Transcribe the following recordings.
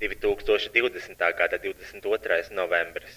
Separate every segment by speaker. Speaker 1: 2020. gada 22. novembris.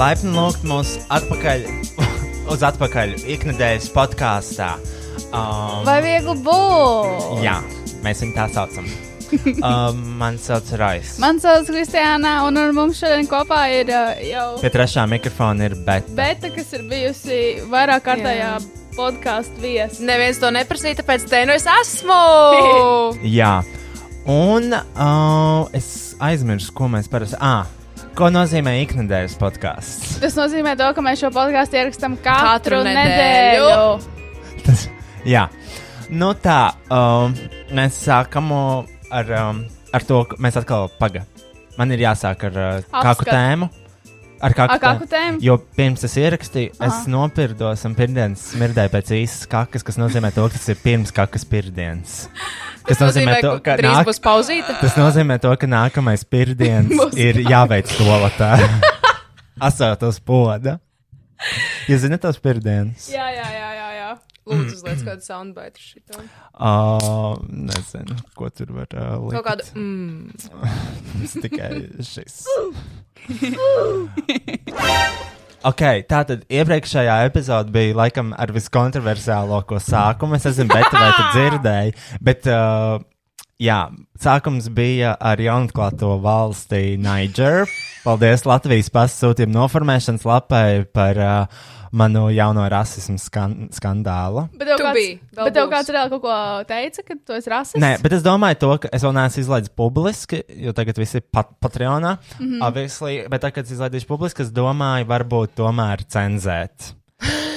Speaker 2: Laipni lūgt mūs atpakaļ uz atpakaļ iknedēļas podkāstā. Um,
Speaker 3: Vai viegli būt?
Speaker 2: Jā, mēs viņu tā saucam. um, man sauc Rojas.
Speaker 3: Mans vārds ir Kristiāna, un ar mums šodien kopā ir uh, jau
Speaker 2: Pie trešā mikrofona ir bet.
Speaker 3: Beta, kas ir bijusi vairāk kārtējā podkāstu viesa.
Speaker 4: Neviens to neprasīja, tāpēc te nu es esmu.
Speaker 2: Jā, un uh, es aizmirsu, ko mēs parasti. Ah, ko nozīmē iknedēļas podkāsts?
Speaker 3: Tas nozīmē, to, ka mēs šo podkāstu ierakstām katru, katru
Speaker 4: Katru
Speaker 3: nedēļu.
Speaker 4: nedēļu.
Speaker 2: Tas, jā, nu tā, um, mēs sākam uh, ar, um, ar to, ka mēs atkal pagaidām. Man ir jāsāk ar uh, kāku
Speaker 3: Apskat.
Speaker 2: tēmu. Ar kāku,
Speaker 3: Ar kāku tēmu?
Speaker 2: Jo pirms es ierakstīju, Aha. es
Speaker 3: Aha.
Speaker 2: nopirdos un pirmdienas smirdēju pēc īstas kakas, kas nozīmē to, ka tas ir pirms kakas pirmdienas. Kas nozīmē to, ka
Speaker 4: drīz
Speaker 2: nāk...
Speaker 4: būs pauzīte.
Speaker 2: Tas nozīmē to, ka nākamais pirmdienas
Speaker 3: Būs
Speaker 2: ir jāveic toaletā. Asātos poda. Jūs zināt tos pirmdienas?
Speaker 3: Jā, jā, jā, jā. jā.
Speaker 4: Lūdzu, uzliec kādu soundbite šito.
Speaker 2: Uh, nezinu, ko tur var uh, likt.
Speaker 4: Kaut kādu. Mm.
Speaker 2: Tas tikai šis. Ok, tā tad iepriekšējā epizode bija laikam ar viskontroversiālāko sākumu. Es nezinu, bet vai tu dzirdēji, bet uh, jā, sākums bija ar jaunatklāto valsti Nigeru. Paldies Latvijas pasūtījuma noformēšanas lapai par uh, manu jauno rasismu skan skandālu.
Speaker 3: Bet tev
Speaker 4: Tu
Speaker 3: kāds,
Speaker 4: biji, vēl
Speaker 3: bet tev
Speaker 4: būs.
Speaker 3: kāds reāli kaut ko teica, ka tu esi rasists?
Speaker 2: Nē, bet es domāju, to, ka es vēl neesmu izlaidis publiski, jo tagad viss ir pat Patreonā. Mm -hmm. Bet, tā, kad es izlaidīšu publiski, es domāju, varbūt tomēr cenzēt.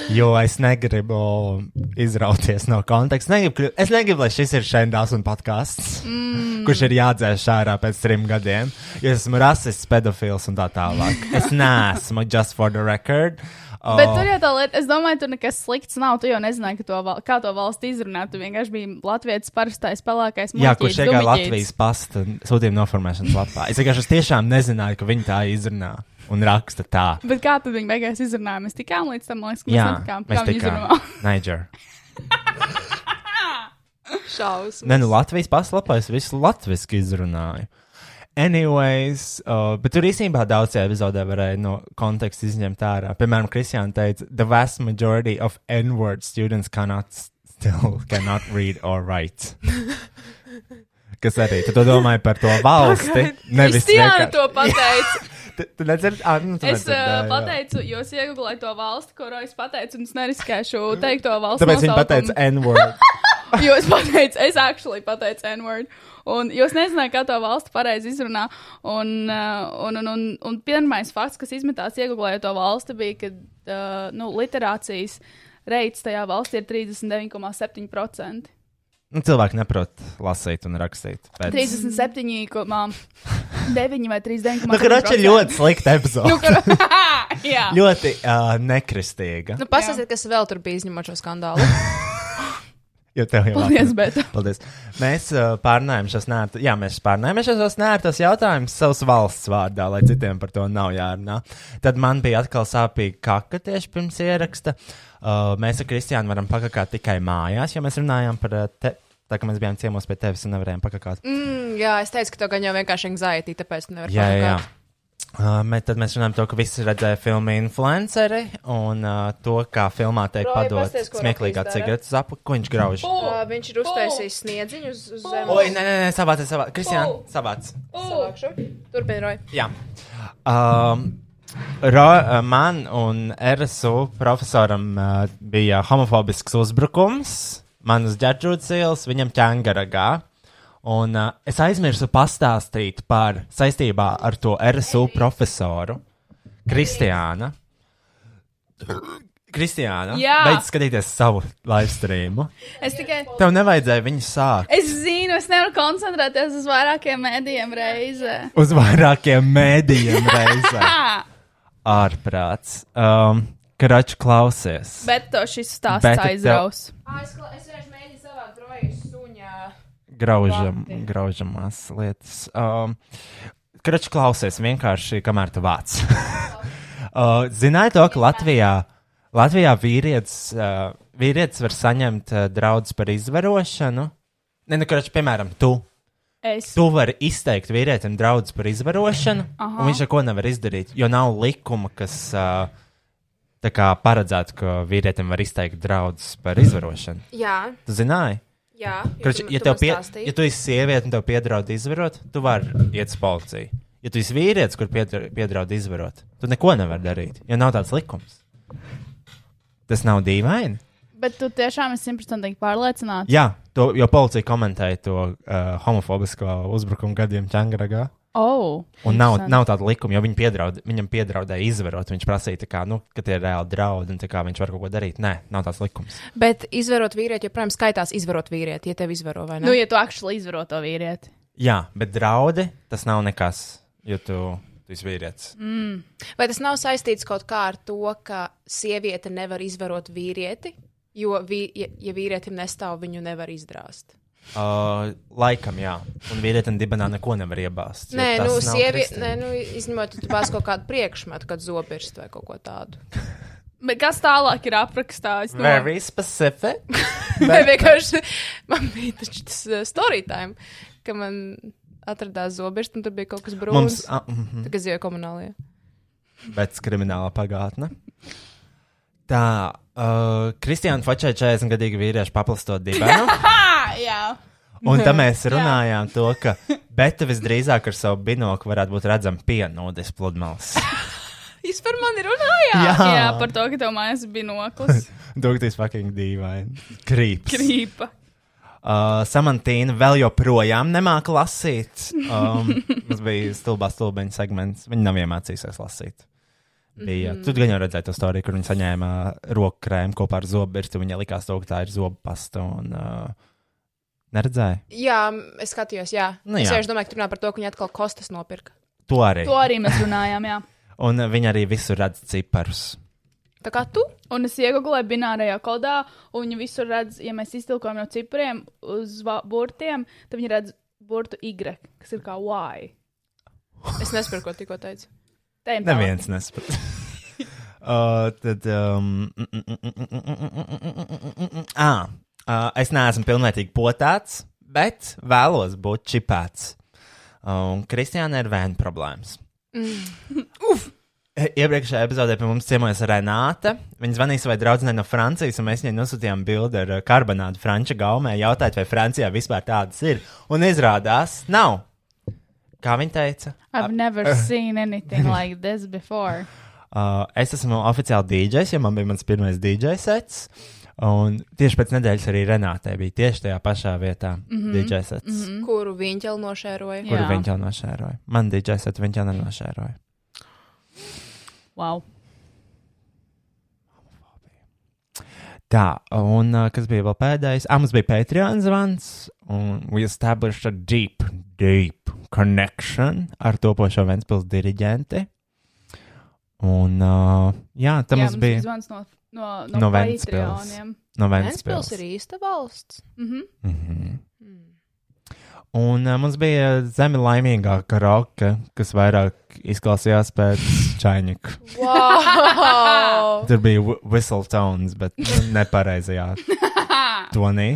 Speaker 2: Jo es negribu izrauties no konteksta. Negribu, kļu- es negribu, lai šis ir šendās un podkāsts, mm. kurš ir jādzēš ārā pēc trim gadiem. Jo es esmu rasists, pedofils un tā tālāk. Es neesmu just for the record. Oh,
Speaker 3: Bet tur jau tā lieta, es domāju, tur nekas slikts nav. Tu jau nezināji, ka to, val- kā to valsts izrunāt. Tu vienkārši biji Latvijas parastais pelēkais
Speaker 2: Jā,
Speaker 3: mūķītis,
Speaker 2: kurš iegāja
Speaker 3: gumiķītis.
Speaker 2: Latvijas pasta sūtījuma noformēšanas lapā. Es vienkārši es tiešām nezināju, ka viņi tā izrunā un raksta tā.
Speaker 3: Bet kā tad viņi beigās izrunāja? Mēs tikām līdz tam, man liekas, ka mēs
Speaker 2: Jā,
Speaker 3: netikām.
Speaker 2: mēs
Speaker 3: Kā viņi
Speaker 2: tikām.
Speaker 3: izrunāja?
Speaker 2: Niger.
Speaker 4: Šausmas.
Speaker 2: Nē, nu Latvijas paslapā es visu latviešu izrunāju. Anyways, uh, bet tur īstenībā daudzajā epizodē varēja no konteksta izņemt ārā. Piemēram, Kristiāna teica, the vast majority of N-word students cannot s- still cannot read or write. Kas arī tu to domāji par to valsti? Nevis
Speaker 4: Kristiāna
Speaker 2: vienkār-
Speaker 4: to pateica.
Speaker 2: Tu, tu nedzirdi, ah, nu, tu
Speaker 3: Es uh,
Speaker 2: nedzirdēji, jā.
Speaker 3: pateicu, jo es iegūlēju to valsti, kuru es pateicu, un es neriskēšu teikt to valsti.
Speaker 2: Tāpēc viņa pateica N-word.
Speaker 3: Jo es pateicu, es actually pateicu N-word. Un jūs nezināt, kā to valstu pareizi izrunā. Un, uh, un, un, un, un pirmais fakts, kas izmetās iegūlējot to valsti, bija, ka uh, nu, literācijas reits tajā valstī ir 39,7%.
Speaker 2: Nu, Cilvēki neprot lasīt un rakstīt. Bet...
Speaker 3: 37,9 vai 39,7%.
Speaker 2: Nu, Kroča ļoti slikta epizode.
Speaker 3: Nu, kar... Jā.
Speaker 2: Ļoti uh, nekristīga.
Speaker 4: Nu, Pastāstiet, kas vēl tur bija izņemot šo skandālu.
Speaker 2: Jo tev jau
Speaker 3: Paldies, Bēta.
Speaker 2: Paldies. Mēs uh, pārnājām šos nērtos, jā, mēs pārnājām šos nērtos jautājumus savas valsts vārdā, lai citiem par to nav jārunā. Tad man bija atkal sāpīgi kaka tieši pirms ieraksta. Uh, mēs ar Kristiānu varam pakakāt tikai mājās, jo mēs runājām par uh, te. Tā kā mēs bijām ciemos pie tevis un nevarējām pakakāt.
Speaker 4: Mm, jā, es teicu, ka to gan jau vienkārši anxiety, tāpēc tu nevari
Speaker 2: Jā, jā. jā.
Speaker 4: pakomentēt.
Speaker 2: Uh, mē, tad mēs runājam par to, ka visi redzēja filmu Influenceri un uh, to, kā filmā tiek
Speaker 4: Roja,
Speaker 2: padodas
Speaker 4: pasties, ko
Speaker 2: smieklīgā
Speaker 4: Rokijs dara.
Speaker 2: cigaretes apakšā, ko viņš grauž.
Speaker 4: Uh, viņš ir uztaisījis sniedziņu uz, uz
Speaker 2: Oh! Oi,
Speaker 4: zemes.
Speaker 2: nē, nē, nē savāc, savāc. Kristiāna,
Speaker 3: Pū!
Speaker 2: savāc.
Speaker 4: Turpiniet, Roja.
Speaker 2: Jā. Um, Ro, man un RSU profesoram uh, bija homofobisks uzbrukums. Man uz ģērģūtas ielas, viņam ķēngaragā. Un uh, es aizmirsu pastāstīt par saistībā ar to RSU profesoru Kristiāna. Kristiāna,
Speaker 3: Jā.
Speaker 2: beidz skatīties savu live streamu.
Speaker 3: Es tikai.
Speaker 2: Tev nevajadzēja viņu sākt
Speaker 3: Es zinu, es nevaru koncentrēties uz vairākiem mēdījiem reizē.
Speaker 2: uz vairākiem mēdījiem reizē.
Speaker 3: Ah,
Speaker 2: ārprāts. Um, Kračs klausies.
Speaker 3: bet to šis
Speaker 2: Bet
Speaker 3: stāsts
Speaker 2: tev-
Speaker 3: aizraus.
Speaker 4: Es vienkārši mēģināju savākt Roja suņā.
Speaker 2: Graužam,
Speaker 4: Vakti.
Speaker 2: graužamās lietas. Um, Kračs klausies vienkārši, kamēr tu vāc. uh, zināji to, ka Latvijā, Latvijā vīrietis, uh, vīrietis var saņemt uh, draudus par izvarošanu? Nē, nu, Kračs, piemēram, tu.
Speaker 3: Es
Speaker 2: Tu vari izteikt vīrietim draudus par izvarošanu,
Speaker 3: Aha.
Speaker 2: un viņš neko nevar izdarīt, jo nav likuma, kas uh, tā kā paredzētu, ka vīrietim var izteikt draudus par izvarošanu.
Speaker 4: Jā,
Speaker 2: Tu zināji?
Speaker 4: jā. jo
Speaker 2: Kroč,
Speaker 4: tu-
Speaker 2: ja,
Speaker 4: tu
Speaker 2: tev
Speaker 4: man
Speaker 2: pie,
Speaker 4: stāstīji.
Speaker 2: ja tu esi sieviete un tev piedraud izvarot, tu vari iet uz policiju. Ja tu esi vīrietis, kur piedra- piedraud izvarot, tu neko nevari darīt, jo nav tāds likums. Tas nav dīvaini.
Speaker 3: Bet tu tiešām esi simtprocentīgi pārliecināts.
Speaker 2: Jā, to, jo policija komentēja to uh, homofobisko uzbrukumu gadiem Čangaragā.
Speaker 3: Oh,
Speaker 2: Un nav,
Speaker 3: interesanti.
Speaker 2: nav tāda likuma, jo viņi piedraud, viņam piedraudēja izvarot. Viņš prasīja, tā kā, nu, ka tie ir reāli draudi un tā kā viņš var kaut ko darīt. Nē, nav tāds likums.
Speaker 4: Bet izvarot vīrieti, joprojām skaitās izvarot vīrieti, ja tev izvaro vai
Speaker 3: Nu,
Speaker 4: ne?
Speaker 3: ja tu akšli izvaro to vīrieti.
Speaker 2: Jā, bet draudi tas nav nekas, jo tu, tu esi vīrietis. Mm.
Speaker 4: Vai tas nav saistīts kaut kā ar to, ka sieviete nevar izvarot vīrieti, jo vi, ja, ja vīrietim nestāv, viņu nevar izdrāst?
Speaker 2: Uh, laikam, jā. Un vīrietim dibenā neko nevar iebāzt. jo
Speaker 4: Nē,
Speaker 2: tas
Speaker 4: nu,
Speaker 2: nav
Speaker 4: sieviete,
Speaker 2: kristīgi.
Speaker 4: nē, nu, izņemot, ja tu pats kaut kādu priekšmetu, kad zobirstu vai kaut ko tādu.
Speaker 3: Bet kas tālāk ir aprakstīts?
Speaker 4: nu,
Speaker 2: Very specific.
Speaker 4: Vai vienkārši man bija taču tas eh, story time, ka man atradās zobirsts un tur bija kaut kas brūns.
Speaker 2: Mums, ah, mm -hmm.
Speaker 4: Tagad dzīvoju komunālajā.
Speaker 2: bet krimināla pagātne. Tā, uh, Kristiāna Falčai 40 gadīgi vīrieši paplastot dibenu.
Speaker 3: Ah, jā.
Speaker 2: Un tam mēs runājām, to, ka Beta visdrīzāk ar savu binoklu varētu būt redzama pienūdes pludmales.
Speaker 4: Jūs par mani runājāt?
Speaker 3: Jā. jā, par to, ka tev mājās bija noklis.
Speaker 2: Dogtīs fucking dīvaini. Krīps.
Speaker 3: Krīpa.
Speaker 2: Uh, Samantīna vēl joprojām nemāca lasīt. Um, mums bija stulbā stulbeņa segments. Viņa nav iemācījusies lasīt. Bija. Mm -hmm. Tu gan jau redzēji to stāstu, kur viņa saņēma uh, roku krēmu kopā ar zobbirstu. Viņai likās, to, ka tā ir zobu pasta. Un, uh, neredzēji?
Speaker 4: Jā, es skatījos, jā.
Speaker 2: Nu,
Speaker 4: Nu, jā. Es
Speaker 2: jā.
Speaker 4: vienkārši domāju, ka tur runā par to, ka viņi atkal kostas nopirka.
Speaker 2: To arī.
Speaker 3: To
Speaker 2: To...
Speaker 3: arī mēs runājām, jā.
Speaker 2: Un uh, viņa arī visur redz ciparus.
Speaker 4: Tā kā tu?
Speaker 3: Un es iegūlēju binārajā kodā, un viņi visur redz, ja mēs iztilkojam no cipriem uz va- burtiem, tad viņi redz burtu Y, kas ir kā Y.
Speaker 4: Es nesaprotu, ko tikko teicu.
Speaker 3: Tejam tālāk.
Speaker 2: Neviens nesaprot. Uh, tad. Um, mm, mm, mm, mm, mm, mm, mm, mm, mm, mm, mm. Ā, ā, es neesmu pilnvērtīgi potāts, bet vēlos būt Uh, čipēts. Un Kristiāna ir vēna problēmas. Mm. Uf! Iepriekšējā epizodē pie mums ciemojās Renāte. Viņa zvanīja savai draudzenei no Francijas, un mēs viņai nosūtījām bildi ar uh, karbonādu franču gaumē, jautājot, vai Francijā vispār tādas ir. Un izrādās, nav. Kā viņa teica,
Speaker 3: I've
Speaker 2: Ah.
Speaker 3: never seen anything like this before.
Speaker 2: uh, es esmu oficiāli DJs, jo man bija mans pirmais DJ sets. Un tieši pēc nedēļas arī Renātei bija tieši tajā pašā vietā mm -hmm. DJ sets, mm -hmm.
Speaker 4: Kuru viņa ķēlu nošēroja?
Speaker 2: kuru
Speaker 3: Mhm. Jā.
Speaker 2: viņa jau nošēroja. Man DJ sets viņa jau nenošēroja.
Speaker 3: Wow.
Speaker 2: Tā, un uh, kas bija vēl pēdējais? Ah, mums bija Patreon zvans, un we established a deep, deep connection ar topošo Ventspils diriģenti. Un, uh, jā, tā
Speaker 3: Jā,
Speaker 2: mums bija
Speaker 3: zvans no, no, no,
Speaker 2: No
Speaker 3: no
Speaker 2: Ventspils.
Speaker 3: Patreoniem.
Speaker 2: no
Speaker 4: Ventspils
Speaker 2: Ventspils.
Speaker 4: ir īsta valsts.
Speaker 3: Mhm.
Speaker 2: Un uh, mums bija zemi laimīgāka roka, kas vairāk izklausījās pēc čaiņika.
Speaker 4: Wow!
Speaker 2: Tur bija wh- whistle tones, bet nu, nepareizajā tonī.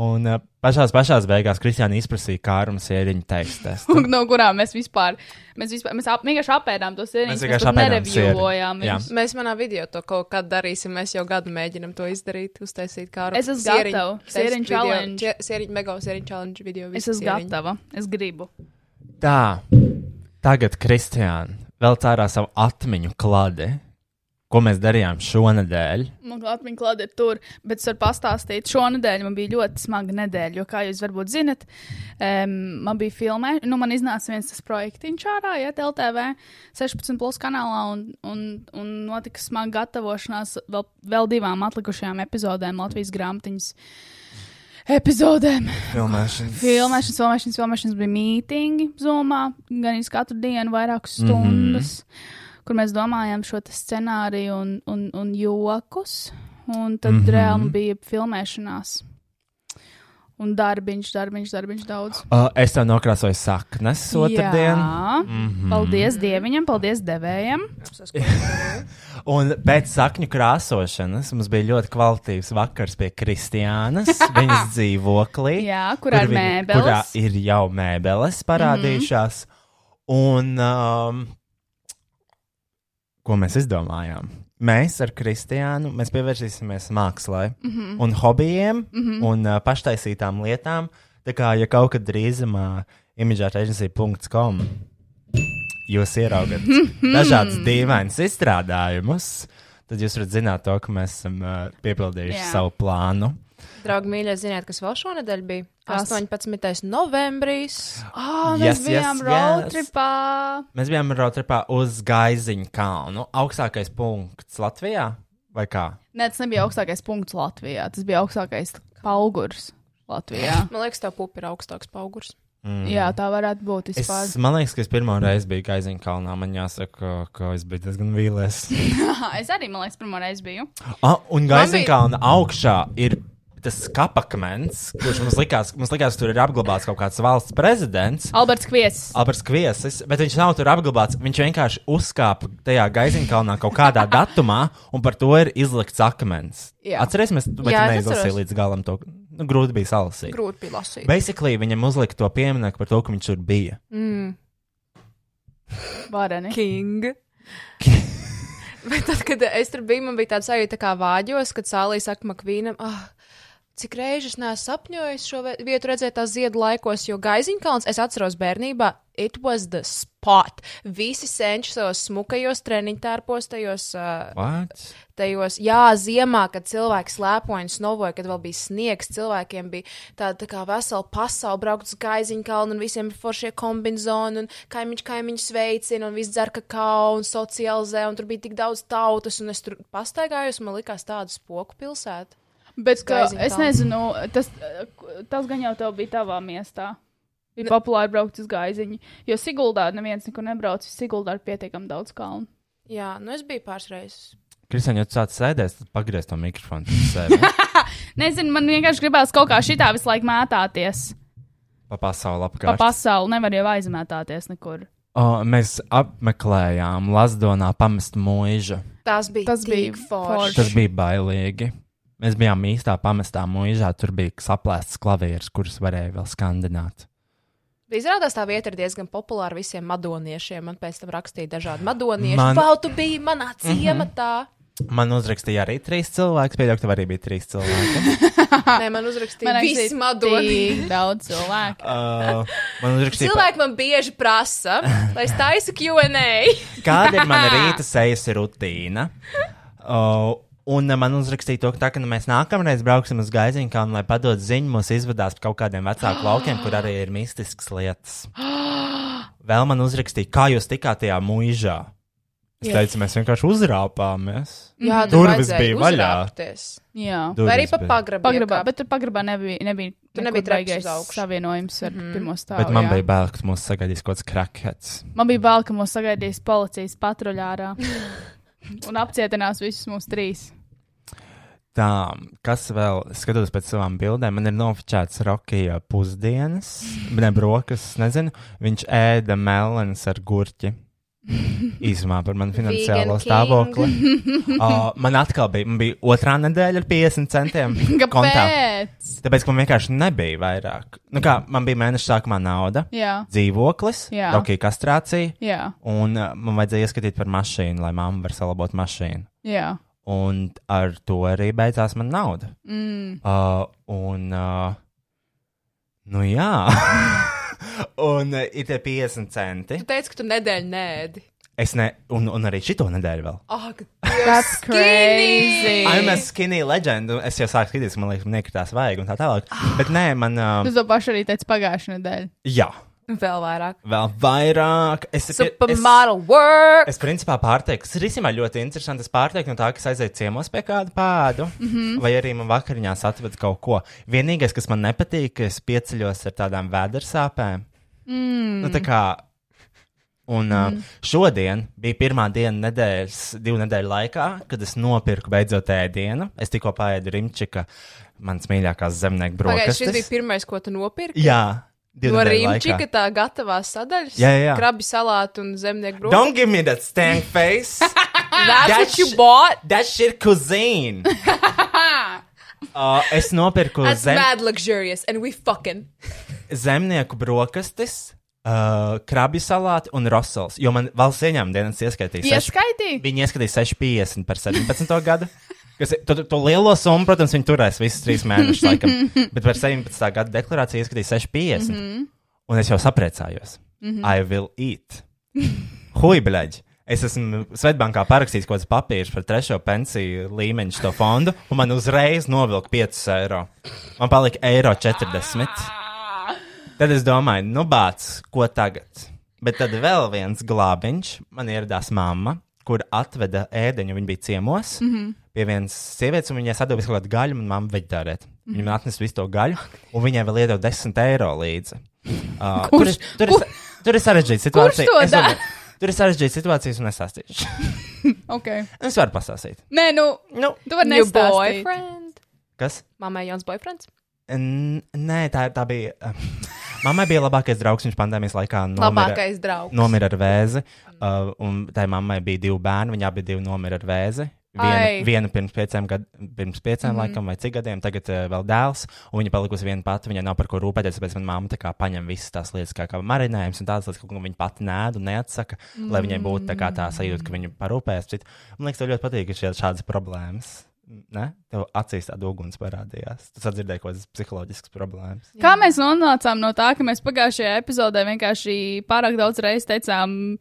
Speaker 2: Un uh, pašā pašā beigās Kristiāna izprasīja kārumu sēriņu tekstu.
Speaker 3: Un no kurām mēs vispār, mēs vispār, mēs ap, vienkārši apēdām tos sēniņus,
Speaker 2: Mēs
Speaker 3: mēs, mēs
Speaker 2: vienkārši
Speaker 3: pat
Speaker 2: apēdām sieri.
Speaker 3: nerevjojām
Speaker 2: Jā.
Speaker 3: viņus.
Speaker 4: Mēs manā video to kaut kad darīsim. Mēs jau gadu mēģinām to izdarīt, uztaisīt kā ar
Speaker 3: Es esmu gatava. Sieriņu challenge.
Speaker 4: Sēriņu, mega sēriņu challenge video.
Speaker 3: Es esmu gatava, es gribu.
Speaker 2: Tā, tagad, Kristiāna, vēl cārā savu atmiņu klādi, ko mēs darījām šonadēļ.
Speaker 3: Man atmiņā klāte ir tur, bet es varu pastāstīt, šonadēļ man bija ļoti smaga nedēļa, jo, kā jūs varbūt zinat, um, man bija filmē, nu, man iznāca viens tas projektiņš ārā, ja, LTV 16 plus kanālā, un, un, un notika smaga gatavošanās vēl, vēl divām atlikušajām epizodēm Latvijas grāmatiņas epizodēm.
Speaker 2: Filmēšanas.
Speaker 3: Filmēšanas, filmēšanas, filmēšanas bija mītīņi Zumā, gan jau katru dienu, vairākas stundas, mm -hmm. kur mēs domājām šo te scenāriju un, un, un jokus. Un tad
Speaker 2: Mhm.
Speaker 3: mm -hmm. reāli bija filmēšanās. Un darbiņš, darbiņš, darbiņš daudz.
Speaker 2: Uh, es tev nokrāsoju saknes otrdien,
Speaker 3: Jā, mm -hmm. paldies Dievam, paldies devējiem.
Speaker 2: un pēc sakņu krāsošanas mums bija ļoti kvalitīvs vakars pie Kristiānas, viņas dzīvoklī.
Speaker 3: Jā, kurā ir
Speaker 2: viņa-
Speaker 3: mēbeles. Mhm.
Speaker 2: Kurā ir jau mēbeles parādījušās. Mm -hmm. Un um, ko mēs izdomājām? Mēs ar Kristiānu mēs pievērsīsimies mākslai mm
Speaker 3: Mhm.
Speaker 2: -hmm. un hobijiem mm -hmm. un uh, paštaisītām lietām. Tā kā ja kaut kad drīzumā imidžētaģencija.com jūs ieraugat
Speaker 3: Mhm.
Speaker 2: dažādas dīvainas izstrādājumus, tad jūs varat zināt to, ka mēs esam uh, piepildījuši
Speaker 3: Jā.
Speaker 2: yeah. savu plānu.
Speaker 4: Draugi, mīļie, ziniet, kas vēl šonadēļ bija?
Speaker 3: Kas?
Speaker 4: 18. novembris.
Speaker 3: Ah, mēs
Speaker 2: Yes,
Speaker 3: yes,
Speaker 2: yes,
Speaker 3: bijām yes,
Speaker 2: yes.
Speaker 3: roadtripā.
Speaker 2: Mēs bijām roadtripā uz Gaiziņa kalnu. Augstākais punkts Latvijā vai kā?
Speaker 3: Nē, tas nebija augstākais punkts Latvijā, tas bija augstākais augurs Latvijā.
Speaker 4: Man liekas, tev pupi ir augstāks paugurs.
Speaker 3: Jā, tā varētu būt
Speaker 2: Es,
Speaker 3: vispār.
Speaker 2: man liekas, ka es pirmo reizi biju Gaiziņa kalnā. Man jāsaka, ka es biju diezgan vīlies.
Speaker 3: Aha, es arī, man liekas, pirmo reizi biju.
Speaker 2: ah, un Gaiziņa
Speaker 4: bija-
Speaker 2: kalna augšā ir tas kapakmens, kurš mums likās, mums likās, tur ir apglabāts kaut kāds valsts prezidents.
Speaker 3: Alberts Kviesis.
Speaker 2: Abas kviesis, bet viņš nav tur apglabāts. Viņš vienkārši uzkāpa tajā gaisa kalnā kaut kādā datumā, un par to ir izlikts akmens.
Speaker 4: Jā.
Speaker 2: Atcerēsimies, bet
Speaker 4: Jā, es
Speaker 2: neizlasīja
Speaker 4: atceros.
Speaker 2: līdz galam to. Nu, grūti bija salasīt.
Speaker 4: Grūti bija lasīt.
Speaker 2: Basically, viņam uzlika to pieminiektu par to, ka viņš tur bija.
Speaker 3: Nu. Vareni.
Speaker 4: King. Bet tad, kad es tur biju, man bija tāds sajūta kā vāģos, kad sālīja saka Makvīnam, ah, cik reizes neesmu sapņojis šo vie- vietu redzēt tā ziedu laikos, jo Gaiziņkalns, es atceros bērnībā, it was the spot. Visi senči savos smukajos treniņtārpos, tajos, ā,
Speaker 2: What?
Speaker 4: tajos, jā, ziemā, kad cilvēki slēpoja un snovoja, kad vēl bija sniegs, cilvēkiem bija tāda tā kā vesela pasaule braukt uz Gaiziņkalnu un visiem ir foršie kombinzoni un kaimiņš kaimiņu sveicina un viss dzer kakao un socializē un tur bija tik daudz tautas un es tur pastaigājos un man likās tādu spoku pilsētu.
Speaker 3: Bet ka,
Speaker 4: Skaiziņkalns.
Speaker 3: es nezinu, tas, eh, k- tas gan jau tev bija tavā miestā. Ir populāri braukt uz gaiziņu, jo Siguldā neviens nekur nebrauc. Siguldā ir pietiekami daudz kalnu.
Speaker 4: Jā, nu es biju pāris reizes.
Speaker 2: Kristian, ja tu sāc sēdēs, tad pagriez to mikrofonu. pie sevis.
Speaker 3: Nezinu, man vienkārši gribās kaut kā šitā visu laiku mētāties.
Speaker 2: Pa pasauli
Speaker 3: Pa
Speaker 2: apkārt.
Speaker 3: pasauli nevar jau aizmētāties nekur.
Speaker 2: O, mēs apmeklējām Lazdonā pamestu mūžu.
Speaker 4: Tas bija
Speaker 3: Tas bija
Speaker 4: tik forši.
Speaker 2: Tas bija bailīgi. Mēs bijām īstā pamestā mūžā, tur bija saplēsts klavieres, kurus varēja vēl skandināt.
Speaker 4: Izrādās tā vieta ir diezgan populāra visiem madoniešiem. Man pēc tam rakstīja dažādi madonieši.
Speaker 2: Man-
Speaker 4: Man... Pautu bija manā ciematā.
Speaker 2: Man uzrakstīja arī trīs cilvēki. Pēdējā tev arī bija trīs cilvēki.
Speaker 4: Nē, man uzrakstīja
Speaker 3: Man
Speaker 4: man
Speaker 3: liekas,
Speaker 4: visi
Speaker 3: ir
Speaker 4: madonieši.
Speaker 3: tik daudz cilvēku.
Speaker 2: Uh, man uzrakstīja, pa-
Speaker 4: Cilvēki man bieži prasa, lai es taisu QA.
Speaker 2: kāda ir mana rīta sejas rutīna. Uh, Un eh, man uzrakstīja to, ka, tā, ka nu, mēs nākamreiz brauksim uz gaisiņu kalnu, lai padod ziņu, mūs izvadās pa kaut kādiem vecāku laukiem, kur arī ir mistisks lietas. Vēl man uzrakstīja, kā jūs tikāt tajā mūžā. Es
Speaker 4: Jā.
Speaker 2: teicu, mēs vienkārši uzrāpāmies.
Speaker 4: Jā,
Speaker 2: tur Durvis vajadzēja bija vaļā.
Speaker 4: uzrāpties.
Speaker 3: Jā.
Speaker 4: Vai arī
Speaker 2: Durvis
Speaker 4: pa
Speaker 2: bija.
Speaker 4: pagrabu.
Speaker 3: Pagrabā, bet tur pagrabā nebija, nebija,
Speaker 4: Tur
Speaker 3: nekur
Speaker 4: nebija treps uz
Speaker 3: baigais
Speaker 4: augšu. Mhm.
Speaker 3: savienojums ar mm -hmm. pirmo stāvu.
Speaker 2: Bet man
Speaker 3: jā.
Speaker 2: bija bail, ka mūs sagaidīs kaut kāds krakats.
Speaker 3: man bija bail, ka mūs sagaidīs policijas patruļā ārā un apcietinās visus mūs trīs.
Speaker 2: Tā, kas vēl skatoties pēc savām bildēm, man ir nofočēts Rukija pusdienas, ne brokas, nezinu. Viņš ēda melnas ar gurķi. Īsumā par manu finansiālo
Speaker 4: Vegan
Speaker 2: stāvokli. uh, man atkal bija, man bija otrā nedēļa ar 50 centiem. kontā.
Speaker 3: Kāpēc?
Speaker 2: Tāpēc, ka man vienkārši nebija vairāk. Nu, kā man bija mēneša sākumā nauda,
Speaker 3: Jā,
Speaker 2: dzīvoklis,
Speaker 3: Jā.
Speaker 2: Rukija kastrācija,
Speaker 3: jā,
Speaker 2: un uh, man vajadzēja ieskatīt par mašīnu, lai mamma var salabot mašīnu.
Speaker 3: jā.
Speaker 2: Un ar to arī beidzās man nauda.
Speaker 3: Mm.
Speaker 2: Uh, un, uh, nu jā, un uh, ir tie 50 centi.
Speaker 4: Tu teici, ka tu nedēļu nēdi.
Speaker 2: Es ne, un, un arī šito nedēļu vēl.
Speaker 4: Oh,
Speaker 3: That's crazy.
Speaker 2: I'm a skinny legend. un Es jau sāku skatīties, man liekas, man nekritās vajag un tā tālāk. Bet nē, man, uh,
Speaker 3: Tas to pašu arī teicu pagājušajā nedēļā.
Speaker 2: jā,
Speaker 4: Vēl vairāk.
Speaker 2: vēl vairāk. Es, es,
Speaker 4: Supermodel work.
Speaker 2: es principā pārteiktu, tas ir īstenībā ļoti interesanti. Es pārteiktu no tā, ka es aizēju ciemos pie kāda pādu, mm
Speaker 4: Mhm.
Speaker 2: -hmm. vai arī man vakariņās atved kaut ko. Vienīgais, kas man nepatīk, ka es pieceļos ar tādām vēdersāpēm.
Speaker 3: Mm.
Speaker 2: Nu, tā kā, un mm. šodien bija pirmā diena nedēļas, divu nedēļu laikā, kad es nopirku beidzot ēdienu. Es tikko paēdu Rimčika, mans mīļākās zemnieku
Speaker 4: Pagaidiet, šis
Speaker 2: brokastis.
Speaker 4: bija pirmais, ko tu nopirki.
Speaker 2: Jā, divu
Speaker 4: No
Speaker 2: nedēļu
Speaker 4: rīčika
Speaker 2: laikā.
Speaker 4: tā gatavā sadaļas.
Speaker 2: Jā, jā, jā.
Speaker 4: Krabi salātu un zemnieku brūku.
Speaker 2: Don't give me that stank face!
Speaker 4: That's what
Speaker 2: That's-
Speaker 4: you bought.
Speaker 2: that shit cuisine! Uh, es nopirku
Speaker 4: That's
Speaker 2: zem,
Speaker 4: mad luxurious and we fucking.
Speaker 2: zemnieku brokastis, uh, krabi salāti un rosals, jo man valsts ieņēmuma dienas ieskaitīja seši-
Speaker 3: Ieskaitīja?
Speaker 2: Viņi ieskatīja 6,50 par 17. gadu. Kas, ir- to, to lielo summu, protams, viņi turēs visus trīs mēnešus, laikam. Bet par 17. gada deklarāciju ieskatīja 6,50. Mm -hmm. Un es jau sapriecājos. Mm -hmm. I will eat. Huibleģi! Es esmu Svetbankā parakstījis kaut kādas papīras par trešo pensiju līmeņu šo fondu, un man uzreiz novilka 5 eiro. Man palika eiro 40. Tad es domāju, nu, bāc, ko tagad? Bet tad vēl viens glābiņš, man ieradās mamma, kur atveda ēdiņu. Viņa bija ciemos mm
Speaker 3: Mhm.
Speaker 2: -hmm. pie vienas sievietes, un viņai sadeva visu kaut kādu gaļu, un mamma veģetārēt. Mm -hmm.
Speaker 3: Mhm.
Speaker 2: Viņa man atnesa visu to gaļu, un viņai vēl iedeva 10 eiro līdzi. Uh, tur, ir- tur, ir, tur ir sarežģīta situācija.
Speaker 3: to
Speaker 2: Es
Speaker 3: dara?
Speaker 2: domāju, Tur ir sarežģīta situācija, un es sastāstīšu.
Speaker 3: Okay.
Speaker 2: es varu pastāstīt.
Speaker 3: Nē, nu,
Speaker 2: Nu,
Speaker 3: tu vari
Speaker 4: New
Speaker 3: nestāstīt.
Speaker 4: boyfriend.
Speaker 2: kas?
Speaker 4: Mamai Jans boyfriends.
Speaker 2: N nē, tā, tā bija. Mammai bija labākais draugs, viņš pandēmijas laikā nomira.
Speaker 4: Labākais draugs.
Speaker 2: nomira ar vēzi. Uh, un tai mammai bija divi bērni, viņa abi divi nomira ar vēzi.
Speaker 4: Ai.
Speaker 2: Viena, viena pirms pieciem, gad, pirms pieciem mm. laikam, vai cik gadiem, tagad uh, vēl dēls. Un viņa palikusi viena pati, viņai nav par ko rūpēties. Tāpēc manā mamā tā kā paņem visas tās lietas, kā, kā marinējums un tādas lietas, ko viņa pati nēda un neatsaka, mm. lai viņai būtu tā, kā tā sajūta, ka viņa parūpējas. par citu. Man liekas, tev ļoti patīk, ka šie- šādas problēmas. Ne? Tev acīs tāda uguns parādījās. Tu sadzirdēji kaut kādas psiholoģiskas problēmas.
Speaker 3: Kā mēs nonācām no tā, ka mēs pagājušajā epizodē vienkārši pārāk daudz reizes teicām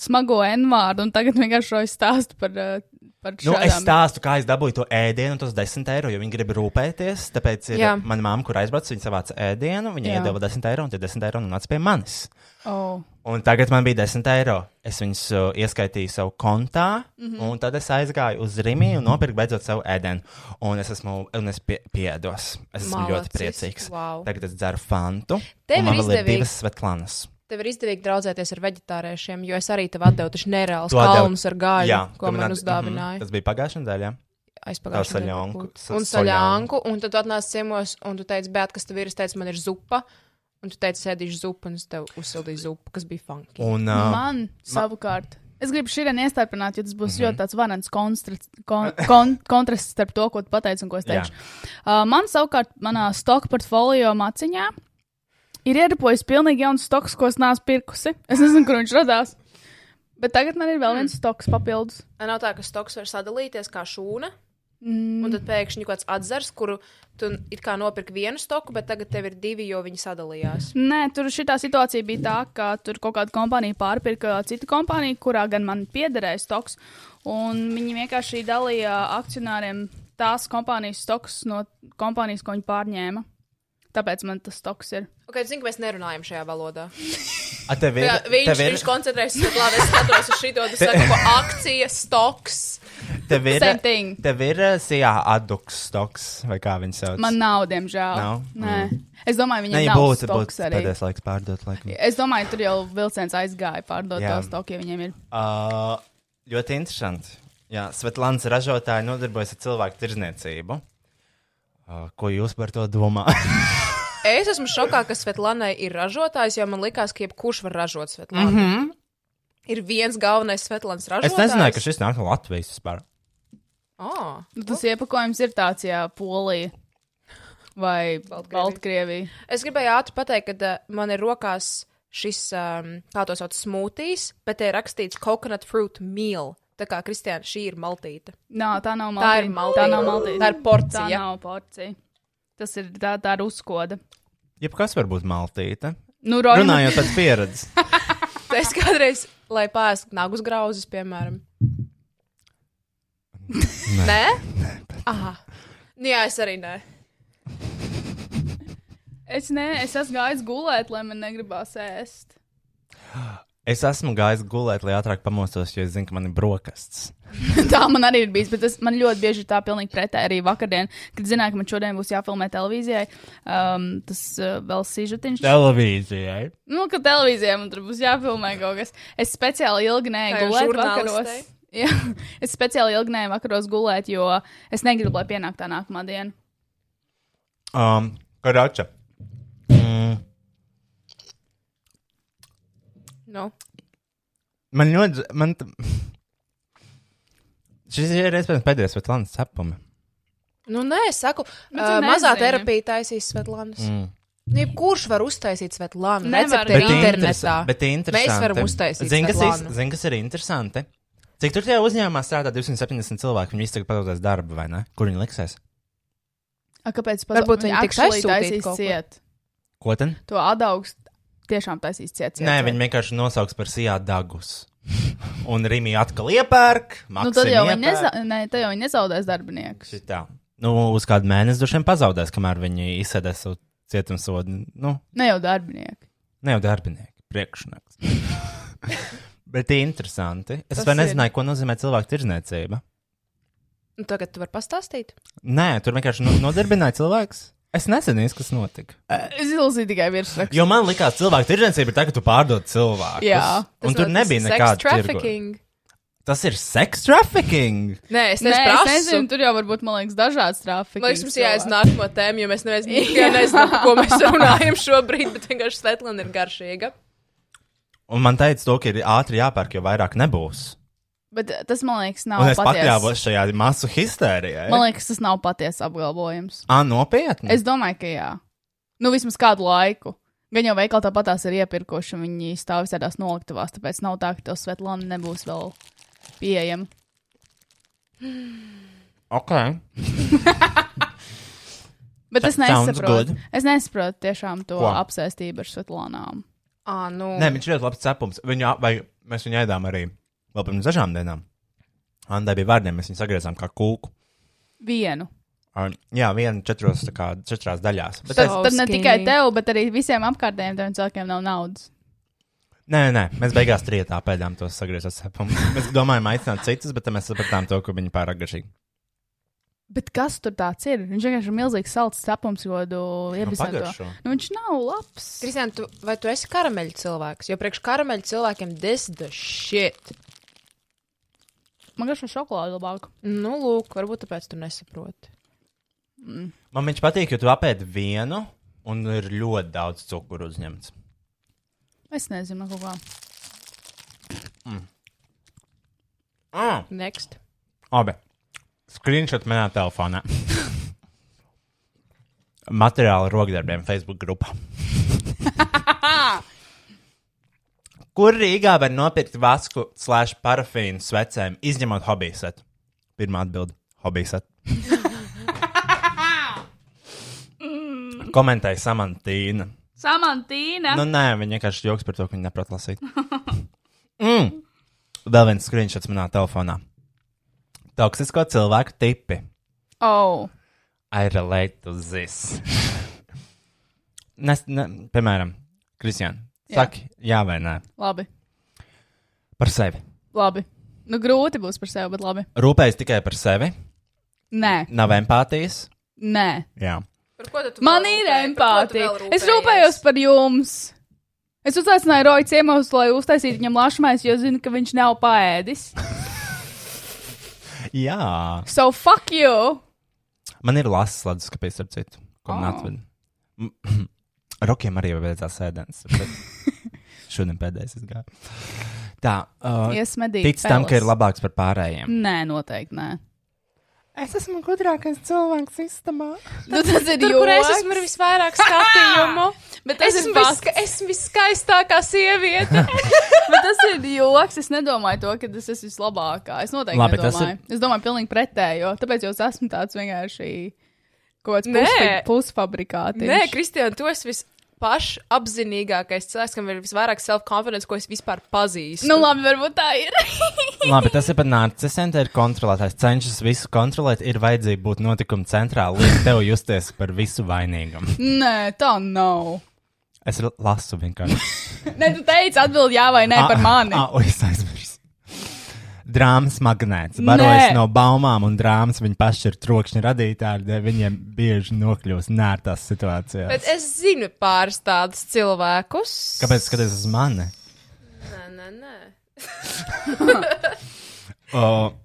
Speaker 3: smago N-vārdu, un tagad vienkārši šo es stāstu par, eh, par
Speaker 2: Nu, es
Speaker 3: šādām
Speaker 2: stāstu, kā es dabūju to ēdienu, un tos desmit eiro, jo viņi grib rūpēties. Tāpēc ir,
Speaker 4: Jā.
Speaker 2: mana māma, kur aizbrauca, viņa savāca ēdienu, viņa
Speaker 3: Jā.
Speaker 2: iedeva desmit eiro, un tie desmit eiro nonāca pie manis.
Speaker 3: Oh.
Speaker 2: Un tagad man bija desmit eiro. Es viņus uh, ieskaitīju savā kontā, mm
Speaker 4: Mhm.
Speaker 2: -hmm. un tad es aizgāju uz Rīgā un nopirku beidzot savu ēdienu. Un es esmu, un es pie, piedos. Es esmu Malacis. ļoti
Speaker 4: Malacis,
Speaker 2: priecīgs.
Speaker 4: wow.
Speaker 2: Tagad es dzeru fantu.
Speaker 4: Tev
Speaker 2: un man
Speaker 4: ir
Speaker 2: vēl ir
Speaker 4: izdevīgi.
Speaker 2: divas svetlānas.
Speaker 4: Tev ir izdevīgi draudzēties ar vegetāriešiem, jo es arī tev atdevu taču nereāls
Speaker 2: Tu atdevi-
Speaker 4: kalnus ar gāļu,
Speaker 2: Jā,
Speaker 4: ko
Speaker 2: tu
Speaker 4: man
Speaker 2: at- Mhm,
Speaker 4: uzdāvināja.
Speaker 2: Tas bija pagājušajā nedēļā.
Speaker 4: Aizpagājušajā
Speaker 2: Tā
Speaker 4: nedēļā
Speaker 2: saļanku,
Speaker 4: kaut-
Speaker 2: sa-
Speaker 4: Un
Speaker 2: saļanku.
Speaker 4: saļānku, un tad tu atnāc ciemos, un tu teici, bet kas tev ir, es teicu, man ir zupa, un tu teici, sēdīšu zupu, un es tev uzsildīju zupu, kas bija funky.
Speaker 2: Un,
Speaker 3: Uh,
Speaker 2: uh,
Speaker 3: man savukārt. Es gribu šodien iestāpināt, jo tas būs mm -hmm. ļoti tāds varants konstras- kon, kon, kontrasts starp to, ko tu pateici un ko es
Speaker 2: Jā.
Speaker 3: teikšu. Uh, man savukārt, manā stoka portfolio maciņā ir ierapojusi pilnīgi jauns stoks, ko es neesmu pirkusi. Es nezinu, kur viņš radās. Bet tagad man ir vēl viens stoks papildus.
Speaker 4: Nav tā, ka stoks var sadalīties kā šūna. Mm. Un tad pēkšņi kaut kāds atzars, kuru tu it kā nopirki vienu stoku, bet tagad tev ir divi, jo viņi sadalījās.
Speaker 3: Nē, tur šī situācija bija tā, ka tur kaut kāda kompānija pārpirka citu kompāniju, kurā gan man piederēja stoks. Un viņi vienkārši dalīja akcionāriem tās kompānijas stoks no kompānijas, ko viņi pārņēma. Tāpēc man tas stoks ir.
Speaker 4: Ok, zinu, ka mēs nerunājam šajā valodā.
Speaker 2: A, tev ir,
Speaker 4: Jā, viņš,
Speaker 2: tev ir,
Speaker 4: viņš koncentrējas uz to, es skatos uz šito, tas ir akcijas stoks.
Speaker 2: tev ir,
Speaker 3: Same thing.
Speaker 2: tev ir eh, sijā aduks stoks, vai kā viņš sauc.
Speaker 3: Man nav, diemžēl.
Speaker 2: Nav?
Speaker 3: Nē, es domāju,
Speaker 2: ne,
Speaker 3: viņam
Speaker 2: ja
Speaker 3: nav
Speaker 2: būtu,
Speaker 3: stoks
Speaker 2: būtu
Speaker 3: arī.
Speaker 2: pēdējais laiks pārdot, laikam.
Speaker 3: Es domāju, tur jau vilciens aizgāja pārdot
Speaker 2: Jā.
Speaker 3: to stoku, ja viņiem ir.
Speaker 2: Uh, ļoti interesanti. Jā, Svetlāns ražotāji nodarbojas ar cilvēku tirzniecību. Uh, ko jūs par to domājat?
Speaker 4: Es esmu šokā, ka Svetlanai ir ražotājs, jo man likās, ka jebkurš var ražot Svetlanu. Mm -hmm. Ir viens galvenais Svetlāns ražotājs.
Speaker 2: Mhm. es nezināju, ka šis nāk no Latvijas vispār.
Speaker 4: Oh.
Speaker 3: Nu, Tas iepakojums ir tāds, jā, Polija vai Baltkrievija.
Speaker 4: Es gribēju ātri pateikt, ka uh, man ir rokās šis, um, kā to sauc, smūtijs, bet te ir rakstīts coconut fruit meal. Tā kā Kristiāna, šī ir maltīta.
Speaker 3: Nā, tā nav maltīte.
Speaker 4: Tā ir maltīte.
Speaker 3: Tā nav maltīte.
Speaker 4: Tā ir porcija.
Speaker 3: Tā nav porcija. Tas ir tā, tā ir uzkoda.
Speaker 2: Jebkas var būt maltīta.
Speaker 3: Nu, Roja,
Speaker 2: Runājot pēc pieredzes.
Speaker 4: Tā Es kādreiz, lai pāriestu nagus grauzus, piemēram. Nē? Nē? Aha. Nu, jā, es arī nē.
Speaker 3: es, ne, es esmu gājis gulēt, lai man negribās ēst.
Speaker 2: Es esmu gājis gulēt, lai ātrāk pamostos, jo es zinu, ka man ir brokastis.
Speaker 3: tā man arī ir bijis, bet tas man ļoti bieži ir tā pilnīgi pretēji. Arī vakardien, kad zināju, ka man šodien būs jāfilmē televīzijai, um, tas uh, vēl sižetiņš.
Speaker 2: Televīzijai.
Speaker 3: Nu, ka televīzijā man tur būs jāfilmē kaut kas. Es speciāli ilgi
Speaker 4: Kā
Speaker 3: nēju
Speaker 4: jau
Speaker 3: gulēt
Speaker 4: žurnālistei.
Speaker 3: vakaros. Jā, es speciāli ilgi nēju vakaros gulēt, jo es negribu, lai pienāk tā nākamā diena.
Speaker 2: Um, Karača. Mm.
Speaker 4: Nu,
Speaker 2: Man ļoti. Man t... Šis ir iespējams pēdējais Svetlāns cepums.
Speaker 4: nu nē, es saku,
Speaker 3: Nu,
Speaker 4: uh,
Speaker 3: tu
Speaker 4: mazā
Speaker 3: nezini.
Speaker 4: terapija taisīs Svetlānas. Mm. Nu, kurš var uztaisīt Svetlānu?
Speaker 3: Nevar.
Speaker 4: Recepte ir
Speaker 3: Bet
Speaker 4: internetā.
Speaker 2: interesa- bet interesanti.
Speaker 4: Mēs varam uztaisīt
Speaker 2: Zini, kas,
Speaker 4: Svetlānu.
Speaker 2: iz- zini, kas ir interesanti? Cik tur tajā uzņēmumā strādā 270 cilvēki? Viņi visi tagad pazaudēs darbu, vai ne? Kur viņi liksies?
Speaker 3: A, kāpēc?
Speaker 4: Varbūt viņi tiks
Speaker 3: actually
Speaker 4: aizsūtīti
Speaker 3: taisīs
Speaker 4: kaut kur.
Speaker 3: ciet.
Speaker 2: Ko tad?
Speaker 3: To adaugst tiešām taisīs ciet. ciet
Speaker 2: Nē,
Speaker 3: ciet.
Speaker 2: viņi vienkārši nosauks par sijā dagus. Un Rīgā atkal iepērk.
Speaker 3: Nu, tad jau viņi, neza... Nē, tad jau viņi nezaudēs darbiniekus.
Speaker 2: Tā. Nu, uz kādu mēnesi droši vien pazaudēs, kamēr viņi izsēdēs savu cietumsodu. Nu,
Speaker 3: Ne jau darbinieki.
Speaker 2: ne jau darbinieki, priekšnieks. Bet interesanti. Es
Speaker 3: Tas
Speaker 2: vēl
Speaker 3: ir.
Speaker 2: nezināju, ko nozīmē cilvēku tirzniecība.
Speaker 4: Nu, tagad tu vari pastāstīt.
Speaker 2: Nē, tur vienkārši no- nodarbināja cilvēks. Es nezinu, kas notika.
Speaker 3: Es izlasīju tikai virsrakstu.
Speaker 2: Jo man likās, cilvēku tirdzniecība ir tā, ka tu pārdod cilvēku.
Speaker 3: Jā,
Speaker 2: un
Speaker 4: Tas
Speaker 2: tur
Speaker 4: vēl
Speaker 2: nebija
Speaker 4: sex
Speaker 2: nekāda tirgu.
Speaker 4: trafficking.
Speaker 2: Tas ir seks trafficking.
Speaker 4: Nē, es
Speaker 3: Nē, es nezinu,
Speaker 4: nezinu.
Speaker 3: tur jau varbūt, man liekas, dažādas trafikas.
Speaker 4: Man liekas, mums jāiet uz nākamo tēmu, jo mēs nevienam nezinām, par ko mēs runājam šobrīd, bet vienkārši Svetlana ir garšīga.
Speaker 2: Un man teica, to, ka ir ātri jāpērk, jo vairāk nebūs.
Speaker 3: Bet eh, tas, man liekas, nav
Speaker 2: Un es
Speaker 3: patiesa.
Speaker 2: pakļāvos šajā masu histērijā.
Speaker 3: Man liekas, tas nav patiesa apgalvojums.
Speaker 2: Ah, nopietni.
Speaker 3: Es domāju, ka jā. Nu, vismaz kādu laiku. Gan jau veikalā tāpat tās ir iepirkoši, un viņi stāv visādās noliktavās, tāpēc nav tā, ka tev Svetlana nebūs vēl pieejama.
Speaker 2: Ok.
Speaker 3: Bet es
Speaker 2: Sa- sounds
Speaker 3: nesaprotu.
Speaker 2: good.
Speaker 3: Es nesaprotu tiešām to
Speaker 2: Ko?
Speaker 3: apsēstību ar Svetlanām.
Speaker 4: Ah, nu.
Speaker 2: Nē, viņš ir ļoti labs cepums. Viņu, ā- vai mēs viņu ēdām arī vēl pirms dažām dienām. Andai bija vārdiem, mēs viņu sagriezām kā kūku.
Speaker 3: Vienu.
Speaker 2: Ar- Jā, viena četros, tā kā četrās daļās. Bet
Speaker 4: So-
Speaker 2: es,
Speaker 3: Tad, tad ne
Speaker 4: skinny.
Speaker 3: tikai tev, bet arī visiem apkārtējiem tiem cilvēkiem nav naudas.
Speaker 2: nē, nē, mēs beigās trietā pēdām tos sagrieztos cepumus. Mēs domājām aicināt citus, bet tad mēs sapratām to, ka viņi pārāk garšīgi.
Speaker 3: Bet kas tur tāds ir? Viņš vienkārši ir milzīgs salds cepums, ko tu iepazīsti.
Speaker 2: pagaršo.
Speaker 3: Nu, viņš nav labs.
Speaker 4: Kristian, tu, vai tu esi karameļu cilvēks? Jo priekš karameļu cilvēkiem this the shit.
Speaker 3: Man garšo šokolādi labāk.
Speaker 4: Nu, lūk, varbūt tāpēc tu nesaproti.
Speaker 2: Man viņš patīk, jo tu apēdi vienu un ir ļoti daudz cukuru uzņemts.
Speaker 3: Es nezinu, kaut kā.
Speaker 2: Mm.
Speaker 4: Next.
Speaker 2: Abi. Screenshot manā telefonā. Materiāli rokdarbiem Facebook grupā. Kur Rīgā var nopirkt vasku slēptu parafīnu svecēm, izņemot hobiju setu? Pirmā atbilde - hobiju setu. Komentēja Samantīna.
Speaker 3: Samantīna.
Speaker 2: Nu, nē, viņa vienkārši joks par to, ka viņa neprot lasīt. mm. Vēl viens skriņšots manā telefonā. Toksisko cilvēku tipi.
Speaker 3: Oh.
Speaker 2: I relate to this. Nes, ne, piemēram, Kristian,
Speaker 3: Jā.
Speaker 2: saki, jā. jā vai nē,
Speaker 3: Labi,
Speaker 2: par sevi.
Speaker 3: labi. Nu, grūti būs par sevi, bet labi.
Speaker 2: Rūpējas tikai par sevi,
Speaker 3: Nē,
Speaker 2: nav empātijas.
Speaker 3: nē.
Speaker 2: Jā,
Speaker 4: Par ko tad tu
Speaker 3: Man
Speaker 4: vēl
Speaker 3: ir
Speaker 4: rūpēji? Par ko tu
Speaker 3: empātija.
Speaker 4: vēl
Speaker 3: Es rūpējos par jums. Es uzaicināju Roju ciemos, lai uztaisītu viņam lašmais, jo zinu, ka viņš nav paēdis.
Speaker 2: jā.
Speaker 3: So fuck you!
Speaker 2: man ir lasu slēdzis, kāpēc ar citu, ko man
Speaker 3: Oh.
Speaker 2: atved. M- Rokiem arī beidzās ēdienas. bet Šodien pēdējais izgāja. Tā, uh,
Speaker 3: Iesmedīt.
Speaker 2: tic tam, ka ir
Speaker 3: peles.
Speaker 2: labāks par pārējiem.
Speaker 3: Nē, noteikti nē.
Speaker 2: Es esmu gudrākais cilvēks istamā.
Speaker 3: Nu, tas ir
Speaker 4: Tur, kur es esmu ar visvairāk skatījumu, bet
Speaker 3: Tas
Speaker 4: es
Speaker 3: ir
Speaker 4: esmu,
Speaker 3: fakts.
Speaker 4: viska, esmu viskaistākā sieviete.
Speaker 3: Bet tas ir joks. Es nedomāju to, ka tas ir vislabākā. Es noteikti
Speaker 2: Labi,
Speaker 3: Labi,
Speaker 2: tas
Speaker 3: nedomāju. Ir... Es domāju, pilnīgi pretējo. Tāpēc jau es esmu tāds vienkārši kaut kāds
Speaker 4: Nē.
Speaker 3: pusfa- pusfabrikāts.
Speaker 4: Nē, Kristija, tu esi vispašapzinīgākais cilvēks, kam ir visvairāk self-confidence, ko es vispār pazīstu.
Speaker 3: Nu, labi, varbūt tā ir.
Speaker 2: Labi, tas ir par narcisiem. Tā ir kontrolētājs. Cenšas visu kontrolēt. Ir vajadzība būt notikuma centrā, lai tev justies par visu vainīgam.
Speaker 3: nē, tā nav.
Speaker 2: Es r- lasu vienkārši.
Speaker 3: Nē, tu teici, atbild jā vai nē par mani.
Speaker 2: Ah, ah, es aizmirsu. Drāmas magnēts. Barojas
Speaker 3: Nē.
Speaker 2: no baumām un drāmas. Viņi paši ir trokšņi radītāji, dēļ viņiem bieži nokļūst nērtās situācijās.
Speaker 4: Bet es zinu pāris tādus cilvēkus.
Speaker 2: Kāpēc skaties uz mani?
Speaker 4: Nē, nē, nē.
Speaker 2: O,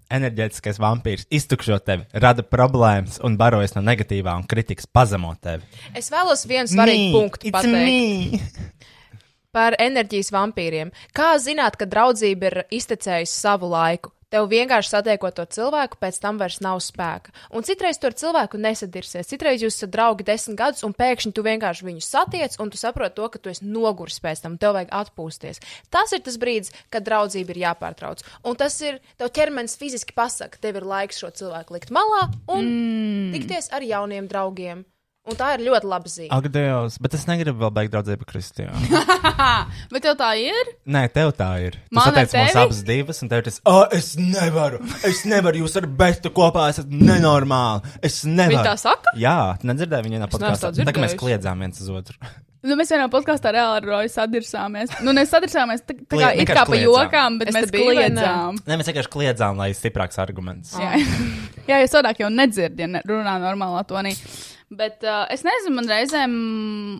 Speaker 2: enerģētiskais vampīrs iztukšo tevi, rada problēmas un barojas no negatīvā un kritikas pazemo tevi.
Speaker 4: Es vēlos vienu svarīgu
Speaker 2: Me,
Speaker 4: punktu
Speaker 2: it's
Speaker 4: pateikt
Speaker 2: me.
Speaker 4: par enerģijas vampīriem. Kā zināt, ka draudzība ir iztecējusi savu laiku? Tev vienkārši satiekot to cilvēku, pēc tam vairs nav spēka. Un citreiz tur cilvēku nesadirsies. Citreiz jūs esat draugi desmit gadus, un pēkšņi tu vienkārši viņu satiec, un tu saproti to, ka tu esi noguris pēc tam, tev vajag atpūsties. Tas ir tas brīdis, kad draudzība ir jāpārtrauc. Un tas ir tev ķermenis fiziski pasaka, tev ir laiks šo cilvēku likt malā un mm. tikties ar jauniem draugiem. Un tā ir ļoti laba zīme.
Speaker 2: Ak, Dievs, bet es negribu vēl beigt draudzību Kristijā.
Speaker 3: Bet tev tā ir?
Speaker 2: Nē, tev tā ir. Tu
Speaker 3: Man ar
Speaker 2: sateici mums
Speaker 3: tevi?
Speaker 2: abas divas, un tev ir tas, ah, es nevaru, es nevaru, jūs ar bestu kopā esat nenormāli. Es nevaru.
Speaker 4: Viņa tā saka?
Speaker 2: Jā, tu nedzirdēji viņu vienā podkāstā.
Speaker 4: neesmu
Speaker 2: Tā
Speaker 4: tā
Speaker 2: kā mēs
Speaker 4: dzirdējusi.
Speaker 2: kliedzām viens uz otru.
Speaker 3: Nu, mēs vienā podkāstā reāli ar Roju sadirsāmies. Nu, nesadirsāmies tā, tā kā
Speaker 2: Klie-
Speaker 3: it
Speaker 2: vienkārši
Speaker 3: kā pa
Speaker 2: kliedzām.
Speaker 3: jokām, bet
Speaker 4: Es
Speaker 3: mēs
Speaker 4: te biju, vai ne?
Speaker 3: kliedzām.
Speaker 2: Nē, mēs vienkārši kliedzām, lai ir stiprāks arguments.
Speaker 3: Jā, jā jo savādāk jau nedzird, ja ne, runā normālā tonī. Bet uh, es nezinu, man reizēm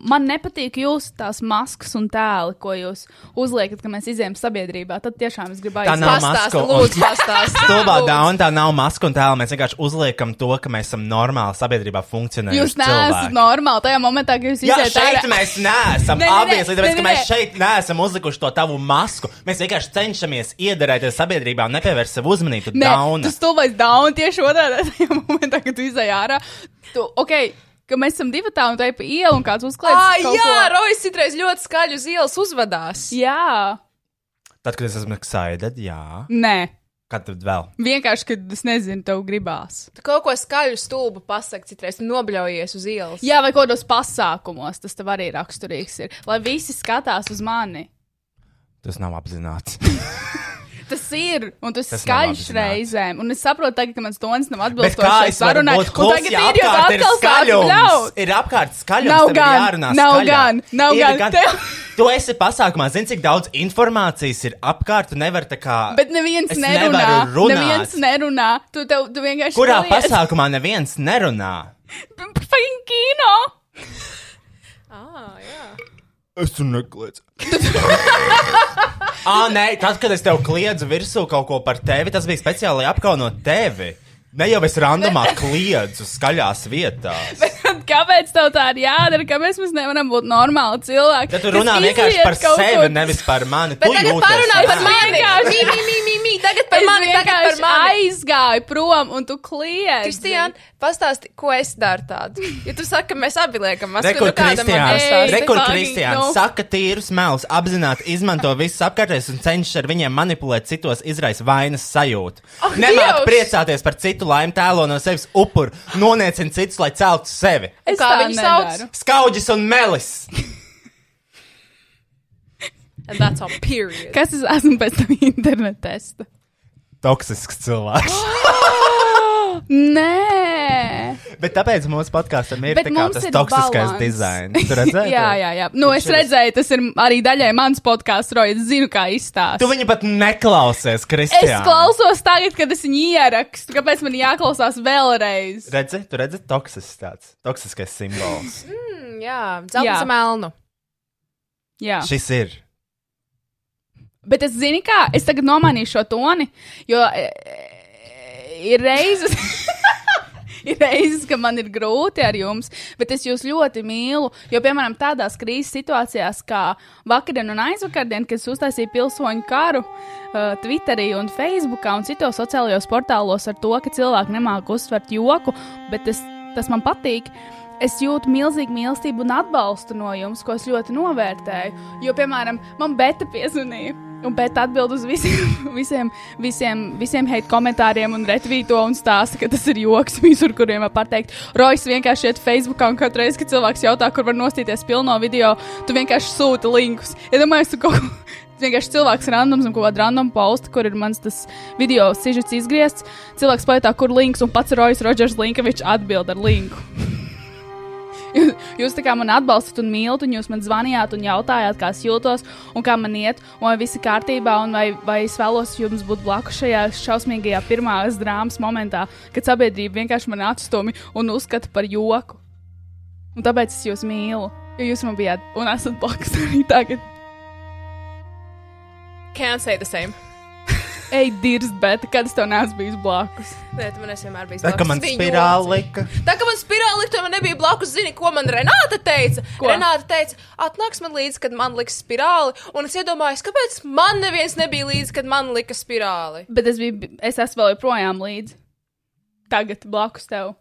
Speaker 3: man nepatīk jūsu tās maskas un tēli, ko jūs uzliekat, kad mēs izējām sabiedrībā. Tad tiešām es gribu
Speaker 2: Tā
Speaker 3: aiziet.
Speaker 2: nav
Speaker 4: Pastāsti,
Speaker 2: maska.
Speaker 4: lūdzu, pastāsti.
Speaker 2: Stulbā
Speaker 4: Lūdzu.
Speaker 2: dauna tā nav maska un tēla. Mēs vienkārši uzliekam to, ka mēs esam normāli sabiedrībā funkcionējami.
Speaker 3: Jūs neesat normāli tajā momentā, kad jūs
Speaker 2: Jā,
Speaker 3: iziet
Speaker 2: šeit mēs
Speaker 3: Nē, nē,
Speaker 2: neesam.
Speaker 3: nē,
Speaker 2: Abas
Speaker 3: nē,
Speaker 2: tāpēc,
Speaker 3: nē,
Speaker 2: ka mēs
Speaker 3: nē.
Speaker 2: šeit neesam uzlikuši to tavu masku. Mēs vienkārši cenšamies iedarēties sabiedrībā un nepievērst sev uzmanību.
Speaker 3: Nē,
Speaker 2: Dauna.
Speaker 3: tas stulbais dauna tieši otrādi tajā momentā, kad tu izēj ārā. Tu, ok, ka mēs esam divi tā un tā ir pa ielu un kāds
Speaker 4: Ai,
Speaker 3: uzklājas.
Speaker 4: jā, Rojas citreiz ļoti skaļi uz ielas uzvedās.
Speaker 3: jā,
Speaker 2: Tad, kad es esmu excited, jā.
Speaker 3: nē,
Speaker 2: Kad tad vēl?
Speaker 3: vienkārši, kad es nezinu, tev gribās.
Speaker 4: Tu kaut ko skaļu stulbu pasaki, citreiz tu nobļaujies uz ielas.
Speaker 3: Jā, vai kādos pasākumos tas tev arī raksturīgs ir. Lai visi skatās uz mani.
Speaker 2: Tas nav apzināts.
Speaker 3: Tas ir, un tas ir
Speaker 2: Tas nav
Speaker 3: skaļš
Speaker 2: apzināti.
Speaker 3: reizēm. Un es saprotu, tagad, ka mans tonis nav
Speaker 2: Bet kā
Speaker 3: atbilstošs.
Speaker 2: es varu būt klusi, ja apkārt ir skaļums? Ir apkārt skaļums,
Speaker 3: Nav
Speaker 2: tev ir
Speaker 3: gan,
Speaker 2: jārunā
Speaker 3: nav
Speaker 2: skaļāk.
Speaker 3: gan, nav
Speaker 2: Ir
Speaker 3: gan. Tev-
Speaker 2: Tu esi pasākumā, zini, cik daudz informācijas ir apkārt, tu nevari tā kā.
Speaker 3: Bet neviens
Speaker 2: Es
Speaker 3: nerunā.
Speaker 2: nevaru runāt.
Speaker 3: Neviens nerunā. Tu, tev, tu vienkārši.
Speaker 2: Kurā
Speaker 3: skalies.
Speaker 2: pasākumā neviens nerunā?
Speaker 3: Fucking kino!
Speaker 4: Ah, jā.
Speaker 2: Es tur nekliedzu. ah, nē, tad, kad es tev kliedzu virsū kaut ko par tevi, tas bija speciāli apkaunot tevi. Ne jau es randomā kliedzu skaļās vietās.
Speaker 3: tad kāpēc tev tā ir jādara? Kāpēc mēs nevaram būt normāli cilvēki?
Speaker 2: Tad tu runā vienkārši par sevi, nevis par mani.
Speaker 4: Bet
Speaker 2: Tu
Speaker 4: tagad
Speaker 2: jūties
Speaker 4: parunā
Speaker 2: slikti.
Speaker 4: par mani. Mī, mī, mī, mī, mī. Tagad par mani, tagad par mani.
Speaker 3: aizgāju prom, un tu kliedz.
Speaker 4: Kristija, pastāsti, ko es daru tādu. Ja tu saki, ka mēs abi liekam, nu mēs
Speaker 2: Rekur Kristiāns,
Speaker 3: pastāsti?
Speaker 2: rekur
Speaker 3: Fucking
Speaker 2: Kristiāns,
Speaker 3: no.
Speaker 2: saka tīrus melus, apzināti izmanto visus apkārtējos un cenšas ar viņiem manipulēt citos, izraisa vainas sajūtu.
Speaker 4: Oh,
Speaker 2: Nemāk
Speaker 4: Dievs!
Speaker 2: priecāties par citu laimi, tēlo no sevis upuru, noniecina citus, lai celtu sevi.
Speaker 3: Es
Speaker 4: Kā
Speaker 3: tā
Speaker 4: viņu sauc?
Speaker 3: nedaru.
Speaker 2: Skaudžis un melis!
Speaker 4: And that's all, period.
Speaker 3: Kas es esmu pēc tam interneta testa?
Speaker 2: Toksisks cilvēks.
Speaker 3: Nē,
Speaker 2: Bet tāpēc mūsu podkāstam ir
Speaker 3: Bet
Speaker 2: tā kā
Speaker 3: mums
Speaker 2: tas
Speaker 3: ir
Speaker 2: toksiskais
Speaker 3: balans.
Speaker 2: dizains. Tu redzēji?
Speaker 3: jā, jā, jā. Nu, es
Speaker 2: Viņš ir-
Speaker 3: redzēju, tas ir arī daļai mans podkāsts, Roja. Es zinu, kā izstāstīt.
Speaker 2: Tu viņu pat neklausies,
Speaker 3: Es
Speaker 2: Kristiāns.
Speaker 3: klausos tagad, kad es viņu ierakstu. Kāpēc man jāklausās vēlreiz?
Speaker 2: Redzi, tu redzi, toksisks tāds, toksiskais simbols.
Speaker 4: Mm, Jā, zelta
Speaker 3: Jā.
Speaker 4: melnu.
Speaker 3: Jā,
Speaker 2: Šis ir.
Speaker 3: bet es zinu, kā es tagad nomainīšu šo toni, jo e, ir reizes. Ir reizes, ka man ir grūti ar jums, bet es jūs ļoti mīlu. Jo, piemēram, tādās krīzes situācijās, kā vakardien un aizvakardien, kad es uztaisīju pilsoņu karu uh, Twitterī un Facebookā un citos sociālajos portālos ar to, ka cilvēki nemāku uztvert joku, bet es, tas man patīk. Es jūtu milzīgu mīlestību un atbalstu no jums, ko es ļoti novērtēju. Jo, piemēram, man Bēta piezvanīja. Un pēc tam atbild uz visiem, visiem, visiem, visiem hate komentāriem un retvīto un stāsta, ka tas ir joks visur, kuriem var pateikt. Rojas vienkārši iet Facebookā un katru reizi, kad cilvēks jautā, kur var nostīties pilno video, tu vienkārši sūti linkus. Ja domāju, tu kaut ko vienkārši cilvēks randoms un kaut kāda random posta, kur ir mans tas video sižets izgriezts, cilvēks pajautā, kur links, un pats Rojas Rodžers Linkovičs atbild ar linku. Jūs- Jūs tā kā man atbalstat un mīlat, un jūs man zvanījāt un jautājāt, kā es jūtos, un kā man iet, un vai viss ir kārtībā, un vai, vai es vēlos jums būt blakus šajā šausmīgajā pirmās drāmas momentā, kad sabiedrība vienkārši man atstumj un uzskata par joku. Un tāpēc es jūs mīlu, jo jūs man bijāt un esat blakus arī tagad.
Speaker 4: Can't say the same.
Speaker 3: Ej, dirzt, bet kad es tev neesmu bijis blakus?
Speaker 4: Nē, tu man esi vienmēr bijis.
Speaker 2: Tā kā
Speaker 4: blakus.
Speaker 2: man
Speaker 4: Tas bija
Speaker 2: spirāli
Speaker 4: joks.
Speaker 2: lika.
Speaker 4: Tā kā man spirāli likte, man nebija blakus, zini, ko man Renāte teica.
Speaker 3: Ko?
Speaker 4: Ko? Renāte teica, atnāks man līdzi, kad man liks spirāli. Un es iedomājos, kāpēc man neviens nebija līdzi, kad man lika spirāli.
Speaker 3: Bet es, biju, es esmu vēl joprojām līdzi. Tagad blakus tev.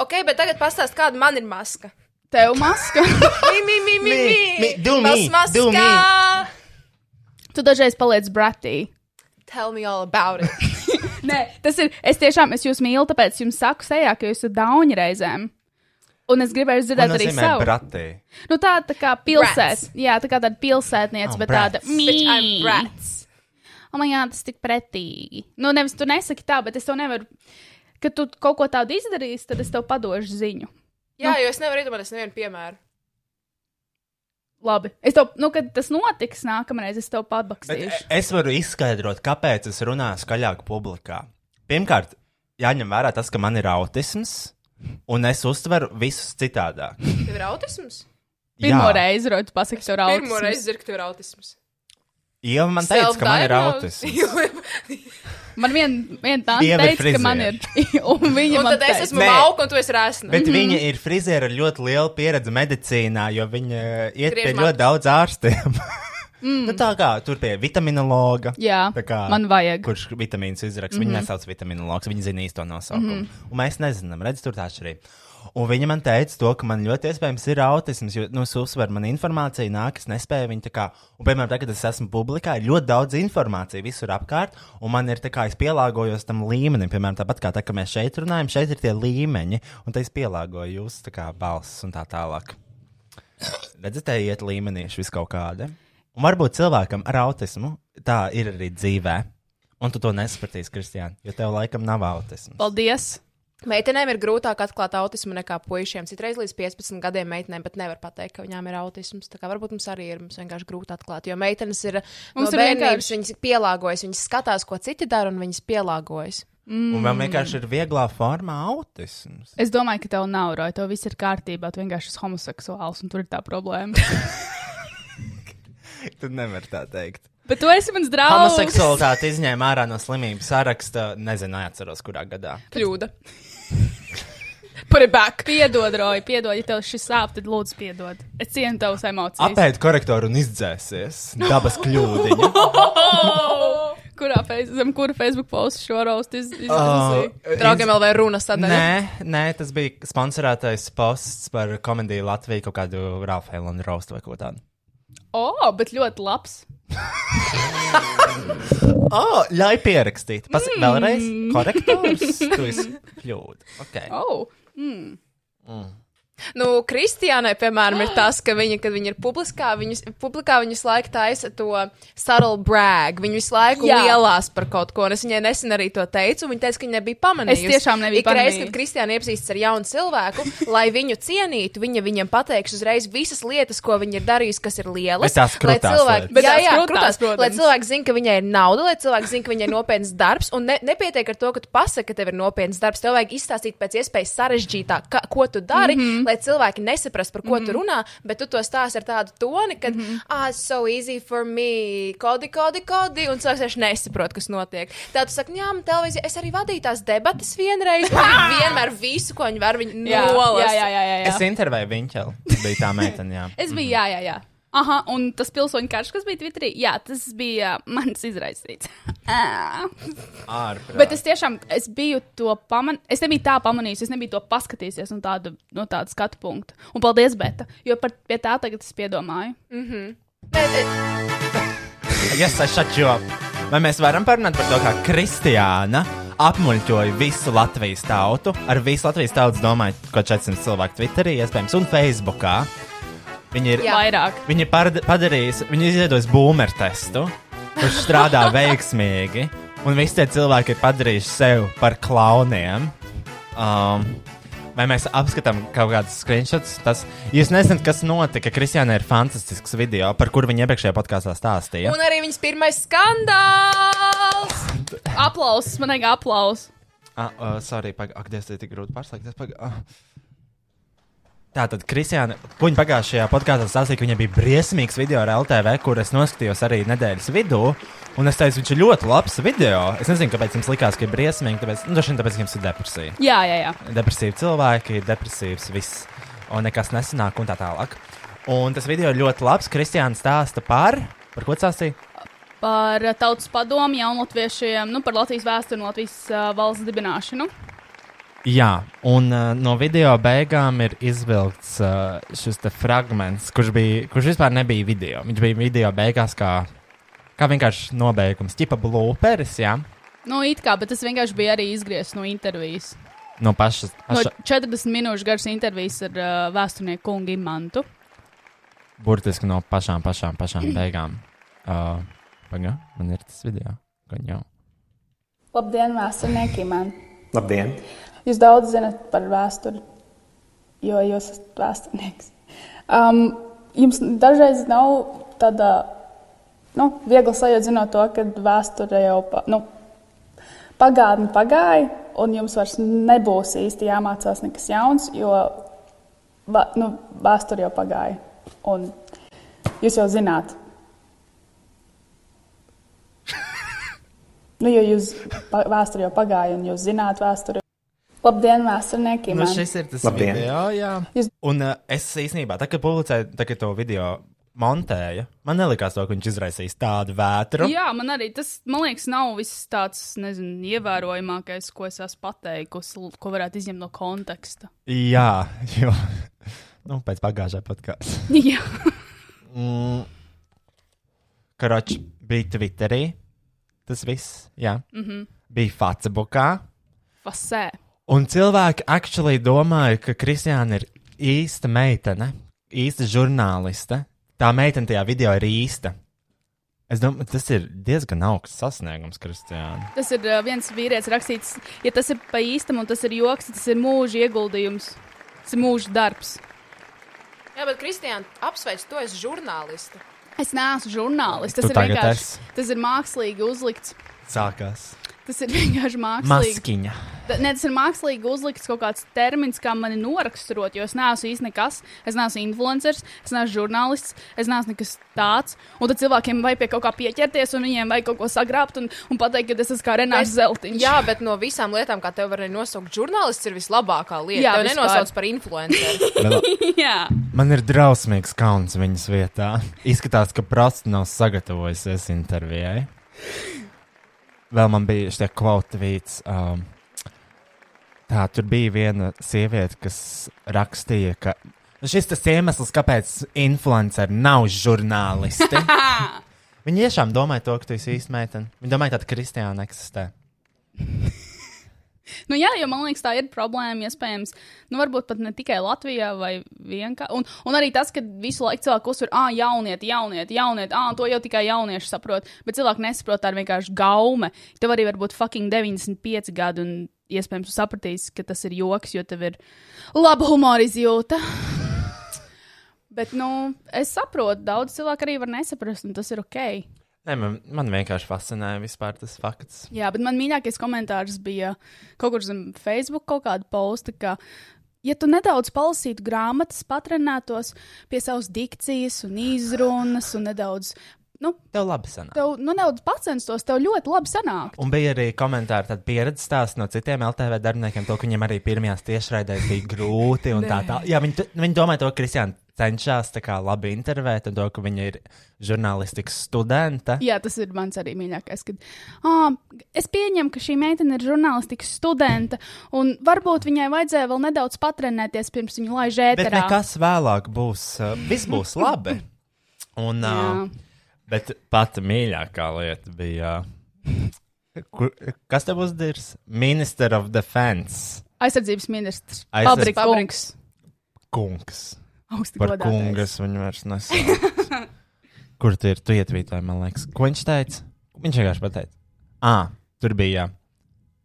Speaker 4: Ok, bet tagad pastāst, kāda man ir maska.
Speaker 3: Tev maska.
Speaker 4: Mī, mī, mī, mī,
Speaker 2: Mī,
Speaker 4: mī.
Speaker 2: mī, do
Speaker 4: Tavs
Speaker 2: mī,
Speaker 4: maska!
Speaker 2: do mī.
Speaker 3: tu dažreiz paliec bratī.
Speaker 4: Tell me all about it.
Speaker 3: Nē, tas ir. Es tiešām es jūs mīlu, tāpēc jums saku sejā, ka jūs esat dauni reizēm. Un es gribēju
Speaker 2: Tas
Speaker 3: dzirdēt arī
Speaker 2: nozīmē
Speaker 3: savu.
Speaker 2: bratī.
Speaker 3: Nu, tā, tā kā
Speaker 4: Brats.
Speaker 3: pilsēta. Jā, tā kā tāda pilsētniece,
Speaker 2: Oh,
Speaker 3: oh, bet
Speaker 2: brats.
Speaker 3: tāda
Speaker 4: Bitch, I'm
Speaker 3: mīļa.
Speaker 4: brats.
Speaker 3: Oh, man jā, tas tik pretīgi. Nu, nevis tu nesaki tā, bet es tev nevaru. Kad tu kaut ko tādu izdarīsi, tad es tev padošu ziņu.
Speaker 4: Jā,
Speaker 2: Nu.
Speaker 4: jo es nevaru iedomāties nevienu piemēru.
Speaker 3: Labi. Es tev, nu, kad tas notiks, nākamreiz es tev pabakstīšu.
Speaker 2: Es varu izskaidrot, kāpēc es runāju skaļāk publikā. Pirmkārt, jāņem vērā tas, ka man ir autisms, un es uztveru visus citādāk.
Speaker 4: Tev ir autisms?
Speaker 3: Pirmo
Speaker 2: e, Jā,
Speaker 3: reizi, Roja, tu pasaki, tev ir
Speaker 4: Pirmo
Speaker 3: autisms.
Speaker 4: reizi dzirdu, ka tev ir autisms.
Speaker 2: Ieva man teica, ka man ir
Speaker 4: Self-diagnose.
Speaker 2: autisms.
Speaker 3: Man viena vien tā
Speaker 2: Dieva ir
Speaker 3: teica, ka man ir. Un viņa
Speaker 4: Un
Speaker 3: man
Speaker 4: tad es
Speaker 3: teica,
Speaker 4: esmu
Speaker 2: Nē.
Speaker 4: lauka, un tu esi rēsna.
Speaker 2: Bet
Speaker 3: Mhm.
Speaker 2: viņa ir friziera ar ļoti lielu pieredzi medicīnā, jo viņa eh, iet pie
Speaker 4: Griež
Speaker 2: ļoti daudz ārstiem. Nu, tā kā tur pie vitaminologa.
Speaker 3: jā,
Speaker 2: Tā kā,
Speaker 3: man vajag. Mhm.
Speaker 2: Kurš vitamīns izraksta? Mm -hmm. Viņa nesauc vitaminologs, viņa zina īsto nosaukumu. Mm -hmm. Un mēs nezinām, redz, tur tā arī. Un viņa man teica, to, ka man ļoti iespējams ir autisms, jo, nu, es uzsveru, man informācija nāk, es nespēju viņu tā kā, un, piemēram, tagad es esmu publikā, ir ļoti daudz informācijas visur apkārt, un man ir tā kā, es pielāgojos tam līmenim, piemēram, tāpat kā tā, ka mēs šeit runājam, šeit ir tie līmeņi, un tā es pielāgoju jūs, tā kā, balss un tā tālāk. Redzat, te iet līmenīši vis kaut kāda. Un varbūt cilvēkam ar autismu tā ir arī dzīvē. Un tu to nesapratīsi, Kristiāna, jo tev laikam nav autisms.
Speaker 3: Paldies!
Speaker 4: Meitenēm ir grūtāk atklāt autismu nekā puišiem. Citreiz līdz 15 gadiem meitenēm pat nevar pateikt, ka viņām ir autisms. Tā kā varbūt mums arī ir mums vienkārši grūti atklāt, jo meitenes ir mums
Speaker 3: Mums
Speaker 4: no
Speaker 3: ir
Speaker 4: bērnības,
Speaker 3: vienkārši-
Speaker 4: viņas pielāgojas, viņas skatās, ko citi dara, un viņas pielāgojas.
Speaker 2: Mm. Un man vienkārši ir vieglā formā autisms.
Speaker 3: Es domāju, ka tev nav roja, tev viss ir kārtībā, tu vienkārši esi homoseksuāls un tur ir tā problēma.
Speaker 2: Tu nevari tā teikt.
Speaker 3: Bet tu esi mans draugs.
Speaker 2: Homoseksualitāte izņēma ārā no slimības saraksta, nezinu, atceros, kurā gadā.
Speaker 4: Kļūda. Put it back!
Speaker 3: Piedod, Roja, piedod, ja tev šis sāp, tad lūdzu, piedod. Es cienu tavas emocijas.
Speaker 2: Apēd korektoru un izdzēsies. Dabas kļūdiņa.
Speaker 3: Oh! Kurā feiz, zem kura Facebook posta šo raustu
Speaker 4: Ah.
Speaker 3: iz, iz,
Speaker 2: Oh,
Speaker 3: izlasīja?
Speaker 4: Draugiem vēl vai runas tādā?
Speaker 2: Nē, nē, tas bija sponsorētais posts par komēdiju Latviju kaut kādu Rafaelu un Raustu vai ko tādu.
Speaker 3: O, bet ļoti labs.
Speaker 2: Oh, ļauj pierakstīt. Pas, mm. Vēlreiz korektors. Tu esi kļūda. Okay.
Speaker 3: O, oh, mm.
Speaker 4: Nu, Kristiānai, piemēram, ir tas, ka viņa, kad viņa ir publiskā, viņas, publikā viņa visu laiku taisa to subtle brag. Viņa visu laiku
Speaker 3: Jā.
Speaker 4: Jā. lielās par kaut ko, un es viņai nesen arī to teicu, un viņa teica, ka viņa nebija pamanījusi.
Speaker 3: Es tiešām nebiju
Speaker 4: Ikreiz,
Speaker 3: pamanījusi.
Speaker 4: kad Kristiāna iepazīstas ar jaunu cilvēku, lai viņu cienītu, viņa viņam pateiks uzreiz visas lietas, ko viņa ir darījusi, kas ir
Speaker 2: Bet
Speaker 4: lielas.
Speaker 2: tās
Speaker 4: Lai
Speaker 2: krūtās
Speaker 4: cilvēki-
Speaker 2: lietas.
Speaker 3: Bet
Speaker 4: Jā,
Speaker 3: tās
Speaker 4: jā,
Speaker 3: krūtās,
Speaker 4: krūtās, lai
Speaker 3: protams.
Speaker 4: cilvēki zinātu, ka viņai ir nauda, lai cilvēki zinātu, ka viņai ir nopietns darbs. Un ne, nepietiek ar to, ka tu pasaki, ka tev ir nopietns darbs. Tev vajag izstāstīt pēc iespējas sarežģītāk, ka, ko tu dari, mm
Speaker 3: Mhm.
Speaker 4: -hmm. lai cilvēki nesaprastu, par ko mm -hmm. tu runā. Bet tu to stāsti ar tādu toni, ka, mm
Speaker 3: Mhm.
Speaker 4: -hmm. ah, it's so easy for me, kodi, kodi, kodi. Un cilvēks vienkārši nesaprot, kas notiek. Tā tu saki, jā, man televīzija, es arī vadīju tās debatas vienreiz. Viņi vienmēr visu, ko viņi var, viņi
Speaker 3: jā, jā, jā,
Speaker 4: nolasa.
Speaker 3: jā, jā,
Speaker 2: Es
Speaker 3: jā.
Speaker 2: intervēju Viņķeli. Bija tā meitene, jā.
Speaker 3: Es biju, jā, jā, jā. Aha, un tas pilsoņu karš, kas bija Twitterī, jā, tas bija mans izraisīts. Ah. Ā.
Speaker 2: Ārprāt.
Speaker 3: Bet es tiešām es biju to pamanījis. Es nebiju tā pamanījis, es nebiju to paskatījies no tāda, no tāda skatu punkta. Un paldies, Bēta, jo par pie tā tagad es piedomāju.
Speaker 4: eh,
Speaker 2: Yes, I shut you up. Vai mēs varam parunāt par to, kā Kristiāna apmuļķoja visu Latvijas tautu? Ar visu Latvijas tautu domāju, ko 400 cilvēku Twitterī, iespējams, un Facebookā. Viņi ir
Speaker 3: Jā. Vairāk.
Speaker 2: Viņa parad- padarīs, viņa izveidos boomer testu, kurš strādā veiksmīgi, un visi tie cilvēki ir padarījuši sevi par klauniem. Um, Vai mēs apskatām kaut kādus screenshots? Tas, jūs nezināt, kas notika. Kristiāna ir fantastisks video, par kuru viņa iepriekšējā podkāstā stāstīja.
Speaker 4: Un arī viņas pirmais skandāls!
Speaker 3: Aplausus, man vajag aplausus.
Speaker 2: Ah, uh, sorry, pagaidi, ak, Dievs, tas ir tik grūti pārslēgties. Paga... Ah. Tā tad, Kristiāna, puņa pagājušajā podkāstā stāstīja, ka viņai bija briesmīgs video ar LTV, kur es noskatījos arī nedēļas vidū. Un es teicu, viņš ir ļoti labs video. Es nezinu, kāpēc jums likās, ka ir briesmīgi. Tāpēc, nu, droši vien tāpēc, ka jums ir depresija.
Speaker 3: Jā, jā, jā.
Speaker 2: Depresīvi cilvēki, depresīvs viss, un nekas nesanāk, un tā tālāk. Un tas video ir ļoti labs. Kristiāna stāsta par. Par ko stāstīja?
Speaker 3: Par eh, tautas padomu, jaunlatviešiem, nu, par Latvijas vēsturi un Latvijas uh, valsts dibināšanu.
Speaker 2: Jā, un uh, no video beigām ir izvilkts uh, šis te fragments, kurš, bija, kurš vispār nebija video. Viņš bija video beigās, kā, kā vienkārši nobeigums, tipa blūperis, jā,
Speaker 3: Nu, it kā, bet tas vienkārši bija arī izgriezts no intervijas.
Speaker 2: no pašas.
Speaker 3: No
Speaker 2: paša-
Speaker 3: 40 minūšu garas intervijas ar uh, vēsturnieku kungu Imantu.
Speaker 2: Burtiski no pašām, pašām, pašām beigām. Uh, Pagaidām, man ir tas video. Gan jau.
Speaker 5: Labdien, vēsturnieki! Man.
Speaker 6: Labdien!
Speaker 5: Jūs daudz zinat par vēsturi, jo jūs esat vēsturnieks. Um, jums dažreiz nav tāda nu, viegla sajūta, zinot to, ka vēsture jau pa, nu, pagātne pagāja, un jums vairs nebūs īsti jāmācās nekas jauns, jo va- nu, vēsture jau pagāja. Un jūs jau zināt, nu, jo jūs pa, vēsture jau pagāja, un jūs zināt vēsturi. Labdien, vēsturnieki!
Speaker 2: Nu,
Speaker 5: man.
Speaker 2: šis ir tas
Speaker 6: Labdien.
Speaker 2: video, jā.
Speaker 5: Jūs-
Speaker 2: Un uh, es īstenībā, tā, kad publicēju, tā, kad to video montēju, man nelikās to, ka viņš izraisīs tādu vētru.
Speaker 3: Jā, man arī tas, man liekas, nav viss tāds, nezinu, ievērojamākais, ko es esmu pateikusi, l- ko varētu izņemt no konteksta.
Speaker 2: Jā, jo nu, pēc pagājušā podkāstā.
Speaker 3: Jā,
Speaker 2: Mm. Karoči bija Twitterī. Tas viss, jā. Mm -hmm. Bija Facebookā.
Speaker 3: pasē.
Speaker 2: Un cilvēki actually domāja, ka Kristiāna ir īsta meitene, īsta žurnāliste. Tā meitene tajā video ir īsta. Es domāju, tas ir diezgan augsts sasniegums, Kristiāna.
Speaker 3: Tas ir uh, viens vīrietis rakstīts, ja tas ir pa īstam un tas ir joks, tad tas ir mūža ieguldījums, tas ir mūža darbs.
Speaker 4: Jā, bet Kristiāna apsveic to, es esmu žurnālisti.
Speaker 3: Es neesmu žurnālists,
Speaker 2: Tu
Speaker 3: tas ir
Speaker 2: tagad
Speaker 3: vienkārši,
Speaker 2: esi.
Speaker 3: tas ir mākslīgi uzlikts.
Speaker 2: Sākās
Speaker 3: Tas ir vienkārši mākslīgi.
Speaker 2: maskiņa.
Speaker 3: Ta- Ne, tas ir mākslīgi uzlikts kaut kāds termins, kā mani noraksturot, jo es neesmu īsti nekas. Es neesmu influenceris, es neesmu žurnālists, es neesmu nekas tāds. Un tad cilvēkiem vajag pie kaut kā pieķerties, un viņiem vajag kaut ko sagrābt un, un pateikt, ka tas esmu kā Renāts Zeltiņš.
Speaker 4: Jā, bet no visām lietām, kā tev var arī nosaukt, žurnālists ir vislabākā lieta.
Speaker 3: Jā,
Speaker 4: Jā, tev
Speaker 3: vispār.
Speaker 4: nenosauc par influenceru.
Speaker 2: Bet
Speaker 3: jā.
Speaker 2: Man ir drausmīgs kauns viņas vietā. Izskatās, ka prasti nav sagatavojusies intervijai. Vēl man bija šie kvotvīts. Um, tā, tur bija viena sieviete, kas rakstīja, ka šis tas iemesls, kāpēc influenceri nav žurnālisti. Viņi tiešām domāja to, ka tu esi īsta meitene. Viņi domāja, ka tāda kristiāna eksistē.
Speaker 3: Nu, jā, jo man liekas, tā ir problēma. Iespējams, nu, varbūt pat ne tikai Latvijā, vai vienkārši. Un, un arī tas, ka visu laiku cilvēku uzsver, ah, jaunieti, jaunieti, jaunieti, ah, to jau tikai jaunieši saprot. Bet cilvēki nesaprot, tā ir vienkārši gaume. Tev arī var būt fucking 95 gadi, un iespējams, tu sapratīsi, ka tas ir joks, jo tev ir laba humora izjūta. Bet, nu, es saprotu, daudz cilvēku arī var nesaprast, un tas ir ok.
Speaker 2: Nē, man, man vienkārši fascinēja vispār tas fakts.
Speaker 3: Jā, bet man mīļākais komentārs bija kaut kur zem Facebook kaut kāda posta, ka, ja tu nedaudz palasītu grāmatas, patrenētos pie savas dikcijas un izrunas un nedaudz, nu,
Speaker 2: Tev labi sanāk.
Speaker 3: tev, nu, nedaudz pacenstos, tev ļoti labi sanāk.
Speaker 2: Un bija arī komentāri, tad pieredzes stāsts no citiem LTV darbiniekiem, to, ka viņiem arī pirmajās tiešraidēs bija grūti. un Tā, tā. Jā, viņi, viņi domāja, to, ka Kristiāna cenšas tā kā labi intervēt, un to, ka viņa ir žurnālistikas studente.
Speaker 3: Jā, tas ir mans arī mīļākais. Kad, ah, es pieņemu, ka šī meitene ir žurnālistikas studente, un varbūt viņai vajadzēja vēl nedaudz patrenēties pirms viņa laiž
Speaker 2: Bet
Speaker 3: ēterā.
Speaker 2: nekas vēlāk būs, uh, viss būs labi. Un, uh,
Speaker 3: Jā.
Speaker 2: bet pati mīļākā lieta bija, uh, kur, kas tev uzdirs? Minister of Defense
Speaker 3: Aizsardzības ministrs.
Speaker 2: Aizsardz-
Speaker 3: Pabriks. Pabriks.
Speaker 2: kungs.
Speaker 3: Augsti
Speaker 2: Par
Speaker 3: godātais.
Speaker 2: kungas viņu vairs nesauc. Kur tu ir? Tu ietvītāji, man liekas. Ko viņš teica? Viņš vienkārši pateica. Ah, tur bija. jā.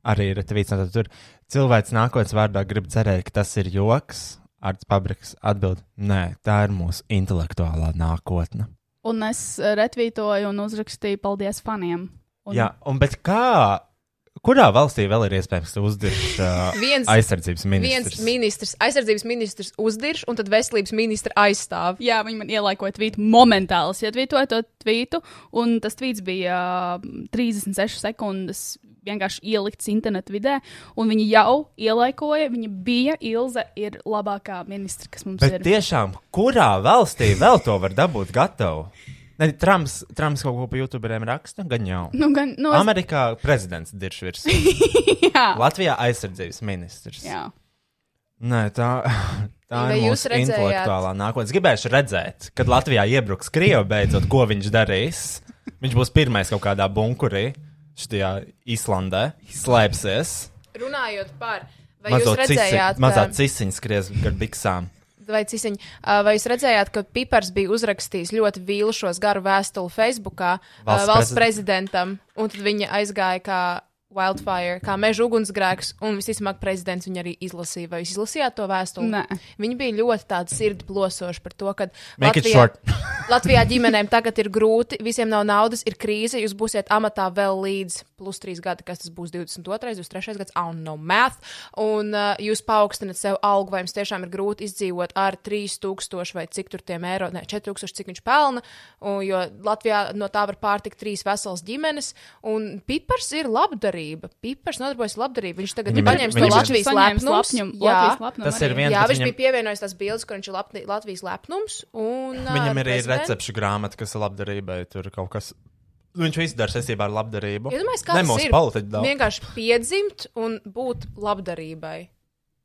Speaker 2: Arī ir tvīts, tad tur cilvēks nākotnes vārdā grib cerēt, ka tas ir joks. Arts Pabriks atbild, nē, tā ir mūsu intelektuālā nākotne.
Speaker 3: Un es eh, retvītoju un uzrakstīju paldies faniem. Un,
Speaker 2: Jā, un bet kā, kurā valstī vēl ir iespējams uzdirst uh,
Speaker 4: Viens-
Speaker 2: aizsardzības
Speaker 4: Viens
Speaker 2: ministrs?
Speaker 4: ministrs, aizsardzības ministrs uzdirž, un tad veselības ministra aizstāv.
Speaker 3: jā, viņi man ielaikoja tvītu momentāli. Es ietvītoju to tvītu, un tas tvīts bija mm, 36 sekundes vienkārši ielikts internetu vidē, un viņi jau ielaikoja. Viņa bija Ilze, ir labākā ministra, kas mums
Speaker 2: Bet
Speaker 3: ir.
Speaker 2: tiešām, kurā valstī vēl to var dabūt gatavu? Ne, Trumps, Trumps kaut ko par YouTuberiem raksta, gan jau.
Speaker 3: Nu, gan, nu, es,
Speaker 2: Amerikā prezidents dirž virs.
Speaker 3: jā,
Speaker 2: Latvijā aizsardzības ministrs.
Speaker 3: jā.
Speaker 2: Nē, tā, tā
Speaker 4: Vai
Speaker 2: ir
Speaker 4: jūs
Speaker 2: mūsu
Speaker 4: redzējāt?
Speaker 2: intelektuālā nākotne. Es Gribēšu redzēt, kad Latvijā iebruks Krievija beidzot, ko viņš darīs. Viņš būs pirmais kaut kādā bunkurī, šajā Islandē, slēpsies.
Speaker 4: Runājot par. Vai
Speaker 2: Mazo
Speaker 4: jūs redzējāt,
Speaker 2: cisi- mazā
Speaker 4: eh,
Speaker 2: cisiņa skries gar biksām.
Speaker 4: Vai, cisiņ, ā, vai jūs redzējāt, ka Pipars bija uzrakstījis ļoti vīlušos garu vēstuli Facebookā ā,
Speaker 2: Valsts
Speaker 4: valsts
Speaker 2: prezid-
Speaker 4: prezidentam, un tad viņa aizgāja kā wildfire, kā meža ugunsgrēks, un visticamāk prezidents viņu arī izlasīja. Vai jūs izlasījāt to vēstuli?
Speaker 3: Nē.
Speaker 4: Viņa bija ļoti tāda sirdi plosoša par to, ka
Speaker 2: Make it
Speaker 4: Latvijā,
Speaker 2: short.
Speaker 4: Latvijā ģimenēm tagad ir grūti, visiem nav naudas, ir krīze, jūs būsiet amatā vēl līdz plus 3 gadi, kas tas būs 22, 23 gads, un no math, un uh, jūs paaugstinat sev algu, vai jums tiešām ir grūti izdzīvot ar 3000 vai cik tur tiem eiro, ne, 4000, cik viņš pelna, un, jo Latvijā no tā var pārtikt trīs veselas ģimenes, un Pipars ir labdarība, Pipars nodarbojas ar labdarību, viņš tagad
Speaker 2: Viņam
Speaker 4: ir
Speaker 2: ir-
Speaker 4: paņēmis to
Speaker 2: viņam ir-
Speaker 4: Latvijas lepnums,
Speaker 3: Latvijas
Speaker 4: jā,
Speaker 3: lepnums.
Speaker 2: Tas ir
Speaker 3: arī.
Speaker 2: viens
Speaker 4: Nu, jā,
Speaker 2: bet
Speaker 4: viņš
Speaker 2: viņam-
Speaker 4: bija pievienojis tās bildes, kur viņš ir lapni, Latvijas lepnums, un ā,
Speaker 2: Viņam ir arī
Speaker 4: prezidents-
Speaker 2: recepšu grāmata, kas ir labdarībai. Tur kaut kas. Viņš visu dara saistībā ar labdarību.
Speaker 4: Iedomājieties, kā
Speaker 2: Ne
Speaker 4: tas
Speaker 2: mūsu
Speaker 4: ir
Speaker 2: politiķi daudz.
Speaker 4: vienkārši piedzimt un būt labdarībai.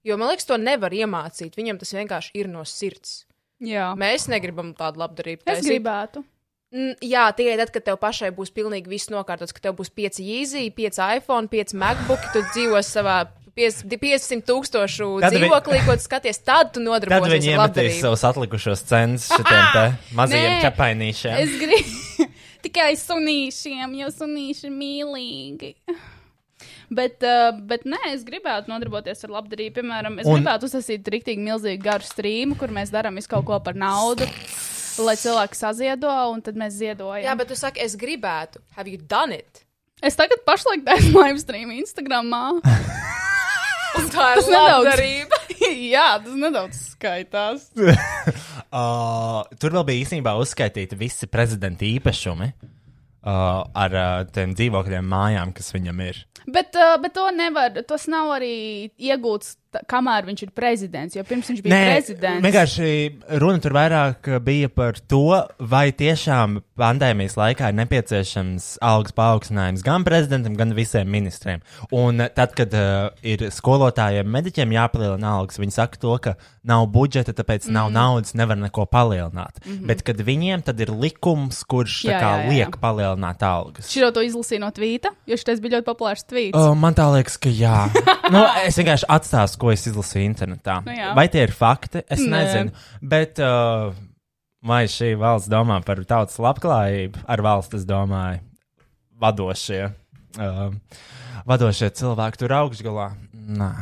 Speaker 4: Jo man liekas, to nevar iemācīt. Viņam tas vienkārši ir no sirds.
Speaker 3: Jā.
Speaker 4: Mēs negribam tādu labdarību.
Speaker 3: Es gribētu.
Speaker 4: Mm, Jā, tikai tad, kad tev pašai būs pilnīgi viss nokārtots, ka tev būs 5 īzija, 5 iPhone, 5 MacBook, tu dzīvos savā 500 500 tūkstošu
Speaker 2: Tad vi-
Speaker 4: dzīvoklī, ko tu skaties, tad tu
Speaker 2: Tad
Speaker 4: nodarbosies
Speaker 2: viņi
Speaker 4: ar
Speaker 2: iemetīs
Speaker 4: labdarību.
Speaker 2: savus atlikušos centus šiem te mazajiem
Speaker 3: Nē.
Speaker 2: ķepainīšiem.
Speaker 3: Es gribu tikai sunīšiem, jo sunīši ir mīlīgi. Bet, uh, bet nē, es gribētu nodarboties ar labdarību. Piemēram, es
Speaker 2: Un-
Speaker 3: Un... gribētu uzsākt rīktīgi milzīgu garu strīmu, kur mēs darām visu kaut ko par naudu, lai cilvēki saziedo, un tad mēs ziedojam.
Speaker 4: Jā, bet tu saki, es gribētu. Have you done it?
Speaker 3: Es tagad pašlaik esmu live stream Instagramā.
Speaker 4: Un tā ir
Speaker 3: Tas nedaudz-
Speaker 4: labdarība.
Speaker 3: Jā, tas nedaudz skaitās.
Speaker 2: Uh, tur vēl bija īstenībā uzskaitīti visi prezidenta īpašumi uh, ar uh, tiem dzīvokļiem, mājām, kas viņam ir.
Speaker 3: Bet, uh, bet to nevar, tas nav arī iegūts, ta- kamēr viņš ir prezidents. Jo pirms viņš bija prezidents.
Speaker 2: vienkārši runa tur vairāk bija par to, vai tiešām pandēmijas laikā ir nepieciešams algas paaugstinājums gan prezidentam, gan visiem ministriem. Un eh, tad, kad uh, ir skolotājiem, mediķiem jāpalielina algas, viņi saka to, ka nav budžeta, tāpēc mm. nav
Speaker 3: Mhm.
Speaker 2: naudas, nevar neko palielināt. Mm -hmm. Bet kad viņiem tad ir likums, kurš
Speaker 3: Jā,
Speaker 2: jā, kā,
Speaker 3: jā, jā.
Speaker 2: jā, jā. liek palielināt algas.
Speaker 3: Šī to izlasīja no tvīta, jo šis bija ļoti populārs tvīts.
Speaker 2: Uh, man tā liekas, ka jā. nu, es vienkārši atstāstu, ko es izlasīju internetā.
Speaker 3: Nu jā.
Speaker 2: Vai tie ir fakti? Es
Speaker 3: Nē.
Speaker 2: Nē. nezinu. Bet uh, vai šī valsts domā par tautas labklājību? Ar valsts es domāju, vadošie. Uh, vadošie cilvēki tur augšgalā. Nē.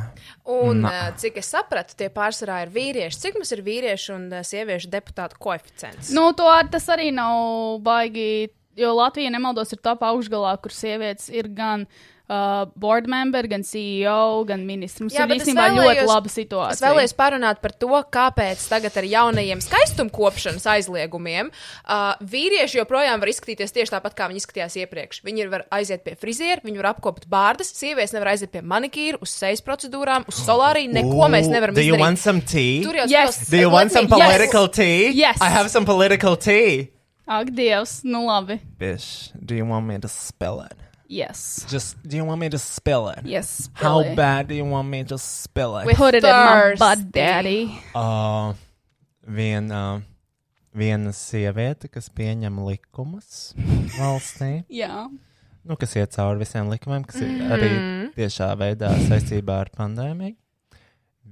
Speaker 4: Un, eh, cik es sapratu, tie pārsvarā ir vīrieši. Cik mums ir vīriešu un eh, sieviešu deputātu koeficients?
Speaker 3: Nu, to ar, tas arī nav baigi. Jo Latvija, nemaldos, ir topā augšgalā, kur sievietes ir gan uh, board member, gan CEO, gan ministrs. Mums
Speaker 4: Jā,
Speaker 3: ir
Speaker 4: bet es
Speaker 3: īstenībā ļoti
Speaker 4: vēlējos-
Speaker 3: laba
Speaker 4: Es
Speaker 3: situācija.
Speaker 4: vēlējos parunāt par to, kāpēc tagad ar jaunajiem skaistumkopšanas aizliegumiem uh, vīrieši joprojām var izskatīties tieši tāpat, kā viņi izskatījās iepriekš. Viņi ir- var aiziet pie friziera, viņi var apkopot bārdas, sievietes nevar aiziet pie manikīra, uz sejas procedūrām, uz solāriju. Neko mēs nevaram
Speaker 2: Do you want
Speaker 4: izdarīt.
Speaker 2: some tea?
Speaker 4: Tur jau
Speaker 3: Yes.
Speaker 4: tas-
Speaker 2: Do you
Speaker 4: Let
Speaker 2: want
Speaker 4: me-
Speaker 2: some
Speaker 4: Yes.
Speaker 2: political tea?
Speaker 3: Yes.
Speaker 2: I have some political tea.
Speaker 3: Ak, Dievs, nu labi.
Speaker 2: Bish, do you want me to spill it?
Speaker 3: Yes.
Speaker 2: Just, do you want me to spill it?
Speaker 3: Yes.
Speaker 2: How
Speaker 3: Billy.
Speaker 2: bad do you want me to spill it?
Speaker 4: With
Speaker 3: Put it in my
Speaker 4: thirsty.
Speaker 3: butt, daddy.
Speaker 2: Uh, viena, viena sieviete, kas pieņem likumus valstī,
Speaker 3: Jā.
Speaker 2: nu, kas iet cauri visiem likumiem, kas ir arī tiešā veidā saistībā ar pandēmiju,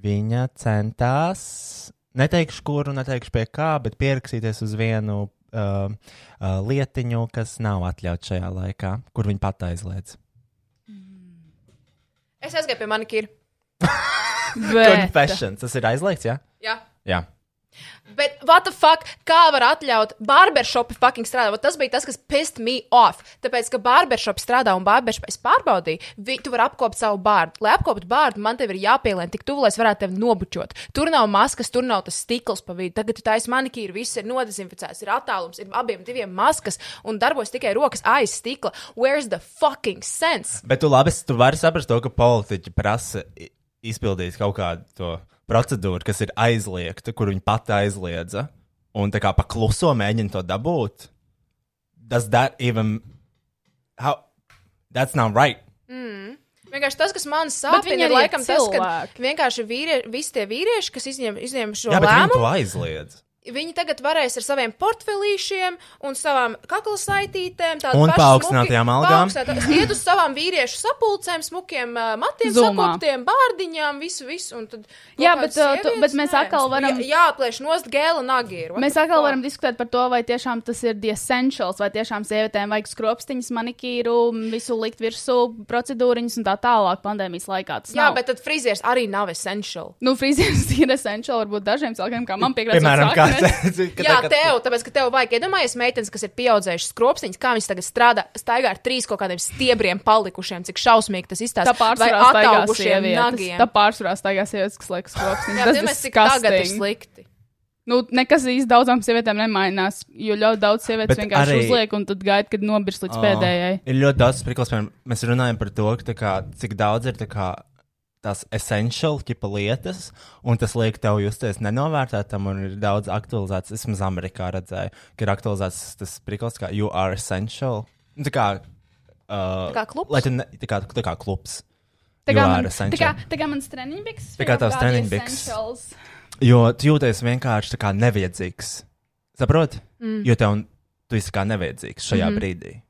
Speaker 2: viņa centās, neteikšu, kuru, neteikšu pie kā, bet pierakstīties uz vienu uh, uh, lietiņu, kas nav atļauts šajā laikā, kur viņa pat aizliedz.
Speaker 4: Es aizgāju pie manikīra.
Speaker 3: Bet.
Speaker 2: Confessions, tas ir aizliegts, jā?
Speaker 4: Jā.
Speaker 2: Jā.
Speaker 4: Bet, what the fuck, kā var atļaut barbershopu fucking strādāt? Vot Tas bija tas, kas pissed me off. Tāpēc, ka barbershopu strādā un barbershop es pārbaudīju, vi, tu vari apkopot savu bārdu. Lai apkopot bārdu, man te ir jāpielien tik tuvu, lai es varētu tevi nobučot. Tur nav maskas, tur nav tas stikls pa vidu. Tagad tu taisi manikīru, viss ir nodezinficēts, ir attālums, ir abiem diviem maskas un darbojas tikai rokas aiz stikla. Where's the fucking sense?
Speaker 2: Bet tu labi, tu vari saprast to, ka politiķi prasa i- izpildīt kaut kādu to procedūru, kas ir aizliegta, kur viņi pat aizliedza, un tā kā pa kluso mēģina to dabūt. Tas that even. How? That's not right.
Speaker 4: Vienkārši tas, kas man
Speaker 3: Bet viņi
Speaker 4: sāpina, ir
Speaker 3: arī ir
Speaker 4: laikam tas,
Speaker 3: cilvēki.
Speaker 4: ka vienkārši vīrie, visi tie vīrieši, kas izņem, izņem šo
Speaker 2: Jā, bet viņi
Speaker 4: lēmumu.
Speaker 2: to aizliedz.
Speaker 4: viņi tagad varēs ar saviem portfelīšiem un savām kaklaslaitītēm, tādu
Speaker 2: Un
Speaker 4: pašu
Speaker 2: paaugstinātajām
Speaker 4: smuki-
Speaker 2: algām.
Speaker 4: paaugstinātā- Iet uz savām vīriešu sapulcēm, smukiem ā, matiem,
Speaker 3: Zoomā.
Speaker 4: sakoptiem bārdiņām, visu, visu. Un tad kaut
Speaker 3: Jā,
Speaker 4: kādas
Speaker 3: bet, ā, tu-
Speaker 4: sievietes,
Speaker 3: bet mēs
Speaker 4: nē,
Speaker 3: atkal varam-
Speaker 4: Jā, jāplēš nost gēla nagīru.
Speaker 3: Mēs atkal varam diskutēt par to, vai tiešām tas ir the essentials, vai tiešām sievietēm vajag skropstiņas, manikīru, visu likt virsū, procedūriņas un tā tālāk pandēmijas laikā. Tas
Speaker 4: Jā,
Speaker 3: nav.
Speaker 4: bet tad frizieris arī nav essential.
Speaker 3: Nu, frizieris ir essentiāls varbūt dažiem cilvēkiem, kā man piekrīt.
Speaker 2: Piemēram, kā tāds
Speaker 4: Ka Jā, tev, tāpēc, ka tev vajag iedomājies meitenes, kas ir pieaugušas skropstiņas, kā viņas tagad strādā, staigā ar trīs kaut kādiem stiebriem palikušiem, cik šausmīgi tas izstāsta.
Speaker 3: Tā pārsvarā staigā sievietes.
Speaker 4: nagiem.
Speaker 3: Tā pārsvarā staigā sievietes, kas liekas skropstiņas.
Speaker 4: Jā,
Speaker 3: Tas
Speaker 4: tas ir tagad ir
Speaker 3: disgusting.
Speaker 4: slikti.
Speaker 3: Nu, nekas īsti daudzām sievietēm nemainās, jo ļoti daudz sievietes
Speaker 2: Bet
Speaker 3: vienkārši arī...
Speaker 2: arī-
Speaker 3: uzliek un tad gaida, kad nobirs līdz
Speaker 2: Ā,
Speaker 3: oh. pēdējai.
Speaker 2: Ir ļoti daudz spriglas, piemēram, mēs runājam par to, ka, tā kā, cik daudz ir tā kā, tās essential tipa lietas, un tas liek tev justies nenovērtētam, un ir daudz aktualizēts. Es maz Amerikā redzēju, ka ir aktualizēts tas spriglas, kā you are essential. Nu, Tā kā, uh,
Speaker 4: Tā kā klubs?
Speaker 2: Lai tu ne, tā kā, tā kā klubs.
Speaker 3: Tā
Speaker 2: You
Speaker 3: kā,
Speaker 2: are
Speaker 3: man, tā, kā,
Speaker 2: essential.
Speaker 3: tā kā mans treniņbiks.
Speaker 2: Tā kā tavs treniņbiks. Jo tu jūties vienkārši tā kā nevienīgs. Saproti? Mm. Jo tev tu esi kā nevienīgs šajā
Speaker 3: Mhm.
Speaker 2: mm -hmm. brīdī.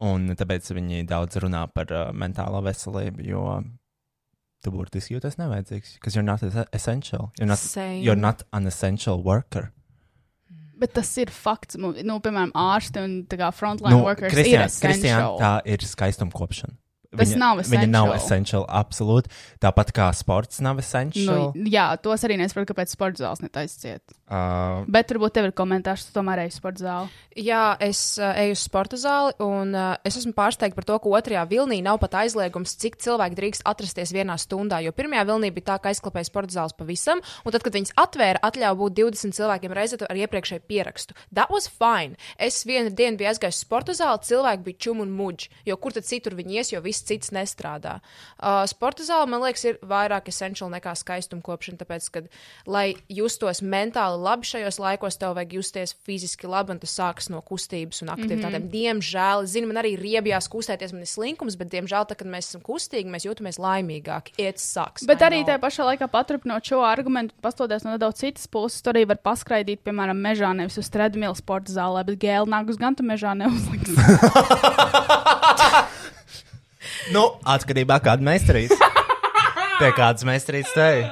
Speaker 2: Un tāpēc viņi daudz runā par uh, mentālo veselību, jo tu burtiski jūties nevienīgs. Because you're not es- essential. You're not,
Speaker 4: Same.
Speaker 2: you're not an essential worker.
Speaker 3: Bet tas ir fakts. Nu, nu, piemēram, ārsti un tā kā frontline
Speaker 2: Nu,
Speaker 3: workers
Speaker 2: Kristiāna-
Speaker 3: ir
Speaker 2: Kristiāna,
Speaker 3: essential.
Speaker 2: tā ir skaistuma kopšana.
Speaker 3: Tas nav
Speaker 2: Viņa nav
Speaker 3: essential.
Speaker 2: essential, absolūti. Tāpat kā sports nav essential.
Speaker 3: Nu, jā, tos arī nesaprotu, kāpēc sporta zāles netaisciet.
Speaker 2: Uh,
Speaker 3: Bet turbūt tev ir komentārs, tu tomēr ej uz sporta zāli.
Speaker 4: Jā, es uh, eju uz sporta zāli, un uh, es esmu pārsteigta par to, ka otrajā vilnī nav pat aizliegums, cik cilvēki drīkst atrasties vienā stundā. Jo pirmajā vilnī bija tā, ka aizklāpēja sporta zāles pavisam, un tad, kad viņas atvēra, atļāva būt 20 cilvēkiem reizē ar iepriekšēju pierakstu. That was fine. Es vienu dienu biju aizgājis uz sporta zāli, cilvēki bija čum un muģi, jo kur tad citur viņi ies, jo viss cits nestrādā. Uh, sporta zāle, man liekas, ir vairāk essential nekā skaistumkopšana, tāpēc, ka, lai justos mentāli labi šajos laikos, tev vajag justies fiziski labi, un tas sākas no kustības un aktivitātēm. Mm -hmm. Diemžēl, zinu, man arī riebjās kustēties, man ir slinkums, bet, diemžēl, tad, kad mēs esam kustīgi, mēs jūtamies laimīgāki. It sucks.
Speaker 3: Bet
Speaker 4: I
Speaker 3: arī
Speaker 4: know.
Speaker 3: tajā pašā laikā paturpinot šo argumentu, pastoties no nedaudz citas puses, tur arī var paskraidīt, piemēram, mežā, nevis uz treadmill sporta zālē, bet gēlu nākus gan tu mežā neuzliks.
Speaker 2: nu, atkarībā no kāda meistarīs. Pie kādas meistarīs te ir?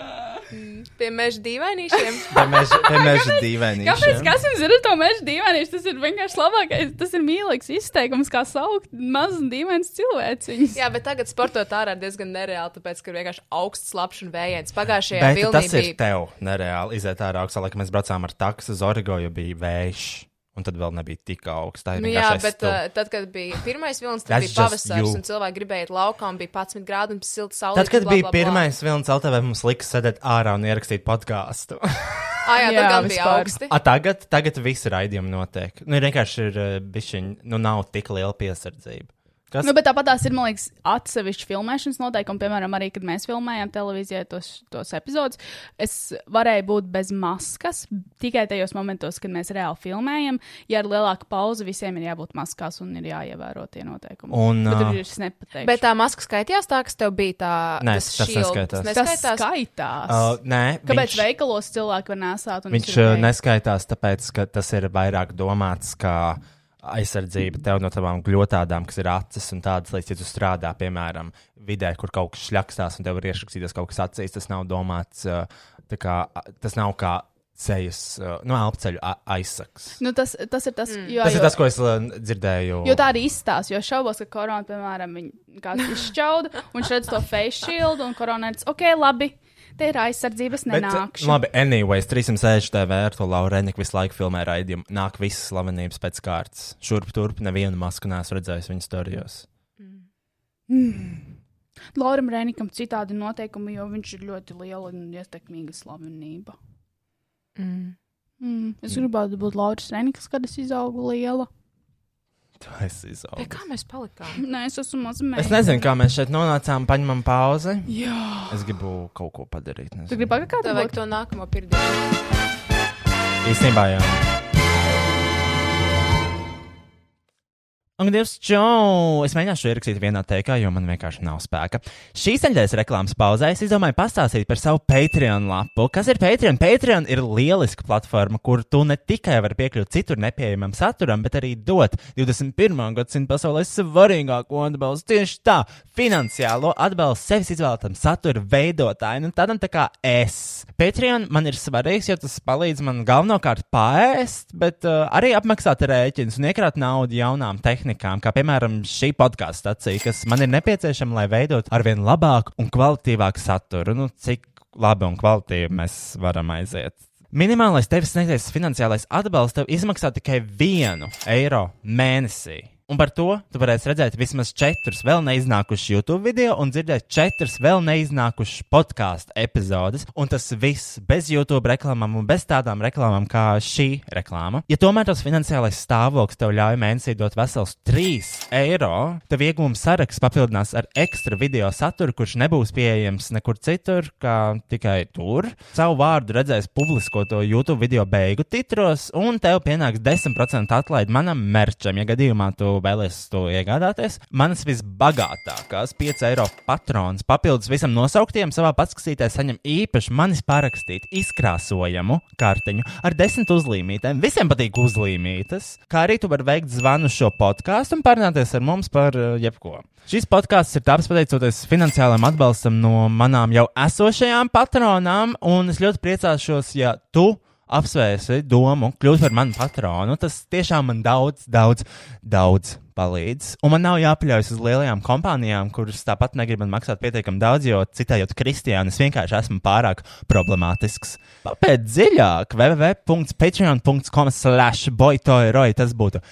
Speaker 4: Pie meža dīvainīšiem.
Speaker 2: Pie meža- pie meža dīvainīšiem.
Speaker 3: Kāpēc? Kas jums ir ar to meža dīvainīšu? Tas ir vienkārši labākais, tas ir mīlīgs izteikums, kā saukt mazus dīvainus cilvēciņus.
Speaker 4: Jā, bet tagad sportot ārā ir diezgan nereāli, tāpēc, ka ir vienkārši augsts slapjš un vējiens. Pagājušajā
Speaker 2: Bet
Speaker 4: vilnī
Speaker 2: tas ir
Speaker 4: bija.
Speaker 2: tev nereāli iziet ārā augstā, laikam mēs braucām ar taksu uz Origo, jo bija vējš. Un tad vēl nebija tik augsts. Tā ir
Speaker 4: Nu, jā,
Speaker 2: vienkārši
Speaker 4: bet
Speaker 2: aizstu.
Speaker 4: uh, tad, kad bija pirmais vilnis, tad
Speaker 2: That's
Speaker 4: bija
Speaker 2: just
Speaker 4: pavasars,
Speaker 2: you.
Speaker 4: un cilvēki gribēja iet laukā, un bija 11 grādi un silta saule.
Speaker 2: Tad, kad bija pirmais vilnis LTV, mums lika sēdēt ārā un ierakstīt podkāstu.
Speaker 4: Ah, jā,
Speaker 3: Jā,
Speaker 4: jā, tad gan bija
Speaker 3: vispār.
Speaker 4: augsti.
Speaker 2: A, tagad, tagad visi raidījumi notiek. Nu, ir vienkārši ir uh, bišķiņ, nu, nav tik liela piesardzība. Kas?
Speaker 3: Nu, bet tāpat tās ir, man liekas, atsevišķi filmēšanas noteikumi. Piemēram, arī, kad mēs filmējām televīzijā tos, tos epizodus, es varēju būt bez maskas tikai tajos momentos, kad mēs reāli filmējam. Ja ir lielāka pauze, visiem ir jābūt maskās un ir jāievēro tie noteikumi.
Speaker 2: Un,
Speaker 3: bet
Speaker 2: ā,
Speaker 3: tur ir nepateikts.
Speaker 4: Bet tā maska skaitījās tā, kas tev bija tā.
Speaker 2: Nē,
Speaker 4: tas
Speaker 2: tas
Speaker 4: shield,
Speaker 2: neskaitās.
Speaker 4: Tas
Speaker 3: tas
Speaker 4: neskaitās.
Speaker 3: skaitās.
Speaker 2: Uh, nē,
Speaker 3: Kāpēc
Speaker 2: viņš-
Speaker 3: viņš, veikalos cilvēki var nesāt? un
Speaker 2: Viņš
Speaker 3: tas ir
Speaker 2: uh,
Speaker 3: ok?
Speaker 2: neskaitās, tāpēc, ka tas ir vairāk domāts kā aizsardzība tev no tavām gļotādām, kas ir acis un tādas lietas, ja tu strādā, piemēram, vidē, kur kaut kas šļakstās un tev ir iešakstīties kaut kas acīs. Tas nav domāts, uh, tā kā, a- tas nav kā sejas, uh, nu, elpceļu a- aizsaks.
Speaker 3: Nu, tas, tas ir tas, mm. jo,
Speaker 2: Tas
Speaker 3: jo,
Speaker 2: ir tas, ko es uh, dzirdēju.
Speaker 3: Jo tā arī izstāsta, jo es šaubos, ka korona, piemēram, viņu kāds izšķauda, un viņš redz to face shield, un korona ir, ok, labi, te ir aizsardzības,
Speaker 2: Bet, eh,
Speaker 3: nenākšu.
Speaker 2: labi, anyways, 360 TV ar to Laurēniku visu laiku filmē raidījumu. Nāk visas slavenības pēc kārtas. Šurp turp nevienu masku neesmu redzējis viņas storijos.
Speaker 3: Lauram Rēnikam citādi noteikumi, jo viņš ir ļoti liela un ietekmīga slavenība.
Speaker 4: Mm.
Speaker 3: Mm. Es gribētu būt Lauris Rēnikas, kad es izaugu liela.
Speaker 2: Tu esi izaugs.
Speaker 4: Pie kā mēs palikām?
Speaker 3: Nē, es esmu mazmērīga.
Speaker 2: Es nezinu, kā mēs šeit nonācām. Paņemam pauzi.
Speaker 3: Jā.
Speaker 2: Es gribu kaut ko padarīt. nezinu.
Speaker 3: Tu gribi pagaidīt kādu?
Speaker 4: Tev vajag to nākamo pirmdienu.
Speaker 2: Īstenībā jā. Un, Dievs, čau! Es mēģināšu ierakstīt vienā teikā, jo man vienkārši nav spēka. Šīs nedēļas reklāmas pauzē es izdomāju pastāstīt par savu Patreon lapu. Kas ir Patreon? Patreon ir lieliska platforma, kur tu ne tikai vari piekļūt citur nepieejamam saturam, bet arī dot 21. gadsimta pasaulē svarīgāko atbalstu tieši tā - finansiālo atbalstu sevis izvēlētam satura veidotājam, un tādam tā kā es. Patreon man ir svarīgs, jo tas palīdz man galvenokārt pāriest, bet uh, arī apmaksāt rēķinus un iekrāt naudu jaunām tehnikām, kā piemēram šī podkāstu stācija, kas man ir nepieciešama, lai veidotu arvien labāku un kvalitīvāku saturu. Nu, cik labi un kvalitīvi mēs varam aiziet. Minimālais tevis sniegtais finansiālais atbalsts tev izmaksā tikai vienu eiro mēnesī. Un par to tu varēsi redzēt vismaz četrus vēl neiznākušus YouTube video un dzirdēt četrus vēl neiznākušus podkāstu epizodes. Un tas viss bez YouTube reklāmām un bez tādām reklāmām kā šī reklāma. Ja tomēr tas finansiālais stāvoklis tev ļauj mēnesī dot vesels 3 eiro, tev iegūmu saraksts papildinās ar ekstra video saturu, kurš nebūs pieejams nekur citur, kā tikai tur. Savu vārdu redzēs publiskoto YouTube video beigu titros, un tev pienāks 10% atlaide manam merčam, ja gadījumā tu vēlēsies to iegādāties. Manas visbagātākās 5 eiro patronas papildus visam nosauktiem savā paskatītē saņem īpaši manis pārakstīt izkrāsojamu kartiņu ar desmit uzlīmītēm. Visiem patīk uzlīmītas, kā arī tu vari veikt zvanu šo podkāstu un parunāties ar mums par uh, jebko. Šis podkāsts ir tāds pateicoties finansiālam atbalstam no manām jau esošajām patronām, un es ļoti priecāšos, ja tu apsvērsi domu kļūt par manu patronu. Tas tiešām man daudz, daudz, daudz palīdz. Un man nav jāpaļaujas uz lielajām kompānijām, kuras tāpat negrib man maksāt pietiekami daudz, jo citējot Kristiānu, es vienkārši esmu pārāk problemātisks. Pēc dziļāk, www.patreon.com slash boitoiroi tas būtu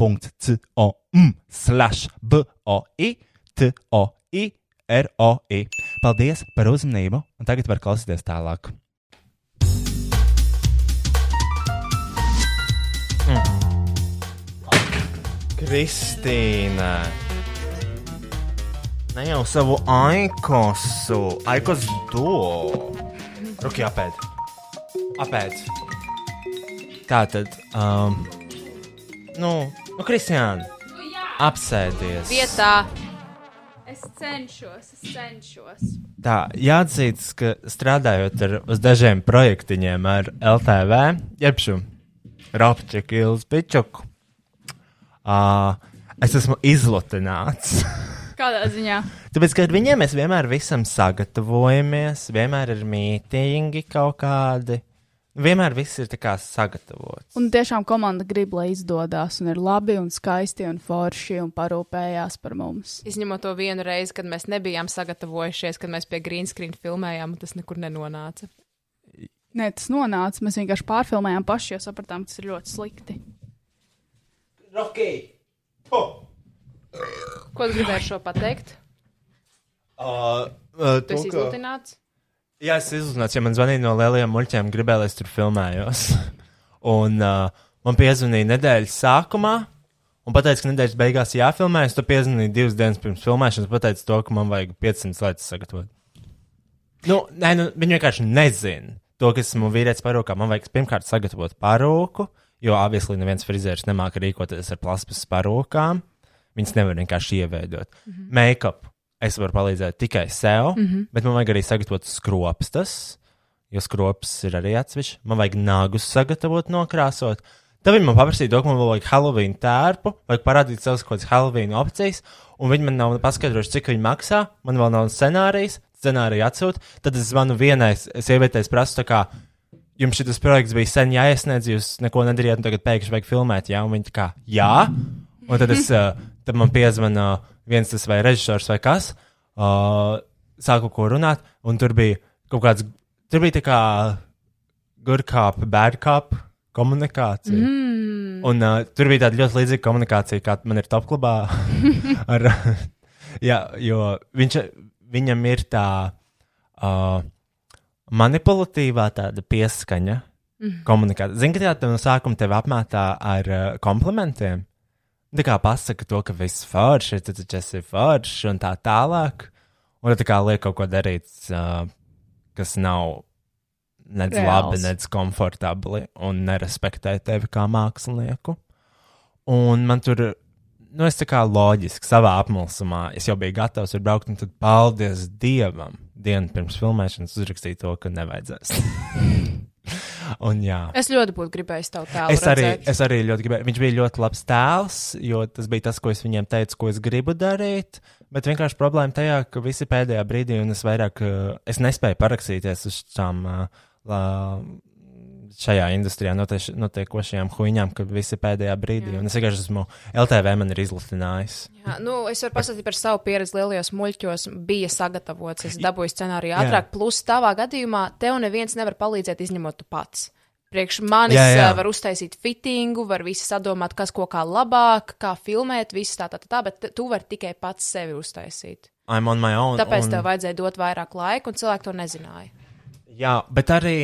Speaker 2: www.patreon.com slash boitoi. ROI. Paldies par uzmanību, un tagad var klausīties tālāk. Kristīna. Ne jau savu aikosu, aikos do. Ruki, apēd. Apēd. Tā tad, um, nu, nu, Kristiāna, apsēdies.
Speaker 4: Vietā.
Speaker 6: Es cenšos, es cenšos.
Speaker 2: Tā jāatzīst, ka strādājot ar, uz dažiem projektiņiem ar LTV, jeb šo Rapčaku, Ilzu Pičaku, uh, es esmu izlutināts.
Speaker 6: Kādā ziņā?
Speaker 2: Tāpēc, ka ar viņiem mēs vienmēr visam sagatavojamies, vienmēr ir mītīņi kaut kādi. Vienmēr viss ir tā kā sagatavots.
Speaker 3: Un tiešām komanda grib, lai izdodas, un ir labi, un skaisti, un forši, un parūpējās par mums.
Speaker 4: Izņemot to vienu reizi, kad mēs nebijām sagatavojušies, kad mēs pie green screen filmējām, un tas nekur nenonāca.
Speaker 3: Nē, tas nonāca. Mēs vienkārši pārfilmējām paši, jo sapratām, ka tas ir ļoti slikti.
Speaker 4: Ko tu gribēji ar šo pateikt?
Speaker 2: Uh, uh,
Speaker 4: Tu esi izlutināts.
Speaker 2: Jā, es izlūdzu, ja man zvanīja no lielajiem muļķiem, gribēju, lai es tur filmējos. un uh, man piezvanīja nedēļas sākumā, un teica, ka nedēļas beigās jāfilmējas. Tu piezvanīji divas dienas pirms filmēšanas, pateica to, ka man vajag 500 lietas sagatavot. Nu, nē, nu, viņi vienkārši nezina to, kas esmu vīrietis parūkā. Man vajag pirmkārt sagatavot parūku, jo obviously neviens frizērs nemāca rīkoties ar plasmas parūkām. Viņas nevar vienkārši ieveidot. Mm -hmm. Make-up es varu palīdzēt tikai sev, mm -hmm. bet man vajag arī sagatavot skropstas, jo skropstas ir arī atsevišķi. Man vajag nagus sagatavot, nokrāsot. Tad viņi man paprasīja, dod man vēl vajag Halloween tērpu, vajag parādīt savas kaut kādas Halloween opcijas, un viņi man nav paskaidrojuši, cik viņi maksā. Man vēl nav scenārijs, scenārija atsūta. Tad es zvanu vienai sievietei, prasu, tā kā, jums šis projekts bija sen jāiesniedz, jūs neko nedarījāt, un tagad pēkšņi vajag filmēt, jā, un viņi tā kā, jā. Un tad, es, uh, tad man piezvanīja viens tas vai režisors vai kas. uh, Sāku ko runāt, un tur bija kaut kāds. Tur bija tā kā good cop, bad cop komunikācija. Mm. Un uh, tur bija tāda ļoti līdzīga komunikācija, kāda man ir top klubā. ar, jā, jo viņš, viņam ir tā uh, manipulatīvā tāda pieskaņa.
Speaker 4: Mhm.
Speaker 2: Mm. Komunikācija. Zini, ka tā no sākuma tevi apmētā ar uh, komplimentiem. Nu, Tā kā pasaka to, ka viss forši, tad tu esi forši un tā tālāk. Un tad tā kā liek kaut ko darīt, uh, kas nav nec labi,
Speaker 3: Reāls.
Speaker 2: nec komfortabli un nerespektē tevi kā mākslinieku. Un man tur, nu, es tā kā loģiski savā apmulsumā, es jau biju gatavs tur braukt, un tad paldies Dievam, dienu pirms filmēšanas uzrakstīju to, ka nevajadzēs. un jā.
Speaker 4: Es ļoti būtu gribējis tev tādu
Speaker 2: Es arī, es arī ļoti gribēju. Viņš bija ļoti labs tēls, jo tas bija tas, ko es viņiem teicu, ko es gribu darīt. Bet vienkārši problēma tajā, ka visi pēdējā brīdī, un es vairāk, uh, es nespēju parakstīties uz tām uh, la- šajā industrijā notieš- notiekošajām huīņām, ka visi pēdējā brīdī, Jā. un es vienkārši esmu LTV man ir izlutinājis.
Speaker 4: Jā, nu, es varu pasakāt par savu pieredzi lielajos muļķos. Bija sagatavots, es dabūju scenāriju ātrāk. Plus, tavā gadījumā tev neviens nevar palīdzēt, izņemot tu pats. Priekš manis jā,
Speaker 2: Jā,
Speaker 4: jā.
Speaker 2: jā.
Speaker 4: var uztaisīt fittingu, var visi sadomāt, kas ko kā labāk, kā filmēt, viss tā, tā, tā, tā, bet te- tu vari tikai pats sevi uztaisīt.
Speaker 2: I'm on my own.
Speaker 4: Tāpēc
Speaker 2: un...
Speaker 4: tev vajadzēja dot vairāk laika, un cilvēki to nezināja.
Speaker 2: Jā, bet arī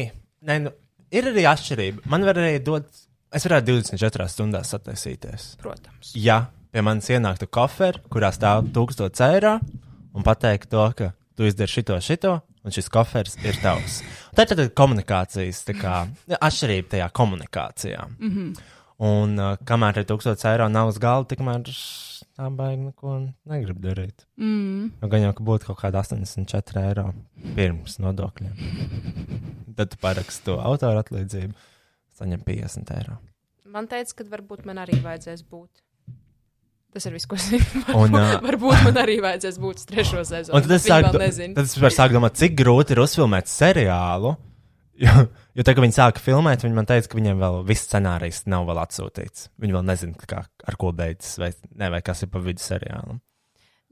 Speaker 2: ne, nu, ir arī atšķirība. Man var arī dot, es varētu 24 stundās sataisīties.
Speaker 4: Protams.
Speaker 2: ja pie manis ienāktu koferi, kurā stāv 1000 eiro, un pateikt to, ka tu izdari šito, šito, un šis koferis ir tavs. Tā ir tāda komunikācijas tā kā, atšķirība tajā komunikācijā. Mm -hmm. Un uh, kamēr ir 1000 eiro nav uz galda, tikmēr tā baigta neko negrib darīt. Mm. Gan jau, ka būtu kaut kāda 84 eiro pirms nodokļiem. Tad tu paraksti to autora atlīdzību, saņem 50 eiro.
Speaker 4: Man teica, ka varbūt man arī vajadzēs būt. Tas ir viss, ko es zinu.
Speaker 2: Un, ā,
Speaker 4: Varbūt man arī vajadzēs būt uz trešo sezonu.
Speaker 2: Un tad es
Speaker 4: Viņi
Speaker 2: sāku,
Speaker 4: vēl
Speaker 2: do-
Speaker 4: nezinu.
Speaker 2: tad es vienkārši sāku domāt, cik grūti ir uzfilmēt seriālu. Jo, jo tā, kad viņi sāka filmēt, viņi man teica, ka viņiem vēl viss scenārijs nav vēl atsūtīts. Viņi vēl nezina, kā, ar ko beidzas, vai, ne, vai kas ir pa vidu seriālam.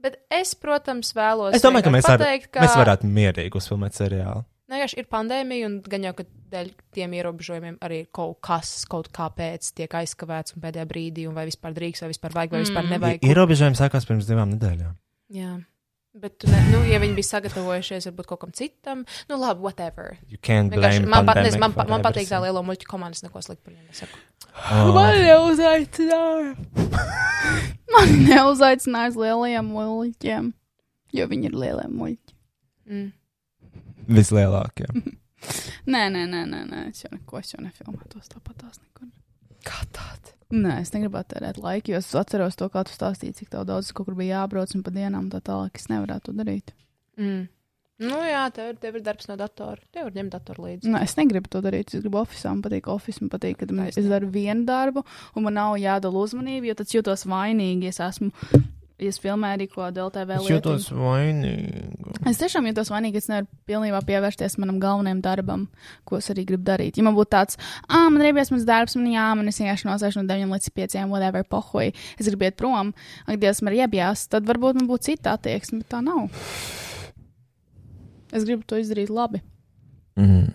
Speaker 4: Bet es, protams, vēlos
Speaker 2: Es domāju, ka
Speaker 4: vienkārši
Speaker 2: mēs, ar,
Speaker 4: pateikt,
Speaker 2: mēs varētu mierīgi uzfilmēt seriālu.
Speaker 4: Nē, vienkārši ir pandēmija, un gan jau, ka dēļ tiem ierobežojumiem arī ir kaut kas, kaut kāpēc tiek aizkavēts un pēdējā brīdī, un vai vispār drīkst, vai vispār vajag, vai
Speaker 2: Mm.
Speaker 4: vispār nevajag.
Speaker 2: I- Ierobežojumi sākās pirms divām nedēļām.
Speaker 4: Jā. Bet, tu ne, nu, ja viņi bija sagatavojušies varbūt kaut kam citam, nu, labi, whatever.
Speaker 2: You can't
Speaker 4: Vienkārši
Speaker 2: blame
Speaker 4: Man, pat,
Speaker 2: pandemic
Speaker 4: nezinu, man,
Speaker 2: for
Speaker 4: pa- man patīk tā
Speaker 2: everything.
Speaker 4: lielo muļķu komandas, neko sliktu par viņiem nesaku.
Speaker 2: Oh,
Speaker 7: neuzaicināja.
Speaker 3: Man neuzaicināja uz lielajiem muļķiem, jo viņi ir lielie muļķi.
Speaker 4: Mm.
Speaker 2: Ah, vislielākie.
Speaker 3: Nē, nē, nē, nē, nē. es jau neko, es jau nefilmētos tāpat tās nekur.
Speaker 4: Kā tāda?
Speaker 3: Nē, es negribētu tērēt laiku, jo es atceros to, kā tu stāstīji, cik tev daudz kaut kur bija jābrauc un pa dienām tā tālāk. Es nevarētu to darīt.
Speaker 4: Mm. Nu, jā, tev, ir- tev ir darbs no datora. Tev ir ņemt datoru līdzi.
Speaker 3: Nē, Nu, es negribu to darīt. Es gribu oficiāli, man patīk oficiāli. Man patīk, ka man, es daru vienu darbu, un man nav jādala uzmanība, jo tad es jūtos vainīgi. Es esmu, es filmēju arī ko DLTV
Speaker 2: Es
Speaker 3: lietu.
Speaker 2: jūtos vainīgi.
Speaker 3: Es tiešām jūtos vainīgi, ka es nevaru pilnībā pievērsties manam galvenajam darbam, ko es arī gribu darīt. Ja man būtu tāds, ah, man ir bijis mans darbs, man jā, man ir vienkārši nosēž no 9 līdz 5, whatever, pohoj, es gribu iet prom, ak, Dievs, man ir iebjās, tad varbūt man būtu cita attieksme, bet tā nav. Es gribu to izdarīt labi.
Speaker 2: Mm.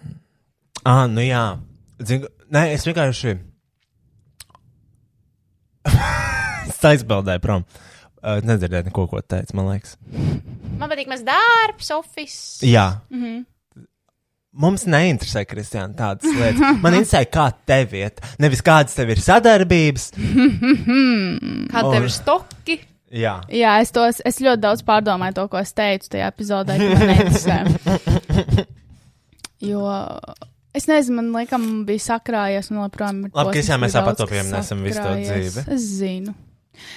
Speaker 2: Ah, nu jā. Zinu, nē, es vienkārši. es aizbildēju prom. Uh, nedzirdēju neko, ko teicu, man liekas.
Speaker 4: Man patīk mans darbs, office.
Speaker 2: Jā. Mm -hmm. Mums neinteresē, Kristiāna, tādas lietas. Man interesē, kā tev iet. Nevis kādas tev ir sadarbības.
Speaker 4: Kā tev ir stoki?
Speaker 2: Jā.
Speaker 3: Jā, es, tos, es ļoti daudz pārdomāju to, ko es teicu tajā epizodē, kad man neinteresē. Jo es nezinu, man liekas, bija sakrājies un joprojām ir.
Speaker 2: Labi,
Speaker 3: posms,
Speaker 2: Kristiān, mēs
Speaker 3: kur
Speaker 2: abi
Speaker 3: daudz
Speaker 2: topiem
Speaker 3: kas
Speaker 2: nesam visu to
Speaker 3: sakrājies.
Speaker 2: dzīvi.
Speaker 3: Es zinu.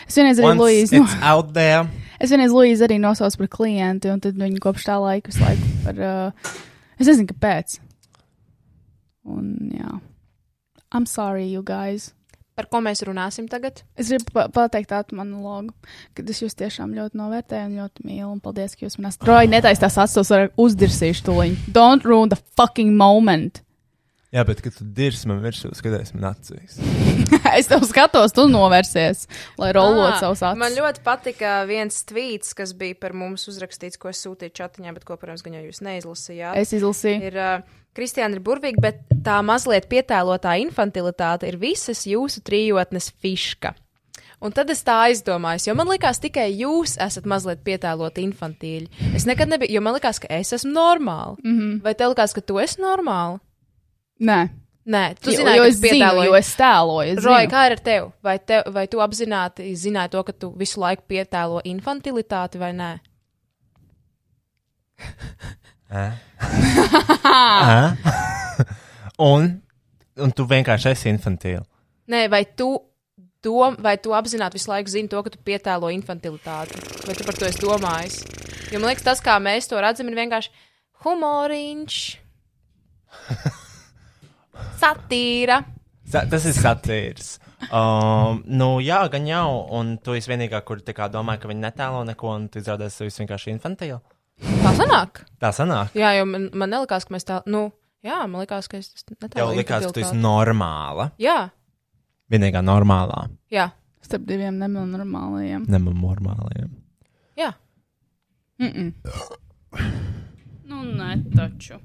Speaker 3: Es vienreiz arī
Speaker 2: Once
Speaker 3: Luīzi, no,
Speaker 2: it's out there.
Speaker 3: es vienreiz Luīzi arī nosaucu par klientu, un tad viņi kopš tā laika visu laiku par. Uh, es nezinu, kāpēc. Un jā. I'm sorry, you guys.
Speaker 4: Par ko mēs runāsim tagad?
Speaker 3: Es gribu pa- pateikt tādu monologu, ka es jūs tiešām ļoti novērtēju un ļoti mīlu. Un paldies, ka jūs man esat. Roja, netaisa tās acis, ar uzdirsīšu tuliņu. Don't ruin the fucking moment.
Speaker 2: Jā, bet kad tu dirsi man virsū, skaties man acīs.
Speaker 3: es tev skatos, tu novērsies, lai rolot savus acis.
Speaker 4: Ah, Man ļoti patika viens tvīts, kas bija par mums uzrakstīts, ko es sūtīju čatiņā, bet ko, protams, gan jau jūs neizlasījāt.
Speaker 3: Es izlasīju.
Speaker 4: ir, uh, Kristiāna ir burvīga, bet tā mazliet pietēlotā infantilitāte ir visas jūsu trijotnes fiška. Un tad es tā aizdomājos, jo man liekas, tikai jūs esat mazliet pietēloti infantīļi. Es nekad nebiju, jo man liekas, ka es esmu normāla. Mm
Speaker 3: Mhm.
Speaker 4: -hmm. Vai tev liekas, ka tu esi normāla?
Speaker 3: Nē,
Speaker 4: Nē, tu
Speaker 3: Jo-
Speaker 4: zini,
Speaker 3: jo
Speaker 4: ka
Speaker 3: es
Speaker 4: es
Speaker 3: zinu,
Speaker 4: pietēloju.
Speaker 3: jo es tēloju. Es
Speaker 4: Roja,
Speaker 3: zinu.
Speaker 4: kā ir ar tevi? Vai, tev, vai tu apzināti zināji to, ka tu visu laiku pietēlo infantilitāti vai nē?
Speaker 2: Un, un tu vienkārši esi infantīla.
Speaker 4: Nē, vai tu, dom, vai tu apzināti visu laiku zini to, ka tu pietēlo infantilitāti? Vai tu par to esi domājis? Jo man liekas, tas, kā mēs to redzam, ir vienkārši humoriņš, satīra.
Speaker 2: Sa tas ir satīrs. Um, nu, jā, gan jau. Un tu esi vienīgā, kur tā kā domā, ka viņi netēlo neko, un tu izrādās sevi vienkārši infantīlu.
Speaker 4: Tā sanāk.
Speaker 2: Tā sanāk.
Speaker 4: Jā, jo man, man nelikās, ka mēs tā, nu, jā, man likās, ka es
Speaker 2: Tev
Speaker 4: netālu
Speaker 2: likās, ka tu esi normāla.
Speaker 4: Jā,
Speaker 2: Vienīgā normālā,
Speaker 4: jā,
Speaker 3: Starp diviem nenormālajiem.
Speaker 2: nemam normālajiem.
Speaker 4: jā.
Speaker 3: Mm -mm. Nu, nē, taču.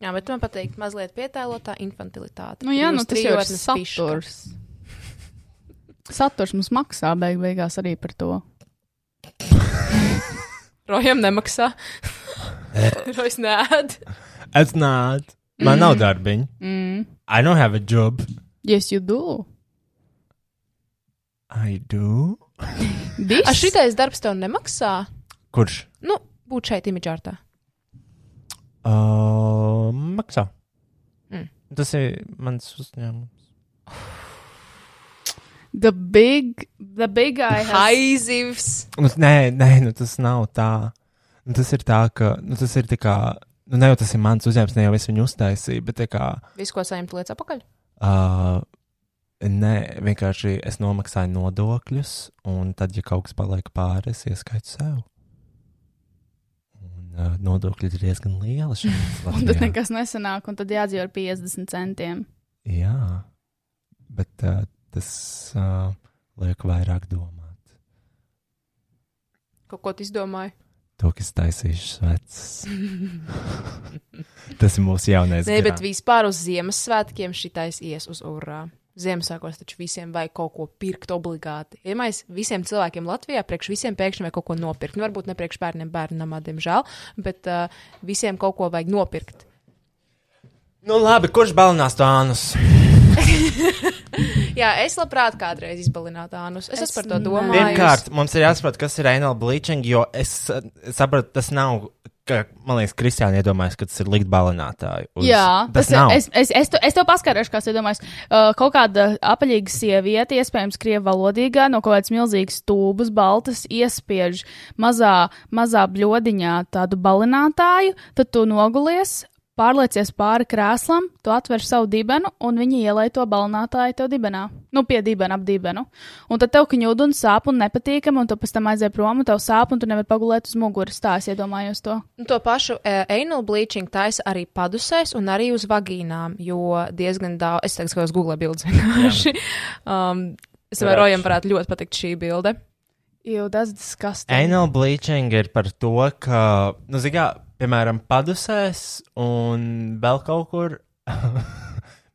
Speaker 4: Jā, bet man patīk mazliet pietēlotā infantilitāte.
Speaker 3: Nu, jā,
Speaker 4: Jūs
Speaker 3: nu, tas jau ir
Speaker 4: trijotnes fiška.
Speaker 3: saturs. Saturs mums maksā beig beigās arī par to.
Speaker 4: Rojam nemaksā. Rojas nēd.
Speaker 2: Es nāc. Man mm. nav darbiņa.
Speaker 3: Mm.
Speaker 2: I don't have a job.
Speaker 3: Yes, you do.
Speaker 2: I do.
Speaker 4: Ar šitais darbs tev nemaksā?
Speaker 2: Kurš?
Speaker 4: Nu, būt šeit, imidžārtā.
Speaker 2: Uh, maksā.
Speaker 4: Mm.
Speaker 2: Tas ir mans uzņēmums.
Speaker 3: The big, the big guy has.
Speaker 4: Haizivs.
Speaker 2: Nu, nē, nē, nu, tas nav tā. Nu, tas ir tā, ka nu, tas ir tā kā. Nu, ne jau tas ir mans uzņēmums, ne jau es viņu uztaisīju, bet tā kā.
Speaker 4: Visu, ko saņemt lietas apakaļ.
Speaker 2: Uh, nē, vienkārši es nomaksāju nodokļus, un tad, ja kaut kas paliek pāri, es ieskaitu sev. Un, uh, nodokļi ir diezgan lieli šeit.
Speaker 3: Un tad nekas nesanāk, un tad jādzīvo ar 50 centiem.
Speaker 2: Jā, bet uh, tas uh, liek vairāk domāt.
Speaker 4: Kaut ko tu izdomāji.
Speaker 2: To, kas taisīšu sveces. tas ir mūsu jaunais.
Speaker 4: Nē, bet
Speaker 2: garā.
Speaker 4: vispār uz Ziemassvētkiem šitais ies uz urā. Ziemassvētkos taču visiem vajag kaut ko pirkt obligāti. Iedomājieties, visiem cilvēkiem Latvijā priekš visiem pēkšņi vajag kaut ko nopirkt. Nu, varbūt ne priekš bērniem, bērnam, diemžēl, bet uh, visiem kaut ko vajag nopirkt.
Speaker 2: Nu labi, kurš balinās tānus?
Speaker 4: Jā, es labprāt kādreiz izbalinātu ānus. Es, es par to domāju.
Speaker 2: Pirmkārt, mums ir jāsaprot, kas ir anal bleaching, jo es eh, saprotu, tas nav. Ka, man liekas, Kristiāna iedomājas, ka tas ir likt balinātāju. Uz,
Speaker 3: Jā,
Speaker 2: tas nav.
Speaker 3: Es, es, es, to, es to paskaidrošu, kā es domāju. Uh, kaut kāda apaļīga sieviete, iespējams, krievu valodīgā, no kaut kādas milzīgas tūbas, baltas, iespiež mazā, mazā bļodiņā tādu balinātāju, tad tu nogulies. Pārliecies pāri krēslam, tu atver savu dibenu, un viņi ielai to balinātāju tev dibenā. Nu, pie dibena, ap dibenu. Un tad tev kņūda un sāp un nepatīkami, un tu pēc tam aizēji prom, un tev sāp, un tu nevari pagulēt uz muguras. Tā es iedomājos to.
Speaker 4: Nu, To pašu e, anal bleaching taisa arī padusēs un arī uz vagīnām, jo diezgan daudz, es tagad skatos Google bildes vienkārši. Um, es
Speaker 2: Redzu.
Speaker 4: domāju, Rojam varētu ļoti patikt šī bilde.
Speaker 3: Jo nu, tas ir disgusting.
Speaker 2: Anal bleaching ir par to, ka, nu, zināmā, piemēram, padusēs un vēl kaut kur,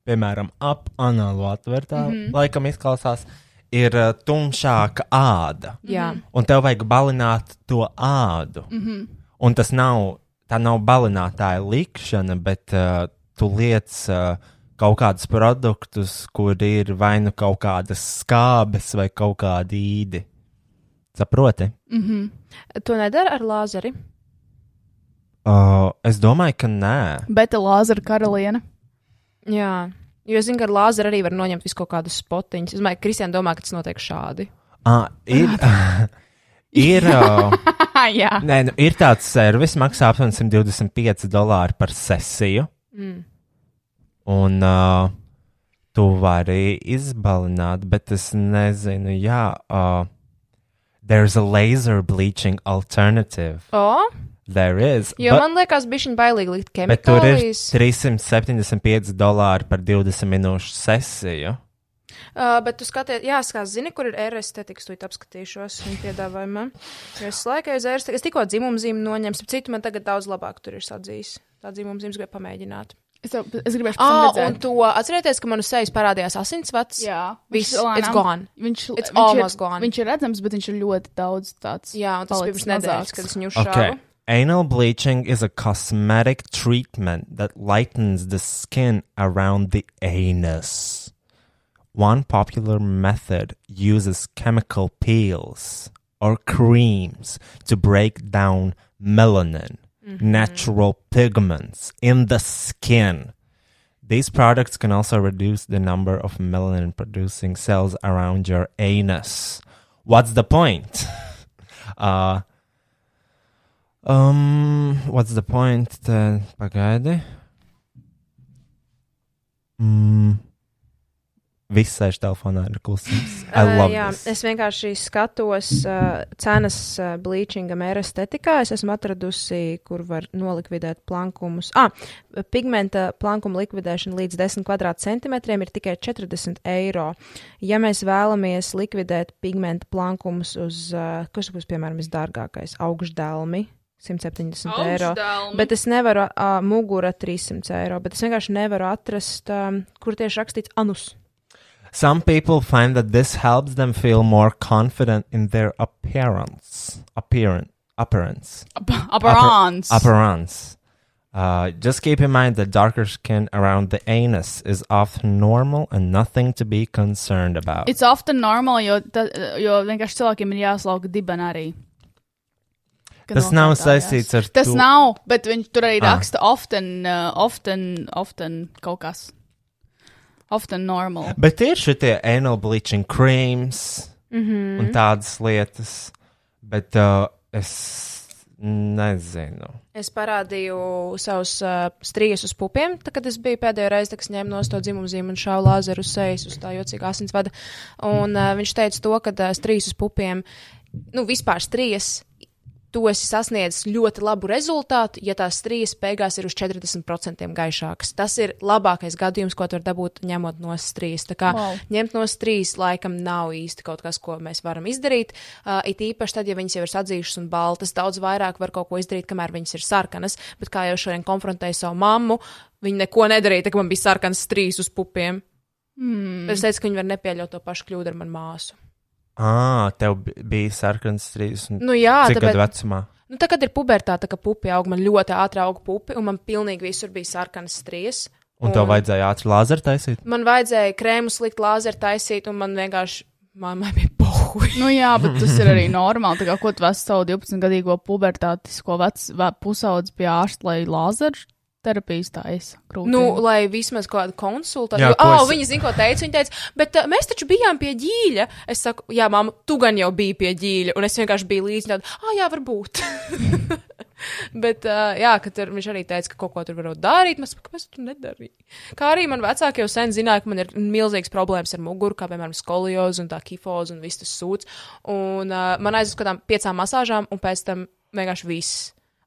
Speaker 2: piemēram, ap anālu atvērtā, mm
Speaker 3: Mhm.
Speaker 2: -hmm. laikam izklausās, ir eh, tumšāka āda.
Speaker 4: Jā.
Speaker 2: Un tev vajag balināt to ādu. Mm
Speaker 3: Mhm,
Speaker 2: -hmm. Un tas nav, tā nav balinātāja likšana, bet uh, tu liec. Uh, Kaut kādus produktus, kur ir vai nu kaut kādas skābes, vai kaut kāda īdi. Saproti?
Speaker 3: mhm.
Speaker 2: Mhm.
Speaker 4: To nedara ar lāzeri.
Speaker 2: Uh, es domāju, ka nē.
Speaker 3: Bet Lāzara karaliene.
Speaker 4: Jā. Jo, zinu, ka ar lāzeru arī var noņemt visu kaut kādus spotiņus. Es domāju, ka Kristiāna domā, ka tas notiek šādi.
Speaker 2: Uh, ir, ir, uh,
Speaker 3: Jā.
Speaker 2: nē, nu, ir tāds servis, maksā apmēram 125 dolāri par sesiju. Mm. Un uh, tu vari izbalināt, bet es nezinu, jā. Uh, There's a laser bleaching alternative.
Speaker 4: O,
Speaker 2: There is.
Speaker 4: jo
Speaker 2: but-
Speaker 4: man liekas, bija viņa bailīgi likt
Speaker 2: bet tur ir
Speaker 4: ķemikālijas.
Speaker 2: 375 dolāri par 20 minūšu sesiju.
Speaker 4: Uh, bet tu skaties, jāskatās, zini, kur ir ērestetikas, tu apskatīšos viņa piedāvājumā. Jo Es laikai uz ērestetiku, es tikko dzimumzīmi noņemu, ap citu man tagad daudz labāk tur ir sadzīs. Tā dzimumzīmes grib pamēģināt.
Speaker 3: Es, tev, es gribēju
Speaker 4: Ah,
Speaker 3: pateikt,
Speaker 4: un to atcerieties, ka man uz sejas parādījās asinsvads.
Speaker 3: viņš
Speaker 4: viss,
Speaker 3: ir
Speaker 4: it's gone.
Speaker 3: Viņš,
Speaker 4: It's
Speaker 3: viņš,
Speaker 4: almost
Speaker 3: ir,
Speaker 4: gone.
Speaker 3: viņš ir redzams, bet viņš ir ļoti daudz tāds.
Speaker 4: Jā, un tas bija
Speaker 3: palicis
Speaker 4: pirms nedēļas,
Speaker 3: mazāks.
Speaker 4: kad es viņu šāvu.
Speaker 2: Okay. Anal bleaching is a cosmetic treatment that lightens the skin around the anus. One popular method uses chemical peels or creams to break down melanin, natural pigments in the skin. These products can also reduce the number of melanin producing cells around your anus. What's the point? uh, Um, what's the point? Tad, pagaidi. Mm. Viss sēž telefonā ir klusums. I
Speaker 4: Ā,
Speaker 2: love
Speaker 4: Uh, jā,
Speaker 2: this.
Speaker 4: es vienkārši skatos uh, cenas uh, bleachingam, erastētikā. Es esmu atradusi, kur var nolikvidēt plankumus. Ah, pigmenta plankuma likvidēšana līdz 10 kvadrātcentimetriem ir tikai 40 eiro. Ja mēs vēlamies likvidēt pigmenta plankumus uz, uh, kas būs, piemēram, visdārgākais, augšdelmi 170 eiro. Bet es nevaru, uh, mugura 300 eiro, bet es vienkārši nevaru atrast, um, kur tieši rakstīts anus.
Speaker 2: Some people find that this helps them feel more confident in their appearance. Appearance. Appearance.
Speaker 3: Abrons.
Speaker 2: Appearance. Uh, just keep in mind that darker skin around the anus is often normal and nothing to be concerned about.
Speaker 3: It's often normal, jo, ta, jo vienkārši cilvēkiem ir jāslauka dibena arī. Kad
Speaker 2: Tas nav
Speaker 3: nokārtājās.
Speaker 2: saistīts ar
Speaker 3: Tas
Speaker 2: to-
Speaker 3: nav, bet viņš tur arī
Speaker 2: Ah.
Speaker 3: raksta often, uh, often, often kaut kas. Often normal.
Speaker 2: Bet ir šie anal bleaching creams mm -hmm. un tādas lietas, bet uh, es nezinu.
Speaker 4: Es parādīju savus uh, strīdus uz pupiem, tad, kad es biju pēdējo reizi, kad es ņēmu no to dzimumzīmu un šāvu lāzeru uz sejas, uz tā jocīga asinsvada. Un uh, viņš teica to, ka uh, strīdus uz pupiem, nu, vispār strīdus tu esi sasniedzis ļoti labu rezultātu, ja tās trīs beigās ir uz 40% gaišākas. Tas ir labākais gadījums, ko tu vari dabūt, ņemot no strīs. Tā kā wow.
Speaker 6: Wow.
Speaker 4: ņemt no strīs laikam nav īsti kaut kas, ko mēs varam izdarīt. Uh, it īpaši tad, ja viņas jau ir sadzījušas un baltas, daudz vairāk var kaut ko izdarīt, kamēr viņas ir sarkanas. Bet kā jau šodien konfrontēju savu mammu, viņa neko nedarīja, tad man bija sarkans strīs uz pupiem. Mm. Es teicu, ka viņi var nepieļaut to pašu kļūdu ar manu māsu.
Speaker 2: Ah, tev bi- bija sarkans strīds. un
Speaker 4: Nu jā,
Speaker 2: Cik
Speaker 4: tāpēc-
Speaker 2: gadu vecumā?
Speaker 4: Nu, tā, kad ir pubertāte, ka pupi aug, man ļoti ātri auga pupi, un man pilnīgi visur bija sarkanas strijas.
Speaker 2: Un tev vajadzēja ātri lāzeru taisīt?
Speaker 4: Man vajadzēja krēmu slikt, lāzeru taisīt, un man vienkārši mammai bija pohuļi.
Speaker 6: Nu jā, bet tas ir arī normāli. Tā kā ko tu vesi savu 12-gadīgo pubertātisko vecu vē- pusaudzi pie ārsta, lai lāzeru terapijas taisa krūtīs?
Speaker 4: Nu, lai vismaz kaut kāda konsultācija.
Speaker 2: Jā,
Speaker 4: Jā,
Speaker 2: ko
Speaker 4: oh,
Speaker 2: es-
Speaker 4: Viņa zina, ko teica. Viņa teica, bet uh, mēs taču bijām pie ģīļa. Es saku, jā, mamma, tu gan jau biji pie ģīļa, un es vienkārši biju līdzi. tāda, Ah, jā, varbūt. bet, uh, jā, ka tur viņš arī teica, ka kaut ko tur var darīt. Mēs saku, kāpēc tu to nedarīji? Kā arī man vecāki jau sen zināja, ka man ir milzīgs problēmas ar muguru, kā piemēram skoliozi un tā kifozi un viss tas sūds. Un uh, man aiz uz kādām piecām masāžām, un pēc tam vienkārši viss.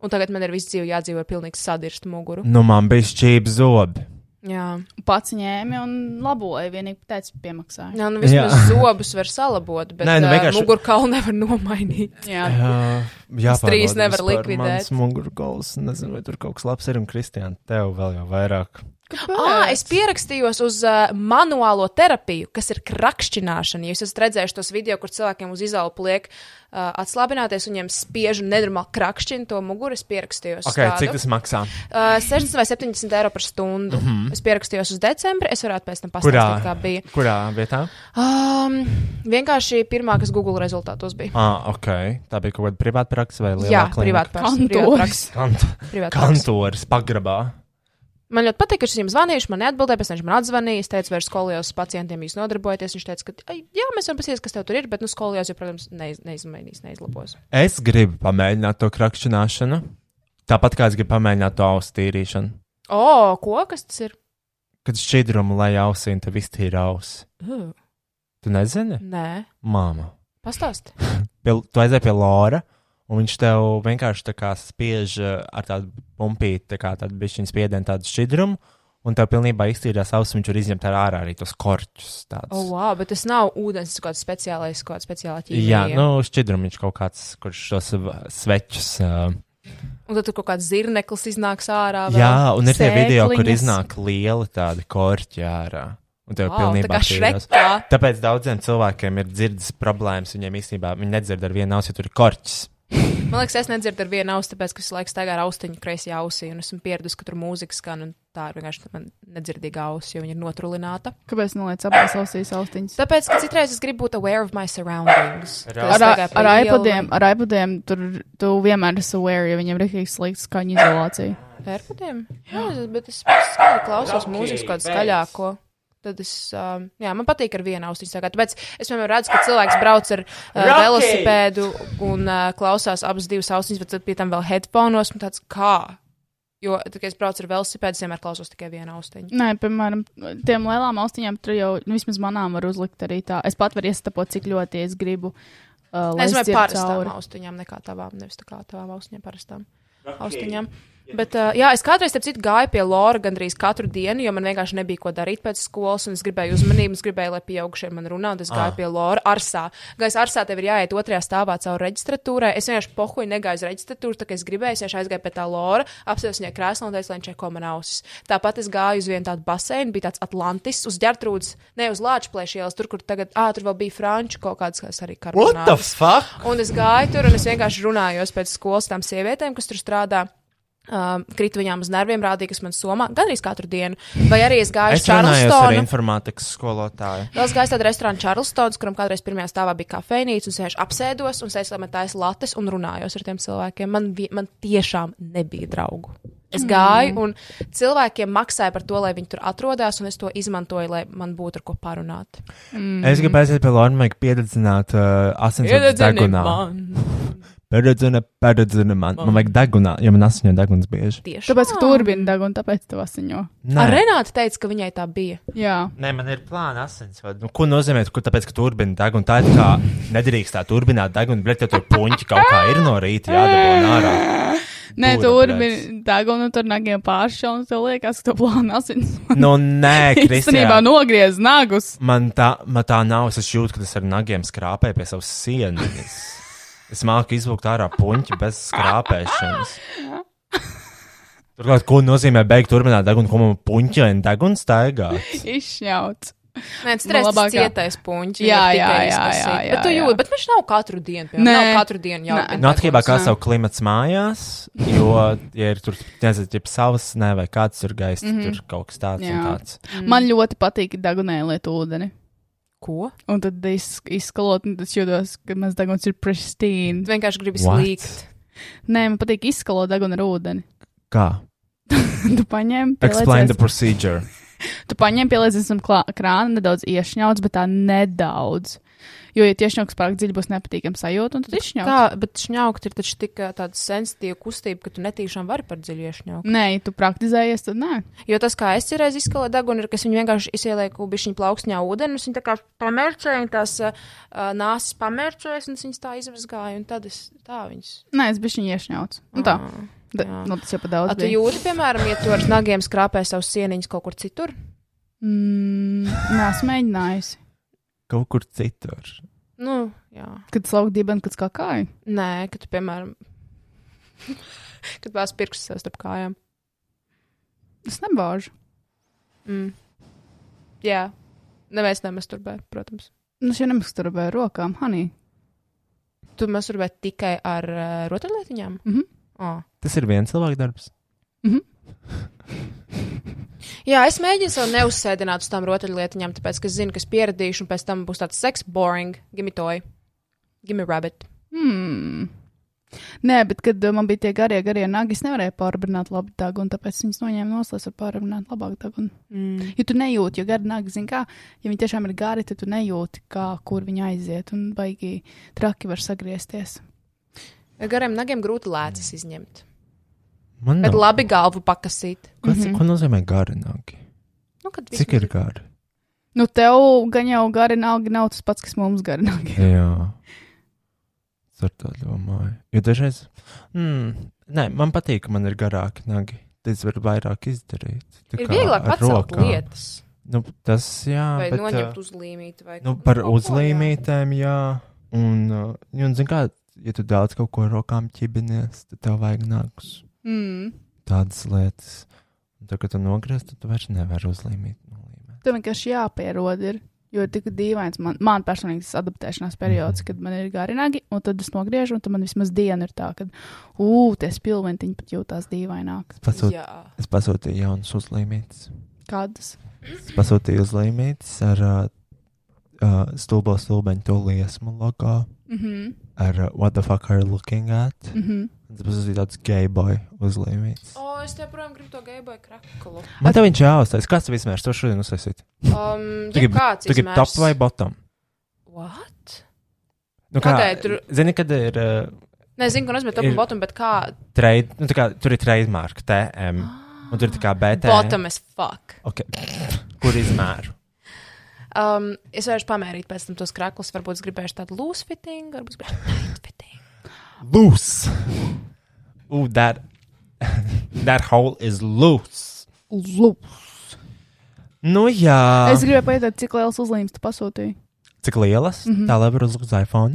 Speaker 4: Un tagad man ir visu dzīvi jādzīvo ar pilnīgi sadirstu muguru.
Speaker 2: Nu, man bija šķīvi zobi.
Speaker 4: Jā.
Speaker 6: pats ņēmi un laboja, vienīgi teica, piemaksāja.
Speaker 4: Jā, nu vismaz
Speaker 2: Jā.
Speaker 4: zobus var salabot, bet
Speaker 2: Nē,
Speaker 4: Nē,
Speaker 2: nu vienkārši-
Speaker 4: nu, vienkārši... uh, mugurkaulu nevar nomainīt.
Speaker 6: Jā,
Speaker 2: Jā,
Speaker 4: Strīdus nevar likvidēt.
Speaker 2: Tas mugurkauls, nezinu, vai tur kaut kas labs ir. Un, Kristiāna, tev vēl jau vairāk.
Speaker 4: Ah, es pierakstījos uz uh, manuālo terapiju, kas ir krakšķināšana. Jūs esat redzējuši tos video, kur cilvēkiem uz izaugu liek uh, atslābināties un viņiem spiež un nenormāli krakšķina to muguru. Es pierakstījos. uz
Speaker 2: Okay,
Speaker 4: tādu.
Speaker 2: cik tas maksā?
Speaker 4: Uh, 60 vai 70 eiro par stundu. Mm -hmm. Es pierakstījos uz decembri. Es varētu pēc tam
Speaker 2: Mhm. Kurā,
Speaker 4: pastāstīt, kā bija.
Speaker 2: kurā vietā?
Speaker 4: Um, vienkārši pirmā, kas Google rezultātos bija.
Speaker 2: Ah, ok. Tā bija kaut kāda privāta praksa vai lielā
Speaker 4: Jā, privāti
Speaker 6: Kantors.
Speaker 4: Privāti
Speaker 2: Kantors pagrabā.
Speaker 4: Man ļoti patīk, ka viņš viņam zvanīja, man neatbildēja, pēc tam viņš man atzvanīja. Es teicu, vairs skolos ar pacientiem jūs nodarbojaties. Viņš teica, ka "Ai, jā, mēs varam pasīties, kas tev tur ir, bet, nu, skolos jau, protams, neiz, neizmainīs, neizlabos.
Speaker 2: Es gribu pamēģināt to krakšķināšanu. Tāpat kā es gribu pamēģināt to ausu tīrīšanu.
Speaker 4: O, ko kas tas ir?
Speaker 2: Kad šķidrumu lai ausī, un tev iztīra ausis.
Speaker 4: Uh,
Speaker 2: Tu nezini?
Speaker 4: nē,
Speaker 2: Māma.
Speaker 4: pastāst.
Speaker 2: pie, tu aizēji pie Lora, un viņš tev vienkārši tā kā spiež uh, ar tādu pumpīti, tā kā tādu bišķiņu spiedienu, tādu šķidrumu, un tev pilnībā iztīrās ausis, viņš var izņemt ar ārā arī tos korķus.
Speaker 4: O, oh,
Speaker 2: tādus.
Speaker 4: wow, bet tas nav ūdens, tas kaut kāds speciālais, kaut kāds speciālā ķīmija.
Speaker 2: Jā, nu, šķidrums viņš kaut kāds, kurš tos v- svečus. Uh,
Speaker 4: Un tad tur kaut kāds zirneklis iznāks ārā. vēl.
Speaker 2: jā, un ir tie video, kur
Speaker 6: sēkliņas.
Speaker 2: iznāk lieli tādi korķi ārā. Un tev
Speaker 4: Wow, tā
Speaker 2: pilnībā
Speaker 4: kā
Speaker 2: šķidrums.
Speaker 4: šrekā.
Speaker 2: Tāpēc daudziem cilvēkiem ir dzirdes problēmas. Viņiem īstenībā viņi nedzird ar vienu ausi, ja tur ir korķis.
Speaker 4: Man liekas, es nedzirdu ar vienu ausi, tāpēc, ka es laiku staigāju ar austiņu kreisajā ausī, un esmu pieradusi, ka tur mūzika skan, un tā ir vienkārši man nedzirdīga auss, jo viņa ir notrulināta.
Speaker 6: Kāpēc neliec abās ausīs austiņas?
Speaker 4: Tāpēc, ka citreiz es gribu būt aware of my surroundings. Kad es
Speaker 6: Ar,
Speaker 4: staigāju pa
Speaker 6: ar
Speaker 4: ielu.
Speaker 6: iPadiem, ar iPadiem tur tu vienmēr esi aware, ja viņam ir rīkīgi slikta skaņa izolācija.
Speaker 4: Ar iPadiem? Jā, es- bet es skaļi klausos mūzikas kādu skaļāko. Tad es, um, jā, man patīk ar vienu austiņu sakāt. Tāpēc es vienmēr redzu, ka cilvēks brauc ar uh, velosipēdu un uh, klausās abas divas austiņas, bet tad pie tam vēl headphonos un tāds kā. Jo, tad, kad es braucu ar velosipēdu, es vienmēr klausos tikai vienu austiņu.
Speaker 6: Nē, piemēram, tiem lielām austiņām tur jau, nu, vismaz manām var uzlikt arī tā. Es pat varu iestapot, cik ļoti es gribu. Uh,
Speaker 4: Nē,
Speaker 6: lai
Speaker 4: Es
Speaker 6: es
Speaker 4: domāju,
Speaker 6: dzirdu
Speaker 4: parastām
Speaker 6: cauri.
Speaker 4: austiņām, nekā tavām, nevis tā kā tavām austiņām, parastām austiņām. Bet, uh, jā, es kādreiz, starp citu, gāju pie Lora gandrīz katru dienu, jo man vienkārši nebija ko darīt pēc skolas, un es gribēju uzmanību, es gribēju, lai pieaugušie man runā, un es gāju ah. pie Lora arsā. Gājas arsā, tev ir jāiet otrajā stāvā cauri reģistratūrai. Es vienkārši pohuju negāju uz reģistratūru, tā kā es gribēju, es vienkārši aizgāju pie tā Lora, apsēdos viņai krēslā un teicu, lai viņš čeko man ausis. Tāpat es gāju uz vienu tādu baseinu, bija tāds Atlantis, uz ģertrūdas, ne uz Lāčplēšu ielas, tur, kur tagad, ā, tur vēl bija franču kaut kāds, kas arī
Speaker 2: What the
Speaker 4: karbonāris.
Speaker 2: fuck?
Speaker 4: Un es gāju tur, un es vienkārši runāju pēc skolas tām sievietēm, kas tur strādā. Um, Kritu viņām uz nerviem, rādīja, kas man somā gandrīz katru dienu. Vai arī es gāju uz
Speaker 2: Es runāju ar
Speaker 4: Čārlstonu.
Speaker 2: informātikas skolotāju.
Speaker 4: Vēl es gāju uz tādu restorānu Čārlstons, kuram kādreiz pirmajā stāvā bija kafejnīca, un es vienkārši apsēdos un teicu, lai man taisa lates un runājos ar tiem cilvēkiem. Man, vi- man tiešām nebija draugu. Es gāju, un cilvēkiem maksāja par to, lai viņi tur atrodas, un es to izmantoju, lai man būtu ar ko parunāt. Mm.
Speaker 2: Es gribēju aiziet pie Lorija, piedzīvot uh, asins
Speaker 4: Iededzini
Speaker 2: degunā.
Speaker 4: man.
Speaker 2: Peredzina, peredzina man. Man vajag degunā, jo man asiņo deguns bieži.
Speaker 4: Tieši
Speaker 3: Tāpēc, ka turbina deg un tāpēc tev asiņo.
Speaker 2: Nē.
Speaker 4: Ar Renāti teica, ka viņai tā bija.
Speaker 3: Jā.
Speaker 2: Nē, man ir plāna asinsvada. Nu, ko nozīmē, ka tāpēc, ka turbina degunu, tā ir tā, nedrīkst tā turbināt degunu, bet tev tur puņķi kaut kā ir no rīta jādabū ārā.
Speaker 3: Nē,
Speaker 2: Dūra,
Speaker 3: turbina deg un tur nagiem pāršā un tev liekas, ka tu plāno asins.
Speaker 2: Nu, nē,
Speaker 3: Īstenībā nu-
Speaker 2: Kristija.
Speaker 3: nogriez nagus.
Speaker 2: Man tā, man tā nav. Es jūtu, ka tas ar nagiem skrāpē pie savas sienas. Es māku izvilkt ārā puņķi bez skrāpēšanas. Turklāt, ko nozīmē beigt turpināt degunu, ko man puņķi un deguns staigā?
Speaker 3: Izšņauts.
Speaker 4: Nē, tas ir
Speaker 3: labākā.
Speaker 4: tas cietais puņķis.
Speaker 3: Jā,
Speaker 4: var
Speaker 3: jā,
Speaker 4: tikai
Speaker 3: jā,
Speaker 4: izkasīt.
Speaker 3: jā, jā,
Speaker 4: Bet tu
Speaker 3: jā.
Speaker 4: jūti, bet viņš nav katru dienu. Nē,
Speaker 3: Nē.
Speaker 4: nav katru dienu jau.
Speaker 3: Nē.
Speaker 2: Nu, atkarībā no tā, kā savu klimatu mājās, jo, ja ir tur, nezinu, tiep savas, ne, vai kāds tur gaisa,
Speaker 4: Mhm.
Speaker 2: mm -hmm. tur kaut kas tāds un
Speaker 3: Jā.
Speaker 2: tāds.
Speaker 3: Mm. Man ļoti patīk degunēliet ūdeni.
Speaker 4: Ko?
Speaker 3: Un tad iz, izskalot, un tas jūtos, ka mans deguns ir pristīns.
Speaker 4: Tu vienkārši gribi
Speaker 2: What?
Speaker 4: slīgt.
Speaker 3: Nē, man patīk izskalot degunu ar ūdeni.
Speaker 2: Kā?
Speaker 3: tu paņem,
Speaker 2: Explain the
Speaker 3: pieliecies-
Speaker 2: procedure.
Speaker 3: tu paņem, pieliecies zem klā- krāna, nedaudz iešņauts, bet tā nedaudz. Jo, ja tieši ņauks pārāk dziļi, būs nepatīkami sajūta, un tad
Speaker 4: Kā,
Speaker 3: izšņauts.
Speaker 4: bet šņaukt ir taču tik ā, tāda sensitīva kustība, ka tu netīšām vari par dziļu iešņaukt.
Speaker 3: Nē, ja tu praktizējies, tad nē.
Speaker 4: Jo tas, kā es reiz izkalēju degunu, ir, ka es viņu vienkārši ielieku bišķiņu plauksņā ūdeni, un viņi tā kā pamērcēja, un tās ā, ā, nāsas pamērcējas, un es viņas tā izvazgāju, un tad es tā viņas.
Speaker 3: Nē, es biju iešņauts. Nu tā. Da,
Speaker 4: Ah, jā.
Speaker 3: nu, tas jau pa
Speaker 4: A,
Speaker 3: daudz.
Speaker 4: tu
Speaker 3: bija.
Speaker 4: jūti, piemēram, ja tu ar nagiem skrāpē savus sieniņus kaut kur citur?
Speaker 3: Mm, nē, es mēģināju.
Speaker 2: Kaut kur citur.
Speaker 4: Nu, jā.
Speaker 3: Kad slaukt dibenu, kad skakāju.
Speaker 4: Nē, ka tu, piemēram, kad bāz pirksts sev starp kājām.
Speaker 3: Es nebāžu.
Speaker 4: Mm. Jā. Neviens nemasturbē, protams.
Speaker 3: Nu, šī nemasturēja rokām, honey.
Speaker 4: Tu masturbē tikai ar uh, rotaļlietiņām?
Speaker 3: Mhm.
Speaker 4: Oh.
Speaker 2: Tas ir viens cilvēks darbs.
Speaker 4: Jā, es mēģinu sev neuzsēdināt uz tām rotaļlietiņām, tāpēc, ka es zinu, ka es pieradīšu, un pēc tam būs tāds seks boring. Gimme toy. Gimme rabbit.
Speaker 3: Hmm. Nē, bet kad uh, man bija tie garie, garie nagi, es nevarēju pārbrināt labu dagu, un tāpēc viņas noņēma no slēdzenes, lai pārbrināt labāku dagu.
Speaker 4: Mm.
Speaker 3: Jo tu nejūti, jo gari nagi, zini, kā, ja viņi tiešām ir gari, tad tu nejūti, kā, kur viņi aiziet, un baigi traki var sagriezties.
Speaker 4: Ar gariem nagiem grūti lēcas izņemt.
Speaker 2: Man
Speaker 4: Bet Mhm.
Speaker 2: nav.
Speaker 4: labi galvu pakasīt.
Speaker 2: Kas, mm -hmm. Ko nozīmē gari nagi?
Speaker 4: Nu, kad viss
Speaker 2: Cik ir gari?
Speaker 3: Nu, tev gan jau gari nagi nav tas pats, kas mums gari nagi.
Speaker 2: Jā. Es ar to domāju. Jo dažreiz, mm, nē, man patīk, ka man ir garāki nagi. Tad es varu vairāk izdarīt. Tā
Speaker 4: ir
Speaker 2: kā
Speaker 4: vieglāk
Speaker 2: ar
Speaker 4: pacelt
Speaker 2: rokām.
Speaker 4: lietas.
Speaker 2: Nu, tas, jā.
Speaker 4: Vai
Speaker 2: bet, eh, ā,
Speaker 4: noņemt uzlīmīti. Vai...
Speaker 2: Nu, par
Speaker 4: kaut ko, jā.
Speaker 2: uzlīmītēm, jā. Un, uh, un zini, kā, ja tu daudz kaut ko ar rokām ķibinies, tad tev vajag nagus.
Speaker 3: Mm.
Speaker 2: tādas lietas. Un Tad, kad tu nogriezt, tad tu vairs nevari uzlīmīt. nolīmēt.
Speaker 3: Tev vienkārši jāpierod. Ir. Jo ir tik dīvains, man, man personīgi tas adaptēšanās periods, kad man ir gari nagi, un tad es nogriežu, un tad man vismaz diena ir tā, ka, ugh, tie spilventiņi pat jūtās dīvaināk.
Speaker 2: Es, pasūt,
Speaker 4: Jā.
Speaker 2: es pasūtīju jaunas uzlīmītas.
Speaker 3: Kādas?
Speaker 2: Es pasūtīju uzlīmītas ar uh, uh, stulbo stulbeņu to liesmu logo.
Speaker 3: Mhm,
Speaker 2: Ar uh, what the fuck are you looking at?
Speaker 3: mhm.
Speaker 2: Un Tas bija tāds gay boy uzlīmīts.
Speaker 4: O, es te projām gribu to gaibai kraklu.
Speaker 2: Man te viņš jāuztais. Kāds tev vismērs to šodien uztaisīt?
Speaker 4: Um,
Speaker 2: Tu gribi
Speaker 4: kāds
Speaker 2: tu gribi top vai bottom?
Speaker 4: What?
Speaker 2: Nu, kā,
Speaker 4: Kādēļ tur-
Speaker 2: Zini, kad ir uh,
Speaker 4: Nezinu, ko nozīmē top
Speaker 2: Ir-
Speaker 4: un bottom, bet kā
Speaker 2: trade, nu, tā kā, tur ir trademark, TM. Un tur ir tā kā BT.
Speaker 4: Ah. bottom as fuck.
Speaker 2: Okay. Kur izmēru?
Speaker 4: Um, es vairs pamērīju pēc tam tos kraklus, varbūt es gribēšu tādu loose fitting, varbūt es gribēšu tight fitting.
Speaker 2: loose. Ooh, that that hole is loose.
Speaker 3: Lup.
Speaker 2: Nu jā,
Speaker 3: Es gribēju pateikt, cik liels uzlīmes tu pasūtīji.
Speaker 2: cik lielas?
Speaker 4: Mhm.
Speaker 2: Mm -hmm. Tā lai var uzlikt uz iPhone.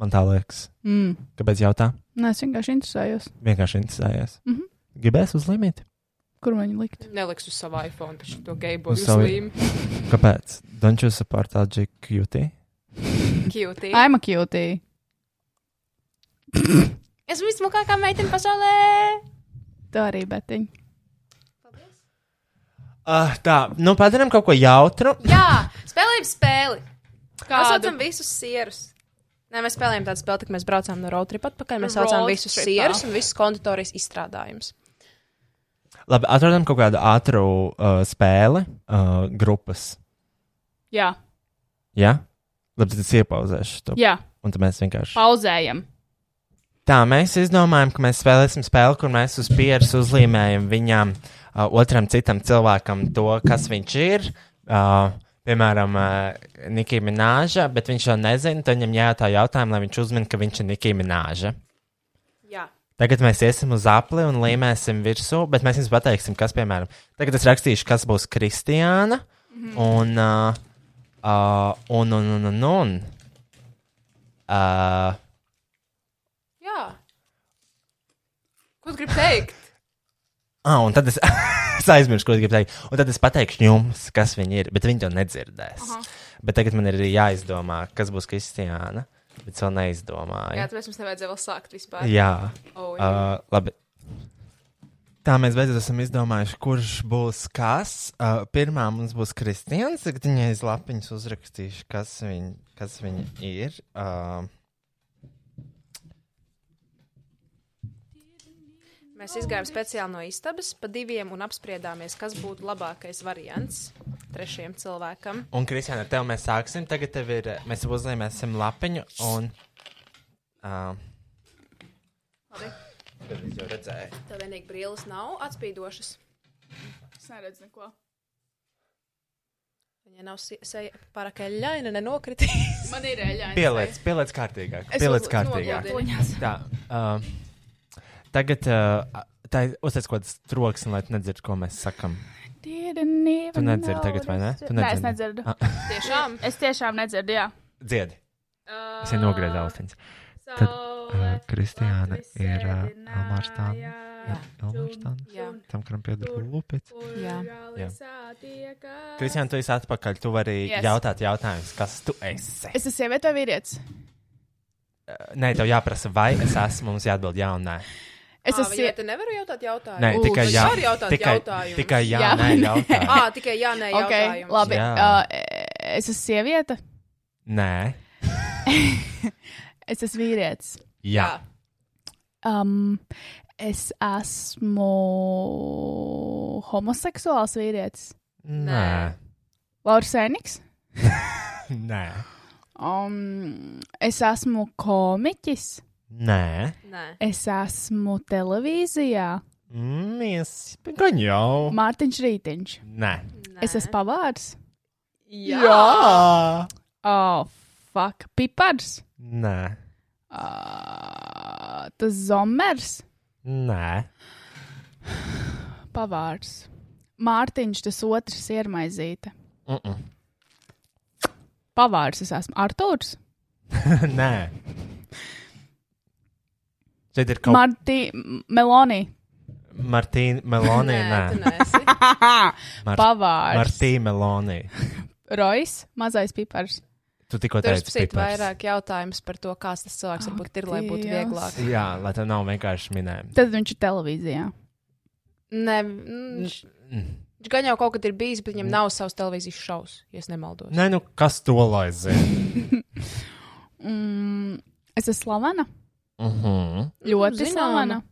Speaker 2: Man tā liekas.
Speaker 3: Mm.
Speaker 2: Kāpēc jautā?
Speaker 3: Nē, es vienkārši interesējos,
Speaker 2: Vienkārši interesējies. Mm
Speaker 3: Mhm.
Speaker 2: -hmm. Gribēs uzlimīt?
Speaker 3: kur viņu likt.
Speaker 4: Neliks uz savu iPhone, taču to gaibo
Speaker 2: Uz savu-
Speaker 4: uzlīmi.
Speaker 2: Kāpēc? Don't you support LGBT?
Speaker 4: Cute.
Speaker 3: I'm a cutie.
Speaker 4: Esmu vismukākā meitene pasaulē.
Speaker 3: Tā arī betiņa.
Speaker 2: Uh, tā, nu padarām kaut ko jautru.
Speaker 4: Jā, spēlējam spēli. Mēs
Speaker 3: Kādu?
Speaker 4: saucam visus sierus. Nē, mēs spēlējām tādu spēli, kad mēs braucām no road trip atpakaļ. Mēs saucām
Speaker 3: Road
Speaker 4: visus
Speaker 3: tripā.
Speaker 4: sierus un visus konditorijas izstrādājumus.
Speaker 2: Labi, atrodam kaut kādu ātru uh, spēli uh, grupas.
Speaker 3: Jā,
Speaker 2: Jā? Labi, tad es iepauzēšu to.
Speaker 3: jā.
Speaker 2: Un tad mēs vienkārši.
Speaker 3: Pauzējam.
Speaker 2: Tā mēs izdomājām, ka mēs spēlēsim spēli, kur mēs uz pieres uzlīmējam viņam, uh, otram citam cilvēkam to, kas viņš ir. Uh, piemēram, uh, Nikija Minēža, bet viņš jau nezina, tad viņam jājautā jautājumu, lai viņš uzmin, ka viņš ir Nikija Minēža.
Speaker 4: Jā.
Speaker 2: Tagad mēs iesim uz apli un līmēsim virsū, bet mēs jums pateiksim, kas, piemēram, tagad es rakstīšu, kas būs Kristiāna un, uh, uh, un, un, un, un, un. Uh,
Speaker 4: Jā. Ko tu gribi teikt?
Speaker 2: Ah, un tad es, es aizmirsu, ko es gribu teikt. Un tad es pateikšu jums, kas viņi ir. Bet viņi to nedzirdēs. Aha. Bet tagad man ir arī jāizdomā, kas būs Kristiāna. Bet es vēl neizdomāju.
Speaker 4: Jā, tāpēc mums nevajadzēja vēl sākt vispār.
Speaker 2: Jā,
Speaker 4: Oh, jā.
Speaker 2: uh, labi. Tā mēs beidzot esam izdomājuši, kurš būs kas. Uh, pirmā mums būs Kristians. Tagad viņai aiz lapiņas uzrakstīšu, kas viņa, kas viņa ir. Uh,
Speaker 4: Mēs izgājām speciāli no istabas pa diviem un apspriedāmies, kas būtu labākais variants trešajam cilvēkam.
Speaker 2: Un, Kristiāna, ar tevi mēs sāksim. Tagad tev ir, eh, mēs tev uzlīmēsim lapiņu. Un, uh, Labi. Jau redzēju.
Speaker 4: Tev vienīgi brīlis nav atspīdošas.
Speaker 3: Es neredzu neko.
Speaker 4: Viņa nav si- seja pārāk ļaina, nenokritīs.
Speaker 3: Man ir eļļa.
Speaker 2: Pieliec, pieliec kārtīgāk.
Speaker 4: Es
Speaker 2: Pieliec
Speaker 4: uzli-
Speaker 2: kārtīgāk.
Speaker 4: nogludinu.
Speaker 2: Tā, uh, tagad uh, tā ir uzsācis kaut kāds troksnis, lai tu nedzird, ko mēs sakam. Tu nedzirdi tagad, vai ne? Tu
Speaker 3: Nē, es
Speaker 2: nedzirdi.
Speaker 3: nedzirdu.
Speaker 2: Ah.
Speaker 4: Tiešām.
Speaker 3: Es tiešām nedzirdu, jā.
Speaker 2: Dziedi. Es jau nogriezu austiņas. Tad uh, Kristiāna ir uh, Elmārs Tāna. Jā, Elmārs Tāna.
Speaker 4: Jā.
Speaker 2: Tam, kuram pieder lupits.
Speaker 4: Jā.
Speaker 2: Kristiāna, tu esi atpakaļ. Tu vari yes.
Speaker 3: Yes.
Speaker 2: jautāt jautājumus, kas tu esi.
Speaker 3: Es esmu sieviete vai vīrietis?
Speaker 2: Nē, tev jāprasa, vai es esmu, mums jāatbild jā un nē.
Speaker 3: Es
Speaker 4: Es
Speaker 3: esmu
Speaker 4: esmu. Ja
Speaker 3: sieviete.
Speaker 4: te nevaru jautāt jautājumu.
Speaker 2: Nē,
Speaker 3: Lūdzu,
Speaker 2: tikai jā.
Speaker 4: var jautāt
Speaker 2: Tikai,
Speaker 4: jautājumus?
Speaker 2: tikai jā,
Speaker 3: Jā
Speaker 2: jā, nē,
Speaker 3: vai nē?
Speaker 2: jautā.
Speaker 4: Ā, tikai jā, nē,
Speaker 3: Ok,
Speaker 4: okay,
Speaker 3: labi.
Speaker 2: Jā.
Speaker 3: Uh, es esmu sieviete.
Speaker 2: Nē,
Speaker 3: Es esmu vīrietis.
Speaker 2: jā.
Speaker 3: Um, es esmu homoseksuāls vīrietis.
Speaker 2: Nē,
Speaker 3: Lauris Sēniks.
Speaker 2: nē,
Speaker 3: Um, es esmu komiķis.
Speaker 2: nē.
Speaker 4: Nē.
Speaker 3: Es esmu televīzijā.
Speaker 2: Mies, gan jau.
Speaker 3: Mārtiņš Rītiņš.
Speaker 2: Nē.
Speaker 4: Nē.
Speaker 3: Nē. Es esmu pavārs.
Speaker 4: Jā.
Speaker 3: Oh, fuck. Pipars.
Speaker 2: Nē,
Speaker 3: Uh, tas zomers.
Speaker 2: nē,
Speaker 3: Pavārs. Mārtiņš, tas otrs ir maizīte.
Speaker 2: Mm -mm.
Speaker 3: Pavārs es esmu. Artūrs.
Speaker 2: nē. Šeit ir kaut kas
Speaker 3: Marti, Meloni.
Speaker 2: tāds. Martīna Melonija.
Speaker 4: tu
Speaker 2: Nē,
Speaker 4: neesi.
Speaker 2: Mar
Speaker 3: Pavārs.
Speaker 2: Martīna Melonija.
Speaker 3: Rois, mazais pipars.
Speaker 2: Tu tikko
Speaker 4: Tur
Speaker 2: teici,
Speaker 4: uzsprāstīt
Speaker 2: pipars.
Speaker 4: vairāk jautājumus par to, kāds tas cilvēks
Speaker 3: Ak,
Speaker 4: varbūt ir, lai būtu
Speaker 3: Dievs.
Speaker 4: vieglāk.
Speaker 2: Jā, lai tā nav vienkārši minējuma.
Speaker 3: Tad viņš ir televīzijā.
Speaker 4: Nē, viņš,
Speaker 2: Mm.
Speaker 4: viņš mm, gan jau kaut kad ir bijis, bet viņam nav savs televīzijas šovs, ja es nemaldos.
Speaker 2: Nē, nu kas to lai zina?
Speaker 3: Mm, es esmu slavena.
Speaker 2: Mhm.
Speaker 3: Ļoti
Speaker 4: zināma.
Speaker 3: slavena.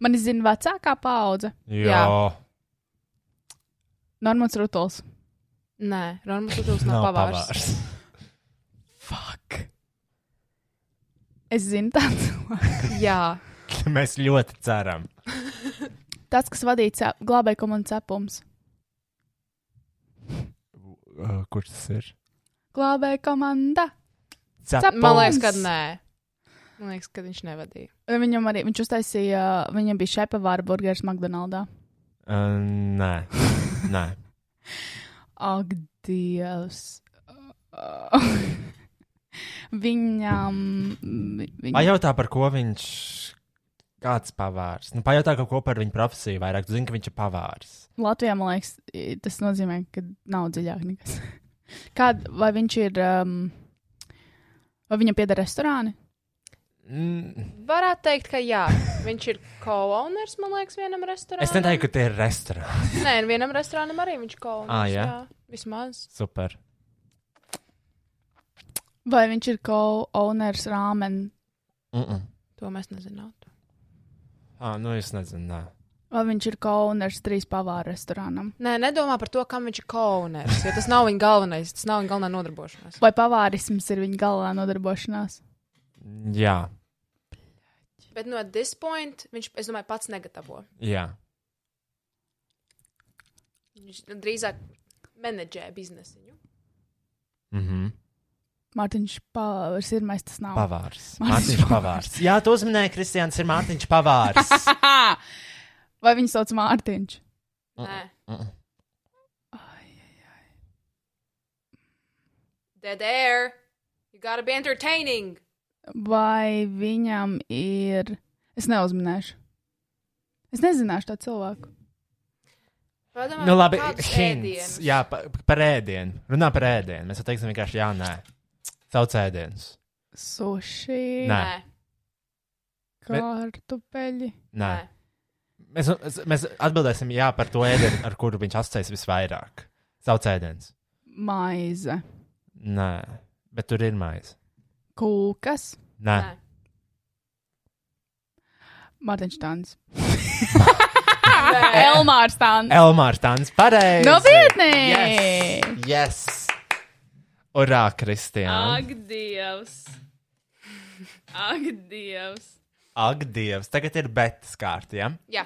Speaker 3: Man zina vecākā paudze.
Speaker 2: Jā.
Speaker 3: Normans Rutols.
Speaker 4: Nē, Ronas Uzdevums
Speaker 2: Nav
Speaker 4: nav pavārs.
Speaker 2: pavārs.
Speaker 3: Fuck. Es zinu tādu cilvēku.
Speaker 4: Jā,
Speaker 2: Mēs ļoti ceram.
Speaker 3: Tas, kas vadīja cep- glābēju komandu cepums.
Speaker 2: Uh, Kurš tas ir?
Speaker 3: Glābēja komanda.
Speaker 2: Cepums.
Speaker 4: man liekas, ka nē. Man liekas, ka viņš nevadīja.
Speaker 3: Viņam arī, viņš uztaisīja, viņam bija šepa vāra burgeris McDonaldā.
Speaker 2: Uh, nē, nē.
Speaker 3: Ak, Dievs. Viņam. Viņam.
Speaker 2: Pajautā, par ko viņš kāds pavārs. Nu, pajautā kaut ko par viņa profesiju vairāk. Tu zini, ka viņš ir pavārs.
Speaker 3: Latvijā, man liekas, i- tas nozīmē, ka nav dziļāk nekas. Kāda, vai viņš ir, um, vai viņam pieder restorāni?
Speaker 2: Mm.
Speaker 4: Varētu teikt, ka jā. Viņš ir co-owners, man liekas, vienam restorānam.
Speaker 2: Es neteiktu, ka tie ir restorāni.
Speaker 4: Nē, vienam restorānam arī viņš co-owners.
Speaker 2: Ā, jā?
Speaker 4: Vismaz.
Speaker 2: Super.
Speaker 3: Vai viņš ir co-owners rāmen,
Speaker 2: Mm -mm.
Speaker 4: To mēs nezinātu.
Speaker 2: Ah, nu, es nezinu. Nē.
Speaker 3: vai viņš ir co-owners trīs pavāru restorānam?
Speaker 4: Nē, nedomā par to, kam viņš ir co-owners, jo tas nav viņa galvenais, tas nav viņa galvenā nodarbošanās.
Speaker 3: Vai pavārisms ir viņa galvā nodarbošanās?
Speaker 2: Jā,
Speaker 4: Bet no this point viņš, es domāju, pats negatavo.
Speaker 2: jā.
Speaker 4: Viņš drīzāk menedžē biznesu.
Speaker 2: Mhm.
Speaker 6: Mārtiņš Pāvers ir mēs tas nav.
Speaker 2: Pavārs.
Speaker 6: Mārtiņš
Speaker 2: Mārtiņš Pavārs. Jā, tu uzminēji, Kristians ir Mārtiņš Pavārs.
Speaker 6: Aha! Vai viņu sauc Mārtiņš?
Speaker 4: Nē,
Speaker 2: Mm.
Speaker 4: dead air. You gotta be entertaining.
Speaker 6: Vai viņam ir. Es neuzminēšu. Es nezināšu tā cilvēku.
Speaker 4: Padomā,
Speaker 2: Nu, labi,
Speaker 4: kādus
Speaker 2: hints.
Speaker 4: ēdienus?
Speaker 2: Jā, pa, par ēdienu. Runā par ēdienu. Mēs jau teiksim vienkārši jā, nē. Sauc ēdienus.
Speaker 6: Suši,
Speaker 2: Nē.
Speaker 4: Nē,
Speaker 2: bet-
Speaker 6: kartupeļi.
Speaker 2: Nē.
Speaker 4: nē.
Speaker 2: Mēs, es- mēs atbildēsim jā par to ēdienu, ar kuru viņš asociēs visvairāk. Sauc ēdienus.
Speaker 6: Maize,
Speaker 2: Nē. Bet tur ir maize.
Speaker 6: kūkas,
Speaker 2: Nē.
Speaker 4: Nē.
Speaker 6: Mārtiņš Tāns.
Speaker 4: Nē.
Speaker 6: Elmārs Tāns.
Speaker 2: Elmārs Tāns pareizi.
Speaker 6: Nopietni!
Speaker 2: Yes. yes. Urā, Kristiāna!
Speaker 3: Ak, Dievs! Ak, Dievs!
Speaker 2: Ak, Dievs, tagad ir betas kārta. Ja?
Speaker 4: Jā,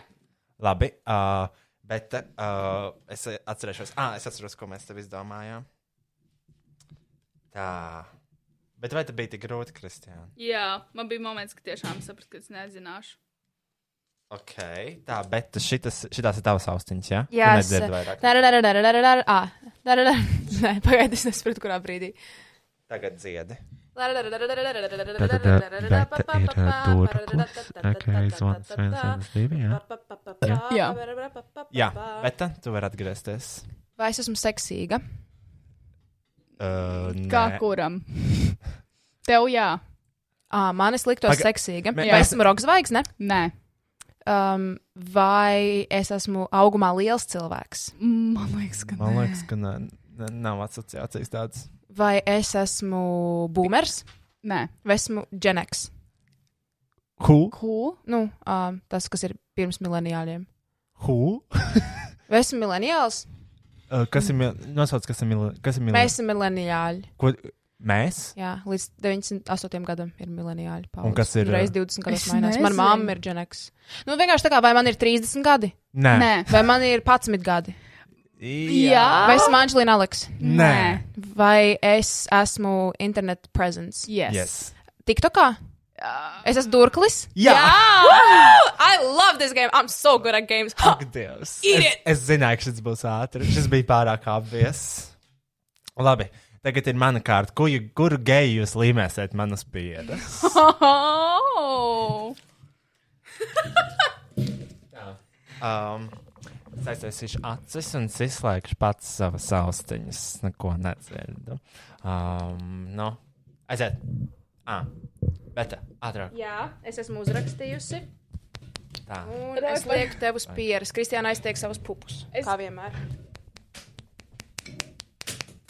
Speaker 2: Labi, uh, bet uh, es atcerēšos, ah, es atceros, ko mēs tev izdomājām. Tā. Bet vai tas bija tik grūti, Kristiāna?
Speaker 6: Jā, man bija moments, kad tiešām sapratu, ka es nezināšu.
Speaker 2: Ok, tā, bet šitas, šitas ir tavs austiņas, jā?
Speaker 4: jā
Speaker 2: es dzirdu vairāk.
Speaker 4: Nē, pagaidiet, es nesaprotu, kurā brīdī.
Speaker 2: Tagad dziedi.
Speaker 4: Jā.
Speaker 2: Jā, bet tu vari atgriezties.
Speaker 4: Vai es esmu seksīga?
Speaker 2: Uh,
Speaker 6: Kā kuram? Tev jā,
Speaker 4: À, man es liktos
Speaker 2: Paga-
Speaker 4: seksīga.
Speaker 2: Mē-
Speaker 4: Jā,
Speaker 2: mēs-
Speaker 4: esmu roka zvaigzne.
Speaker 6: nē,
Speaker 4: Um, vai es esmu augumā liels cilvēks?
Speaker 6: man liekas, ka
Speaker 2: Man liekas, ka ne, ne, nav asociācijas tādas.
Speaker 4: Vai es esmu boomers?
Speaker 6: nē.
Speaker 4: Vai esmu dženeks?
Speaker 2: Who?
Speaker 6: Ko?
Speaker 4: Nu, um, tas, kas ir pirms mileniāļiem.
Speaker 2: Who?
Speaker 4: Vai esmu mileniāls?
Speaker 2: Uh, kas ir mil- nosauc, kas ir mil- kas ir mil-
Speaker 4: Mēs esam mileniāļi.
Speaker 2: Ko, mēs?
Speaker 4: Jā, līdz 98 gadam ir mileniāļi.
Speaker 2: Un kas ir,
Speaker 4: Reiz 20 gados
Speaker 6: Es
Speaker 4: mainās. Manā
Speaker 6: nezinu.
Speaker 4: mamma ir dženeks. Nu, vienkārši tā kā, vai man ir 30 gadi,
Speaker 2: Nē.
Speaker 6: Nē,
Speaker 4: vai man ir 11 gadi,
Speaker 2: Jā.
Speaker 4: vai esmu Anģelīna Aleks,
Speaker 2: Nē.
Speaker 4: vai es esmu internet presence.
Speaker 6: yes.
Speaker 2: Yes.
Speaker 4: TikTokā? Es esmu Durklis.
Speaker 2: Jā.
Speaker 4: Uh, Ah! Woo! I love this game. I'm so good at games. Ha!
Speaker 2: Ak, Dievs.
Speaker 4: Eat
Speaker 2: Es,
Speaker 4: it!
Speaker 2: es zināju, ka šis būs ātrs. Šis bija pārāk apvies. Labi. Tagad ir mana kārta. Ko, ju- kuru geju jūs līmēsiet manas pieras?
Speaker 6: Oh!
Speaker 2: Um, es aiztaisīšu acis un es izslēgšu pats savas austiņas. Neko nedzirdu. Um, nu, aiziet. Ah, bet ātrāk.
Speaker 4: Jā, es esmu uzrakstījusi.
Speaker 2: Tā.
Speaker 4: Un es lieku tev uz pieres. Kristiāna aiztiek savus pupus. Es... Kā vienmēr.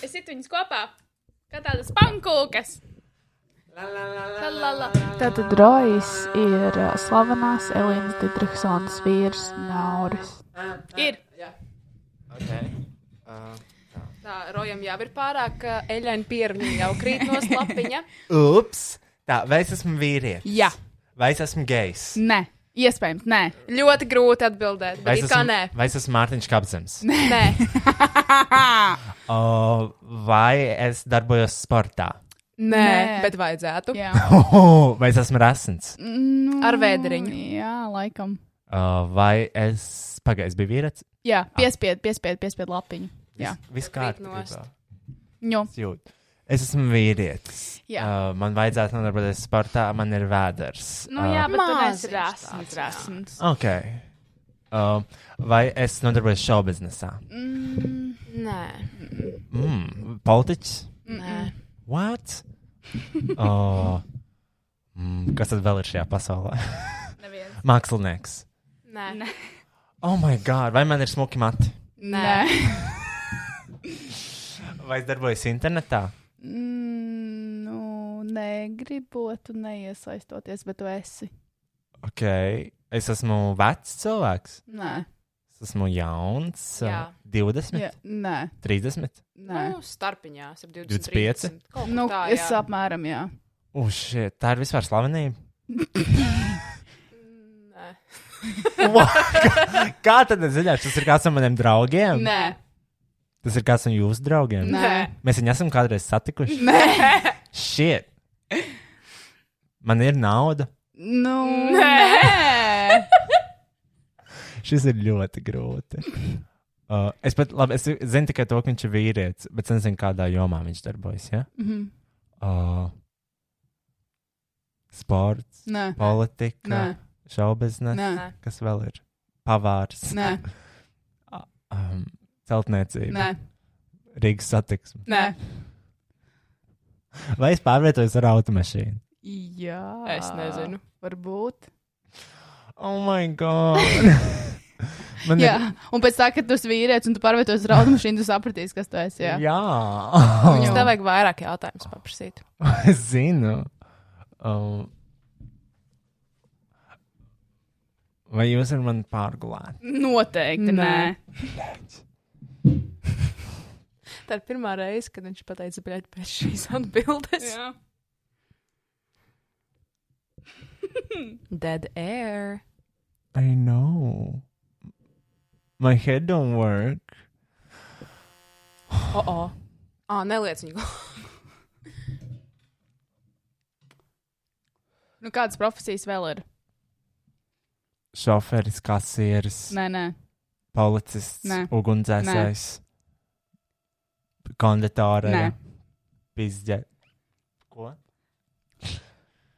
Speaker 6: Es sit viņus kopā, kā tādas pankūkas.
Speaker 3: Tātad Rojas ir uh, slavenās Elīnas Didriksonas vīrs Nauris.
Speaker 6: Ir.
Speaker 2: Okay. Uh,
Speaker 4: Tā, Rojam jau ir pārāk uh, eļaini pierni, jau krīt no slapiņa.
Speaker 2: Ups! Tā, vai es esmu vīrietis?
Speaker 6: Jā,
Speaker 2: Vai es esmu gejs?
Speaker 6: nē, iespējams, nē.
Speaker 4: Ļoti grūti atbildēt,
Speaker 2: Vai
Speaker 4: bet
Speaker 2: es
Speaker 4: it kā
Speaker 2: esmu,
Speaker 4: nē.
Speaker 2: vai es esmu Mārtiņš Kapzems?
Speaker 4: Nē,
Speaker 2: Uh, vai es darbojos sportā?
Speaker 4: nē,
Speaker 6: Nē.
Speaker 4: bet vajadzētu.
Speaker 6: Jā,
Speaker 2: Oh, vai es esmu rasants?
Speaker 6: nu,
Speaker 4: Ar vēdriņu.
Speaker 6: Jā, laikam.
Speaker 2: Uh, vai es. Pagaidzi, bija vīrietis?
Speaker 6: Jā, piespied, piespied, piespied lapiņu. Jā.
Speaker 2: viss
Speaker 4: nost.
Speaker 2: kārtībā.
Speaker 6: Jo.
Speaker 2: Es jūtu. Es esmu vīrietis.
Speaker 6: Jā.
Speaker 2: Uh, man vajadzētu nodarboties sportā, man ir vēders.
Speaker 6: Nu, jā, bet tu
Speaker 4: Māziņš
Speaker 6: neesi rasns,
Speaker 4: tāds, jā.
Speaker 6: rasns.
Speaker 2: Ok. Uh, vai es nodarbojos šovu biznesā?
Speaker 4: Nē,
Speaker 2: Mm, politiķis?
Speaker 4: nē.
Speaker 2: What? oh. mm, kas tad vēl ir šajā pasaulē?
Speaker 6: Neviens.
Speaker 2: Mākslinieks.
Speaker 4: nē. nē.
Speaker 2: Oh, my God, vai man ir smuki mati?
Speaker 6: Nē.
Speaker 2: Vai es darbojos internetā?
Speaker 6: Mm, Nu, negribot un neiesaistoties, bet tu esi.
Speaker 2: Ok, es esmu vecs cilvēks.
Speaker 6: Nē,
Speaker 2: Es esmu jauns.
Speaker 4: Jā.
Speaker 2: uh, 20,
Speaker 6: jā, nē,
Speaker 2: 30.
Speaker 6: nē.
Speaker 4: Nu, starpiņā, ap 25.
Speaker 2: 25?
Speaker 4: Kaut kā
Speaker 6: Nu,
Speaker 4: tā,
Speaker 6: es
Speaker 4: jā.
Speaker 6: apmēram, jā.
Speaker 2: Uz šī tā ir vispār slavenība.
Speaker 4: Nē.
Speaker 2: Wow, kā- kā tad es zinu, tas ir kāds no maniem draugiem?
Speaker 3: Nē,
Speaker 2: Tas ir kāds no jūsu draugiem.
Speaker 3: nē.
Speaker 2: Mēs viņu esam kādreiz satikuši.
Speaker 3: Nē.
Speaker 2: Shit. Man ir nauda.
Speaker 3: Nu, nē.
Speaker 2: Šis ir ļoti grūti. Uh, es pat labi, es zinu tikai to, ka viņš ir vīrietis, bet es nezinu, kādā jomā viņš darbojas. Ja?
Speaker 3: Mhm.
Speaker 2: Uh, sports,
Speaker 3: Nē, nē,
Speaker 2: politika, šaubiznes,
Speaker 3: nē,
Speaker 2: kas vēl ir pavārs,
Speaker 3: nē,
Speaker 2: um, celtniecība,
Speaker 3: nē,
Speaker 2: Rīgas satiksme.
Speaker 3: nē.
Speaker 2: Vai es pārvietojos ar automašīnu?
Speaker 3: Jā,
Speaker 4: Es nezinu.
Speaker 3: Varbūt.
Speaker 2: Oh, my God! Man
Speaker 3: Jā, un pēc tam, kad tu esi vīrietis un tu pārvietojies ar automašīnu, tu sapratīsi, kas tu esi. Jā,
Speaker 2: ir.
Speaker 3: jā.
Speaker 2: Jā, Ah.
Speaker 4: Mums tev vajag vairāk jautājumus paprasīt.
Speaker 2: es zinu. Um, vai jūs ar mani pārgulājat?
Speaker 3: noteikti. Nē,
Speaker 4: Nē. Tā ir pirmā reize, kad viņš pateica, bļaļ, pēc šīs atbildes.
Speaker 3: Jā.
Speaker 4: Dead air.
Speaker 2: I know. My head don't work.
Speaker 4: O, o. Ā, neliec viņu.
Speaker 3: Nu, kādas profesijas vēl ir?
Speaker 2: Šoferis, kasieris,
Speaker 3: Nē, nē,
Speaker 2: policists,
Speaker 3: Nē.
Speaker 2: ugunsdzēsējs, konditore,
Speaker 3: Nē.
Speaker 2: pizde. Ko?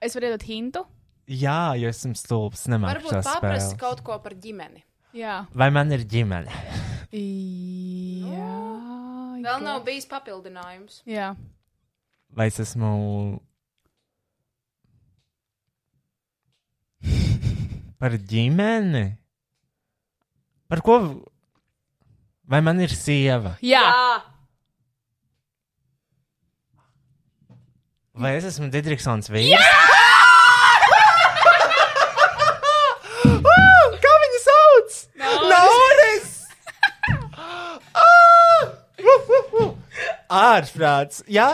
Speaker 3: es varu iedot hintu.
Speaker 2: Jā, jo esmu stulbs, nemāku
Speaker 4: Varbūt
Speaker 2: šo
Speaker 4: paprasti
Speaker 2: spēli.
Speaker 4: kaut ko par ģimeni.
Speaker 3: Jā,
Speaker 2: Vai man ir ģimene?
Speaker 3: jā.
Speaker 4: Vēl nav bijis papildinājums.
Speaker 3: Jā,
Speaker 2: Vai es esmu par ģimeni? Par ko? Vai man ir sieva?
Speaker 3: jā.
Speaker 2: Vai es esmu Digitrisons vīrs? Jā! Kā viņu sauc? Nauris! Ah! Ārprāts! Jā!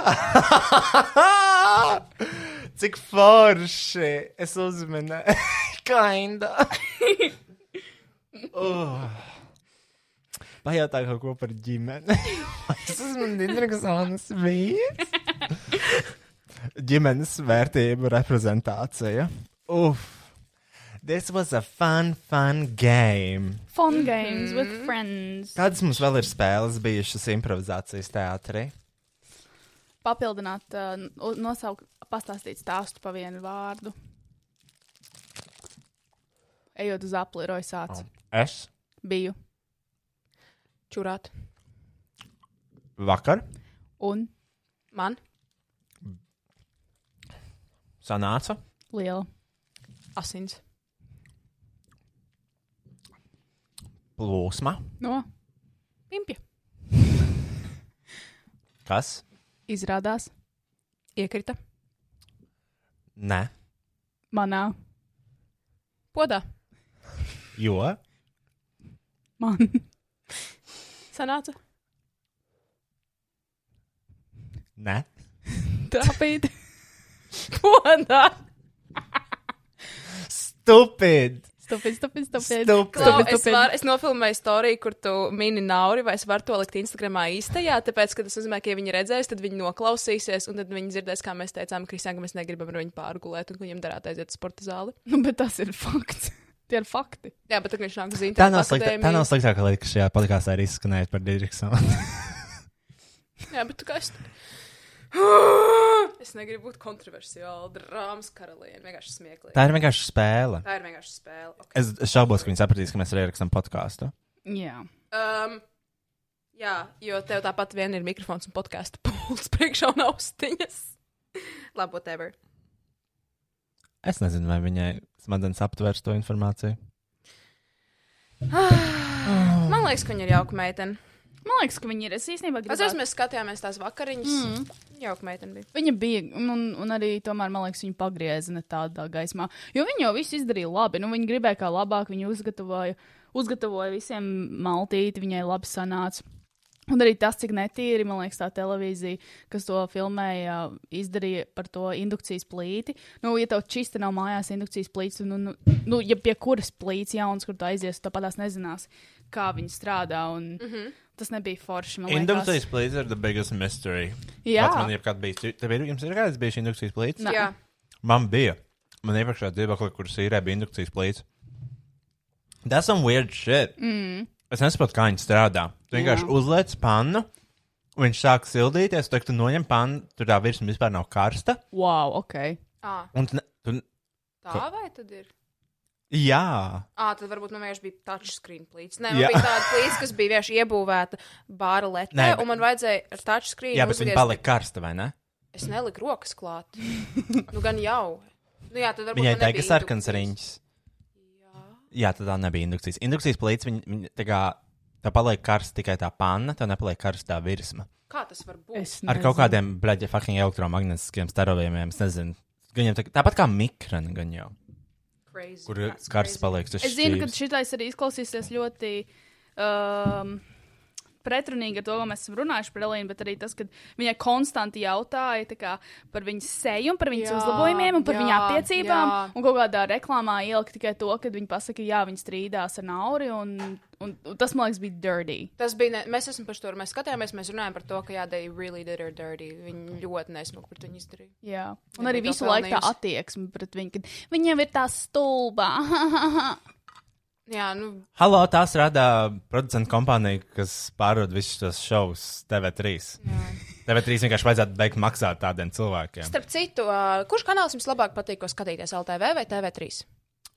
Speaker 2: Cik forši! Es uzmanēju! Kinda! Uh. Pajautā kaut ko par ģimeni. es esmu Digitrisons vīrs! ģimenes vērtību reprezentācija. Uf! This was a fun, fun game.
Speaker 3: Fun games with friends.
Speaker 2: Kādas mums vēl ir spēles bijušas improvizācijas teātrī?
Speaker 3: Papildināt, uh, n- nosaukt, pastāstīt stāstu pa vienu vārdu. Ejot uz apliroju sācis. Oh.
Speaker 2: Es
Speaker 3: Biju.
Speaker 4: Čurāt.
Speaker 2: vakar
Speaker 3: Un
Speaker 4: Man.
Speaker 2: sanāca
Speaker 3: liela.
Speaker 4: Asins.
Speaker 2: plūsma,
Speaker 3: No.
Speaker 4: Pimpja.
Speaker 2: kas
Speaker 3: Izrādās
Speaker 4: Iekrita.
Speaker 2: ne,
Speaker 3: manā.
Speaker 4: Podā.
Speaker 2: jo
Speaker 3: Man.
Speaker 4: Sanāca.
Speaker 2: ne,
Speaker 3: Tāpīt.
Speaker 4: Podā.
Speaker 2: stupid,
Speaker 3: Stupid, stupid, stupid.
Speaker 4: Klau,
Speaker 2: stupid.
Speaker 3: Tāpēc
Speaker 4: es,
Speaker 3: tu pie-
Speaker 4: var, es nofilmēju storiju, kur tu mini nauri, vai es varu to likt Instagramā īstajā. Tāpēc, kad es uzzināju, ka ja viņi redzēs, tad viņi noklausīsies, un tad viņi dzirdēs, kā mēs teicām, Kristija, ka mēs negribam ar viņu pārgulēt, un ka viņam darāt aiziet uz sporta zāli.
Speaker 3: Nu, bet tas ir fakts. Tie ir fakti.
Speaker 4: Jā, bet tad viņš nāk uz
Speaker 2: Tā
Speaker 4: internetu.
Speaker 2: nav, sliktā, tā nav sliktākā lieta, kas šajā podkāstā ir izskanējusi par Digitrisonu.
Speaker 4: Jā, bet tu kā es. Es negribu būt kontroversiāla, drāmas karaliene. Vienkārši smieklīgi.
Speaker 2: tā ir vienkārši spēle.
Speaker 4: Tā ir vienkārši spēle. Okay.
Speaker 2: Es šaubos, ka viņi sapratīs, ka mēs arī ierakstām podkāstu.
Speaker 3: Jā.
Speaker 4: Um, jā, jo tev tāpat vien ir mikrofons un podkāstu pūlis priekšā un austiņas. Labi, whatever.
Speaker 2: Es nezinu, vai viņai smadzenes aptvers to informāciju.
Speaker 4: Man liekas, ka viņa ir jauka meitene.
Speaker 3: Man liekas, ka viņi ir. Es īstenībā
Speaker 4: Atceros,
Speaker 3: gribēju.
Speaker 4: mēs skatījāmies tās vakariņas. Mm. Jauka meitene bija.
Speaker 3: Viņa bija, un, un arī tomēr, man liekas, viņa pagrieza ne tādā gaismā. Jo viņi jau visu izdarīja labi. Nu, viņi gribēja kā labāk, viņi uzgatavoja, uzgatavoja visiem maltīti, viņai labi sanāca. Un arī tas, cik netīri, man liekas, tā televīzija, kas to filmēja, izdarīja par to indukcijas plīti. Nu, ja tev čista nav mājās indukcijas plīts, nu, nu, nu ja pie kuras plīts jauns, kur tu aizies, tu tāpat nezinās, kā viņi strādā. Un, mm -hmm. Tas nebija forši. man liekas.
Speaker 2: Inducijas plates are the biggest mystery.
Speaker 3: Oh Jā.
Speaker 2: Pats man jebkad bijis. Tev ir, jums ir kāds bijis indukcijas plates?
Speaker 4: Jā,
Speaker 2: Man bija. Man iepriekšējā dzīvoklī, kur sīrē bija indukcijas plīts. That's some weird shit. Mm. Es nesaprotu, kā viņi strādā. Tu vienkārši
Speaker 3: Jā.
Speaker 2: yeah. uzliec pannu, un viņš sāk sildīties. Tad, kad tu noņem pannu, tur tā virsma vispār nav karsta.
Speaker 3: Wow, ok.
Speaker 4: à,
Speaker 2: Un tu, ne- tu, ne-
Speaker 4: tā vai tad ir?
Speaker 2: jā,
Speaker 4: À, tad varbūt man vienkārši bija touchscreen plīts. Nē, man
Speaker 2: Jā.
Speaker 4: bija tāda plīts, kas bija vienkārši iebūvēta bāra letē,
Speaker 2: Nē, bet-
Speaker 4: un man vajadzēja ar touchscreen.
Speaker 2: jā bet viņa
Speaker 4: uzgriezt-
Speaker 2: palika karsta, vai ne?
Speaker 4: Es neliku rokas klāt. nu, gan jau. Nu, jā, tad varbūt
Speaker 2: Viņai
Speaker 4: man
Speaker 2: teica
Speaker 4: nebija
Speaker 2: sarkans
Speaker 4: indukcijas.
Speaker 2: riņķis. Jā, tad tā nebija indukcijas. Indukcijas plīts, viņa, viņa tā kā tā paliek karsta tikai tā panna, tā nepaliek karstā virsma.
Speaker 4: Kā tas var būt? Es...
Speaker 3: Es
Speaker 2: Ar kaut kādiem, blēģi, fucking elektromagnetiskiem starojumiem, es nezinu. Gan jau tā, tāpat kā mikrona, gan jau.
Speaker 4: Crazy.
Speaker 2: Kur
Speaker 4: That's
Speaker 2: karsts
Speaker 4: crazy.
Speaker 2: paliek? Tas
Speaker 3: Es zinu, ka šitais arī izklausīsies ļoti. Um, Pretrunīgi ar to, ko mēs esam runājuši par Elīnu, bet arī tas, ka viņai konstanti jautāja tā kā, par viņas seju, un par viņas jā,
Speaker 4: Jā,
Speaker 3: uzlabojumiem un par
Speaker 4: jā,
Speaker 3: viņas attiecībām. Jā.
Speaker 4: jā.
Speaker 3: Un kaut kādā reklāmā ielika tikai to, ka viņa pasaka, jā, viņa strīdās ar Nauri, un, un, un tas, man liekas, bija dirty.
Speaker 4: Tas bija, ne... mēs esam par to, mēs skatījāmies, mēs runājam par to, ka jā, they really did her dirty. Viņi ļoti nesmuki par to izdarīja.
Speaker 3: Jā. Un
Speaker 4: Nebija
Speaker 3: arī
Speaker 4: to
Speaker 3: visu laiku tā
Speaker 4: pelnījusi.
Speaker 3: attieksme pret viņu, kad viņa jau ir tā stulba.
Speaker 4: Jā, nu,
Speaker 2: Halo, tās rada producentu kompānija, kas pārdod visus tos šovus TV3. TV3 vienkārši vajadzētu beigt maksāt tādiem cilvēkiem.
Speaker 4: starp citu, uh, kurš kanāls jums labāk patīk, ko skatīties LTV vai TV3?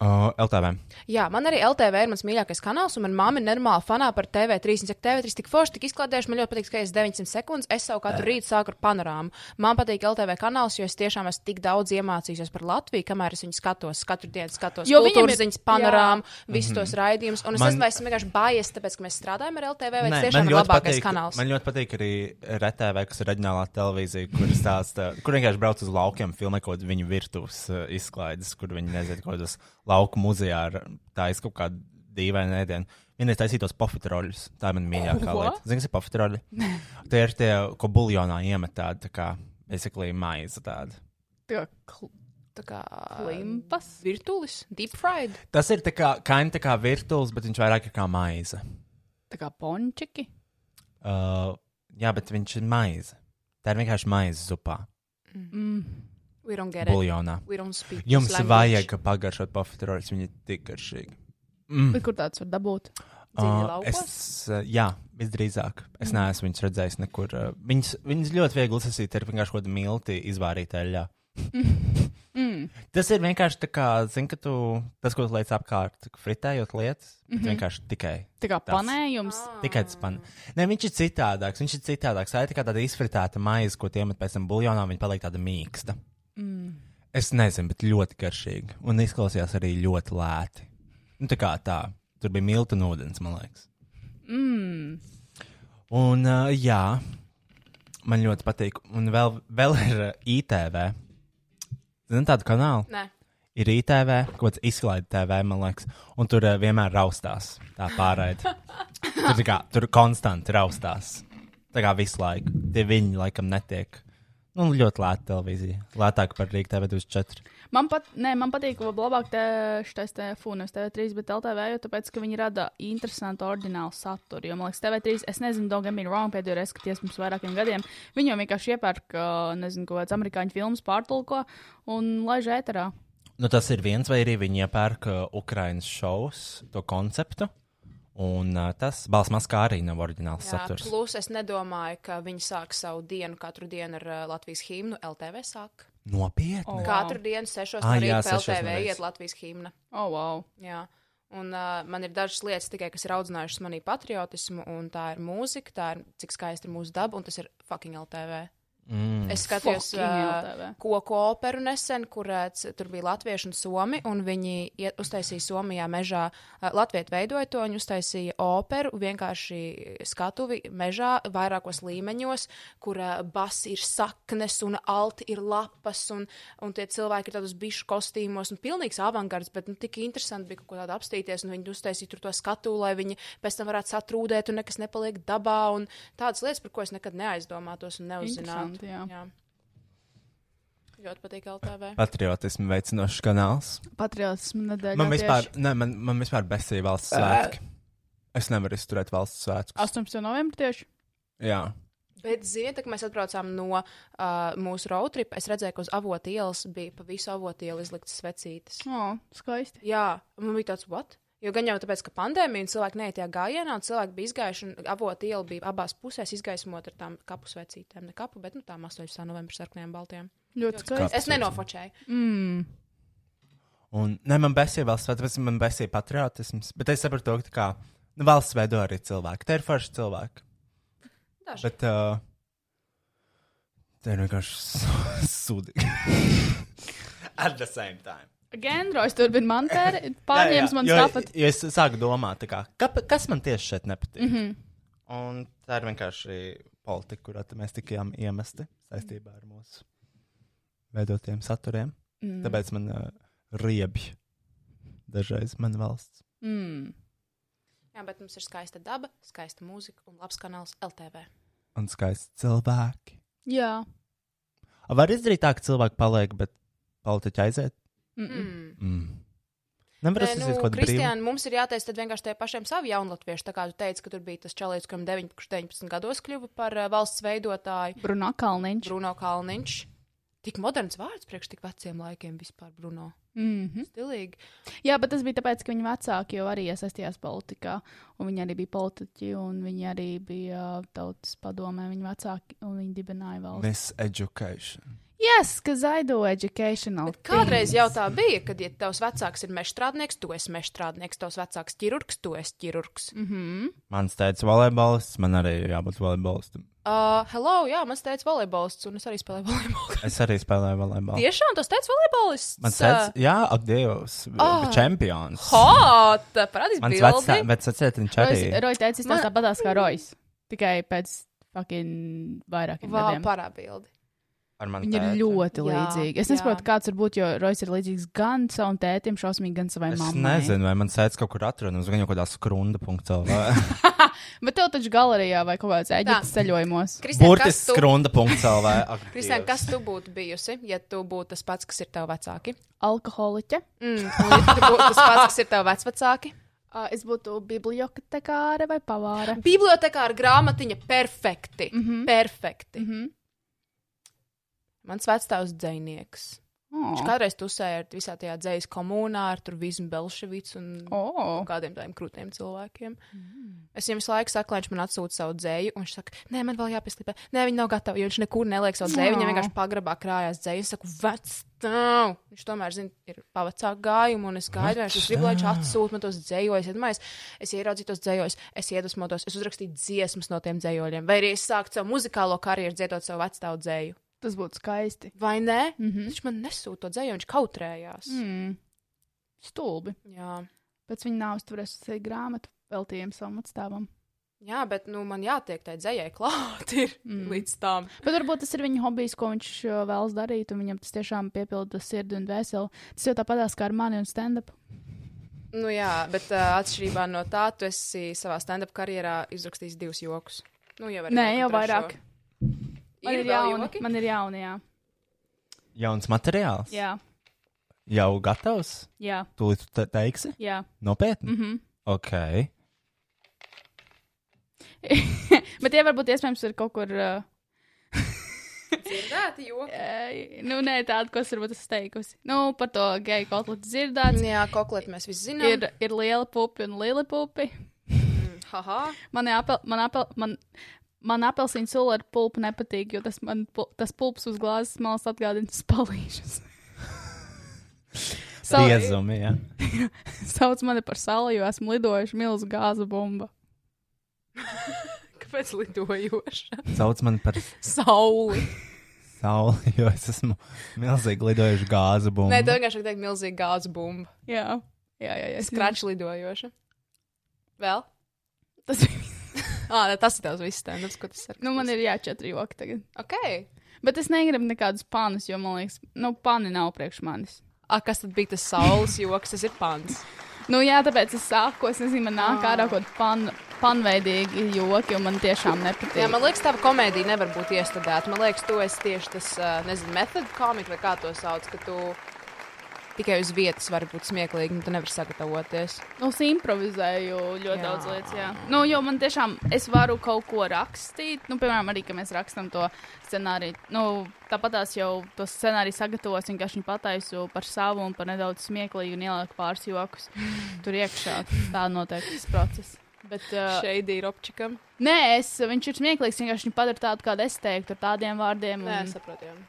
Speaker 2: O, LTV.
Speaker 4: Jā, man arī LTV ir mans mīļākais kanāls, un manā mamā ir normāli fanā par TV3. Viņa saka, TV3 tik forši, tik izklaidējuši. Man ļoti patīk, ka es 900 sekundes. Es savu katru rītu sāku ar panorāmu. Man patīk LTV kanāls, jo es tiešām esmu tik daudz iemācījusies par Latviju, kamēr es viņu skatos. Katru dienu skatos
Speaker 3: Jo
Speaker 4: jo
Speaker 3: viņiem
Speaker 4: kultūras
Speaker 3: ir-
Speaker 4: ziņas, panorāmu, visus tos raidījumus. Un
Speaker 2: Mhm.
Speaker 4: es
Speaker 2: Man-
Speaker 4: man... esmu vienkārši bājies, tāpēc, ka mēs strādājam ar LTV, vai
Speaker 2: Nē,
Speaker 4: tas tiešām ir
Speaker 2: ļoti
Speaker 4: labākais
Speaker 2: patīk,
Speaker 4: kanāls.
Speaker 2: Man ļoti patīk arī RTV, kas ir reģionālā televīzija, kur stāsta, kur vienkārši brauc uz laukiem, filmē kaut kādu viņu virtuves uh, izklaides, kur viņi nezina, ko tas lauku muzejā ar taisa kaut kādu dīvainu ēdienu. Vienreiz taisītos pofitroļus. Tā ir mana mīļākā
Speaker 3: Ko?
Speaker 2: lieta. Zini, kas ir pofitroļi? Tie ir tie, ko buļļonā iemet tāda, tā kā, basically, maize tāda.
Speaker 3: Tā kā
Speaker 4: Tā kā
Speaker 3: klimpas.
Speaker 4: virtuvis, deep fried.
Speaker 2: Tas ir tā kā, kā, tā kā virtuves, bet viņš vairāk ir kā maize.
Speaker 3: Tā kā pončiki.
Speaker 2: Uh, jā, bet viņš ir maize. Tā ir vienkārši maize zupā,
Speaker 4: We don't get it.
Speaker 2: buļļonā.
Speaker 4: We don't speak. this
Speaker 2: Jums
Speaker 4: language.
Speaker 2: vajag pagaršot pafitroļus, viņi ir tik garšīgi.
Speaker 3: Bet Kur tāds var dabūt?
Speaker 4: Dzīvi
Speaker 2: Ā,
Speaker 4: laukos?
Speaker 2: uh, es, ā, jā, visdrīzāk. Es neesmu viņas redzējis nekur. ā, Viņas, viņas ļoti viegli uzsākt, ir vienkārši kaut kāda milti izvārīta eļļā. Tas ir vienkārši tā kā, zini, ka tu tas, ko tu liec apkārt, fritējot lietas, mm -hmm. vienkārši tikai.
Speaker 3: Tā kā
Speaker 2: Tas.
Speaker 3: panējums.
Speaker 2: Tikai tas pan. Nē, viņš ir citādāks. Viņš ir citādāks. Tā ir tikai tāda izfritēta maize, ko tiem pēc tam buļļonā viņa paliek tāda mīksta. Mm. Es nezinu, bet ļoti garšīgi. Un izklausījās arī ļoti lēti. Nu, tā kā tā. Tur bija milta un ūdens, man liekas. Mm. Un uh, jā, man ļoti patīk. Un vēl, vēl ir uh, ITV. Zini tādu kanālu?
Speaker 4: Nē.
Speaker 2: Ir ITV, kaut kāds izklaide TV, man liekas. Un tur uh, vienmēr raustās tā pārraide. Tur, tā kā, tur konstanti raustās. Tā kā visu laiku. Tie viņi laikam netiek. Nu, ļoti lēta televīzija. Lētāk par Rīgā TV 24.
Speaker 3: Man, pat, nē, man patīk, ka labāk te šis te fūnes TV3, bet LTV, jo tāpēc, ka viņi rada interesantu, ordinālu saturu. Jo, man liekas, TV3, es nezinu, don't get me wrong, pēdējo reizi skaties pirms vairākiem gadiem. Viņi jau vienkārši iepērk, ā, nezinu, ko kāds amerikāņu filmas pārtulko un laiž ēterā.
Speaker 2: Nu, tas ir viens, vai arī viņi iepērk uh, Ukraiņas šovus, to konceptu. Un uh, tas balsmas kā arī nav oriģināls
Speaker 4: Jā,
Speaker 2: saturs.
Speaker 4: plus es nedomāju, ka viņi sāk savu dienu katru dienu ar uh, Latvijas himnu. LTV sāk.
Speaker 2: Nopietni.
Speaker 4: Oh, katru dienu sešos
Speaker 2: Ah,
Speaker 4: no
Speaker 2: jā,
Speaker 4: rīta pa
Speaker 2: sešos no
Speaker 4: LTV
Speaker 2: rīta.
Speaker 4: iet Latvijas himna.
Speaker 3: Oh, wow!
Speaker 4: Jā. Un uh, man ir dažas lietas, tikai, kas ir audzinājušas manī patriotismu, un tā ir mūzika, tā ir cik skaista ir mūsu daba, un tas ir fucking LTV. Mm. Es skatījos
Speaker 3: Fucking
Speaker 4: uh,
Speaker 3: LTV.
Speaker 4: koku operu nesen, kur uh, c- tur bija latvieši un somi, un viņi iet- uztaisīja Somijā mežā, uh, latvieši veidoja to, viņi uztaisīja operu, vienkārši skatuvi mežā vairākos līmeņos, kur uh, bas ir saknes un alti ir lapas, un, un tie cilvēki ir tādos bišu kostīmos, un pilnīgs avangards, bet nu, tik interesanti bija kaut ko tādu apstīties, un viņi uztaisīja tur to skatu, lai viņi pēc tam varētu satrūdēt, un nekas nepaliek dabā, un tādas lietas, par ko es nekad neaizdomātos un neuzzinātu.
Speaker 3: Interesanti, jā.
Speaker 4: Jā. Ļoti patīk LTV.
Speaker 2: Patriotismu veicinošs kanāls.
Speaker 3: Patriotismu nedēļa.
Speaker 2: Man vispār, ne, man, man vispār besīja valsts svētki. Es nevaru izturēt valsts svētkus.
Speaker 3: 18. novembrī tieši.
Speaker 2: Jā.
Speaker 4: Bet, ziniet, tā, kad mēs atbraucām no uh, mūsu road trip, es redzēju, ka uz avotu ielas bija pa visu avotu ielu izliktas vecītes.
Speaker 3: O, Oh, skaisti.
Speaker 4: Jā, un man bija tāds, what? Jo gan jau tāpēc, ka pandēmija un cilvēki neietu tajā gājienā, un cilvēki bija izgājuši, un avotu iela bija abās pusēs izgaismot ar tām kapu svecītēm. Ne kapu, bet nu, tām 18. novembrī sarkanajām baltajām.
Speaker 3: Ļoti skaisti.
Speaker 4: Es nenofočēju.
Speaker 2: Un, ne, man besīja valsts svētki, tāpēc man besīja patriotisms. Bet es saprotu, ka tā kā nu, valsts veido arī cilvēki. Tie ir forši cilvēki.
Speaker 4: Daži.
Speaker 2: Bet uh, tie ir vienkārši sūdīgi. At the same time.
Speaker 3: Gendrojs turpina man tēri,
Speaker 2: Jā, jā,
Speaker 3: pārņems man
Speaker 2: jo-
Speaker 3: stāpat.
Speaker 2: Jo es sāku domāt, tā kā, kap- kas man tieši šeit nepatīk. Mm
Speaker 4: Mhm.
Speaker 2: -hmm. Un tā ir vienkārši politika, kurā te mēs tikām iemesti saistībā ar mūsu veidotiem saturiem.
Speaker 4: Mhm.
Speaker 2: Mm. Tāpēc man uh, riebj dažreiz man valsts.
Speaker 3: Mm.
Speaker 4: Jā, bet mums ir skaista daba, skaista mūzika un labs kanāls LTV.
Speaker 2: Un skaisti cilvēki.
Speaker 3: Jā.
Speaker 2: Var izdarīt tā, ka cilvēki paliek, bet politiķi aiziet.
Speaker 4: Mm.
Speaker 2: Mm. Nevar
Speaker 4: Nē,
Speaker 2: es uziet
Speaker 4: nu,
Speaker 2: kaut ko brīvu.
Speaker 4: Kristiāna, mums ir jāteic, tad vienkārši tie pašiem savi jaunlatvieši. Tā kā tu teici, ka tur bija tas čalīts, kuram 9, kurš 19 gados kļuva par uh, valsts veidotāju,
Speaker 3: Brunā Kalniņš.
Speaker 4: Bruno Kalniņš. Tik moderns vārds priekš tik veciem laikiem vispār, Bruno.
Speaker 3: Mm -hmm.
Speaker 4: Stilīgi.
Speaker 3: Jā, bet tas bija tāpēc, ka viņa vecāki jau arī iesaistījās politikā. un Viņi arī bija politiķi, un viņi arī bija uh, tautas padomē. Viņa vecāki un viņi dibināja valsts.
Speaker 2: Miseducation.
Speaker 3: Jā, yes, ka Zaido Educational.
Speaker 4: Kādreiz jau tā bija, kad ja tavs vecāks ir mežstrādnieks, tu esi mežstrādnieks, tavs vecāks ķirurgs, tu esi ķirurgs.
Speaker 3: Mhm.
Speaker 4: Mm.
Speaker 2: Mans teica volejbolists, man arī jābūt volejbolistam.
Speaker 4: Uh, hello, jā, man teica volejbolists, un es arī spēlēju volejbolu.
Speaker 2: Es arī spēlēju volejbolu.
Speaker 4: Tiešām, tas teica volejbolists.
Speaker 2: Mans teica, jā, ak, Dievs,
Speaker 4: Ah,
Speaker 2: oh. čempions.
Speaker 4: Hot! Parādīs
Speaker 2: Mans
Speaker 4: bildi.
Speaker 2: vecais vecais arī.
Speaker 3: Rojas teica, tas
Speaker 4: Man-
Speaker 3: tāpatās kā Rojas. Tikai pēc fucking vairākiem
Speaker 4: Vā,
Speaker 3: gadiem.
Speaker 4: parābildi.
Speaker 2: Ar mani
Speaker 3: Viņi ir
Speaker 2: tēti.
Speaker 3: ļoti
Speaker 4: Jā,
Speaker 3: līdzīgi. Es
Speaker 4: jā.
Speaker 3: nesaprotu, kāds var būt, jo Rojas ir līdzīgs gan savam tētim, šausmīgi, gan savai
Speaker 2: Es
Speaker 3: mammai.
Speaker 2: nezinu, vai man sēdz kaut kur atrodams, gan jau kaut kādā skrunda.cl.
Speaker 3: Bet tev taču galerijā vai kaut kādā Eģiptes ceļojumos.
Speaker 4: Kristian, kas
Speaker 2: Burtiski
Speaker 4: tu
Speaker 2: skrunda.cl.
Speaker 4: Kristian, kas tu būtu bijusi, ja tu būtu tas pats, kas ir tev vecāki?
Speaker 3: Alkoholiķe.
Speaker 4: Mm, un ja tu būtu tas pats, kas ir tev vecāki.
Speaker 3: Uh, es būtu bibliotekāre vai pavāre.
Speaker 4: Bibliotekā ar grāmatiņa perfekti. Mm -hmm. Perfekti. Mm -hmm. Mans vecāks dzinieks.
Speaker 3: Oh.
Speaker 4: Viņš kādreiz tusēja ar visā tajā dzīs komunā, ar tur vismu Belševicu un
Speaker 3: Oh.
Speaker 4: kaut kādiem tādiem krūtīm cilvēkiem. Mm. Es viņam visu laiku saku, lai viņš man atsūta savu dzēju, un viņš saka, nē, man vēl jāpieslīpē. Nē, viņa nav gatava, jo viņš nekur neliek savu dzēju, viņam vienkārši pagrabā krājās dzēju. Es saku, vec, tev! Viņš tomēr, zina, ir pavacāk gājumu, un es gaidu, viņš grib, lai viņš atsūta man tos dzējojus. Ja domāju, es, es ieraudzīju tos dzējojus, es iedvesmotos, es uzrakstīju dziesmas no tiem dzējoļiem, vai arī es sāku savu muzikālo karjeru dziedot savu vecstāvu dzēju.
Speaker 3: Tas būtu skaisti.
Speaker 4: Vai ne? Mm -hmm. Viņš man nesūta to dzēju, viņš kautrējās. Mm.
Speaker 3: Mhm. Mm. Stulbi.
Speaker 4: Jā.
Speaker 3: Pēc viņa nav uzturējusi sevi grāmatu veltījumu savam atstāvam.
Speaker 4: Jā, bet nu, man jātiek tai dzējai klāt ir mm. līdz tam.
Speaker 3: Bet varbūt tas ir viņa hobijs, ko viņš uh, vēlas darīt, un viņam tas tiešām piepilda sirdi un dvēseli. Tas jau tāpatās kā ar mani un stand-up.
Speaker 4: Nu, jā, bet uh, atšķirībā no tā, tu esi savā stand-up karjerā izrakstījis divus joks. Nu, jau
Speaker 3: Nē, jau vairāk. Man ir,
Speaker 4: Ir
Speaker 3: ir
Speaker 4: vēl
Speaker 3: jauni.
Speaker 4: joki?
Speaker 3: Man ir jauni, jā.
Speaker 2: Jauns materiāls.
Speaker 3: Jā,
Speaker 2: Jau gatavs.
Speaker 3: jā,
Speaker 2: Tūlīt tu te- teiksi.
Speaker 3: jā.
Speaker 2: Nopietni. Mm
Speaker 4: Mhm.
Speaker 2: -hmm. Ok.
Speaker 3: Bet tie varbūt iespējams ir kaut kur. Uh,
Speaker 4: Dzirdēti joki.
Speaker 3: ē, nu, nē, tādu, ko es varbūt esmu teikusi. Nu, par to geju kotletu dzirdēts.
Speaker 4: Jā, koklet mēs visi zinām. Mm,
Speaker 3: Ir, ir liela pupi un liela pupi.
Speaker 4: Haha.
Speaker 3: Man apel, man apel, man, man apelsīnu sula ar pulpu nepatīk, jo tas, man, pul- tas pulps uz glāzes malas atgādina spalīšus. Sau,
Speaker 2: Diezumi, jā.
Speaker 3: sauc mani par salu, jo esmu lidojuši milzu gāzu bumbu.
Speaker 4: Kāpēc lidojoša?
Speaker 2: Sauc mani par
Speaker 4: Sauli.
Speaker 2: sauli, jo es esmu milzīgi lidojuši gāzu bumbu.
Speaker 4: Nē, tev vienkārši ir tāda milzīga gāzes bumba.
Speaker 3: Jā, jā, jā. jā.
Speaker 4: Skračs lidojoša. Vēl?
Speaker 3: Tas bija.
Speaker 4: Ah, tas ir tavs viss stand-ups, ko tas ir.
Speaker 3: Nu, man ir jā, četri joki tagad.
Speaker 4: Ok.
Speaker 3: Bet es negribu nekādus panus, jo man liekas, nu, pani nav priekš manis.
Speaker 4: A, kas tad bija tas saules joks? Tas ir pants.
Speaker 3: Nu, jā, tāpēc es sāku, es nezinu, man nāk ārā kaut kāda pan, panveidīga joki, un man tiešām nepatīk.
Speaker 4: Jā, man liekas, tā komēdija nevar būt iestudēta. Man liekas, to es tieši tas, ā, nezinu, method komiks vai kā to sauc, ka tu tikai uz vietas vari būt smieklīgi, un tu nevari sagatavoties.
Speaker 3: Nu, es improvizēju ļoti jā.
Speaker 4: Jā.
Speaker 3: daudz lietas. Jā. Nu, jo man tiešām, es varu kaut ko rakstīt. Nu, piemēram, arī, ka mēs rakstām to scenāriju. Nu, tāpat tās jau to scenāriju sagatavos, vienkārši viņu pataisu par savu un par nedaudz smieklīgu un ielieku pāris jokus tur iekšā. Tā noteikti tas process. Bet, uh,
Speaker 4: Šeit ir opčikam.
Speaker 3: nē, es, viņš ir smieklīgs. Vienkārši viņu padara tādu, kādu es teiktu, ar tādiem vārdiem.
Speaker 4: Nē,
Speaker 3: Un,
Speaker 4: saprotu. jā.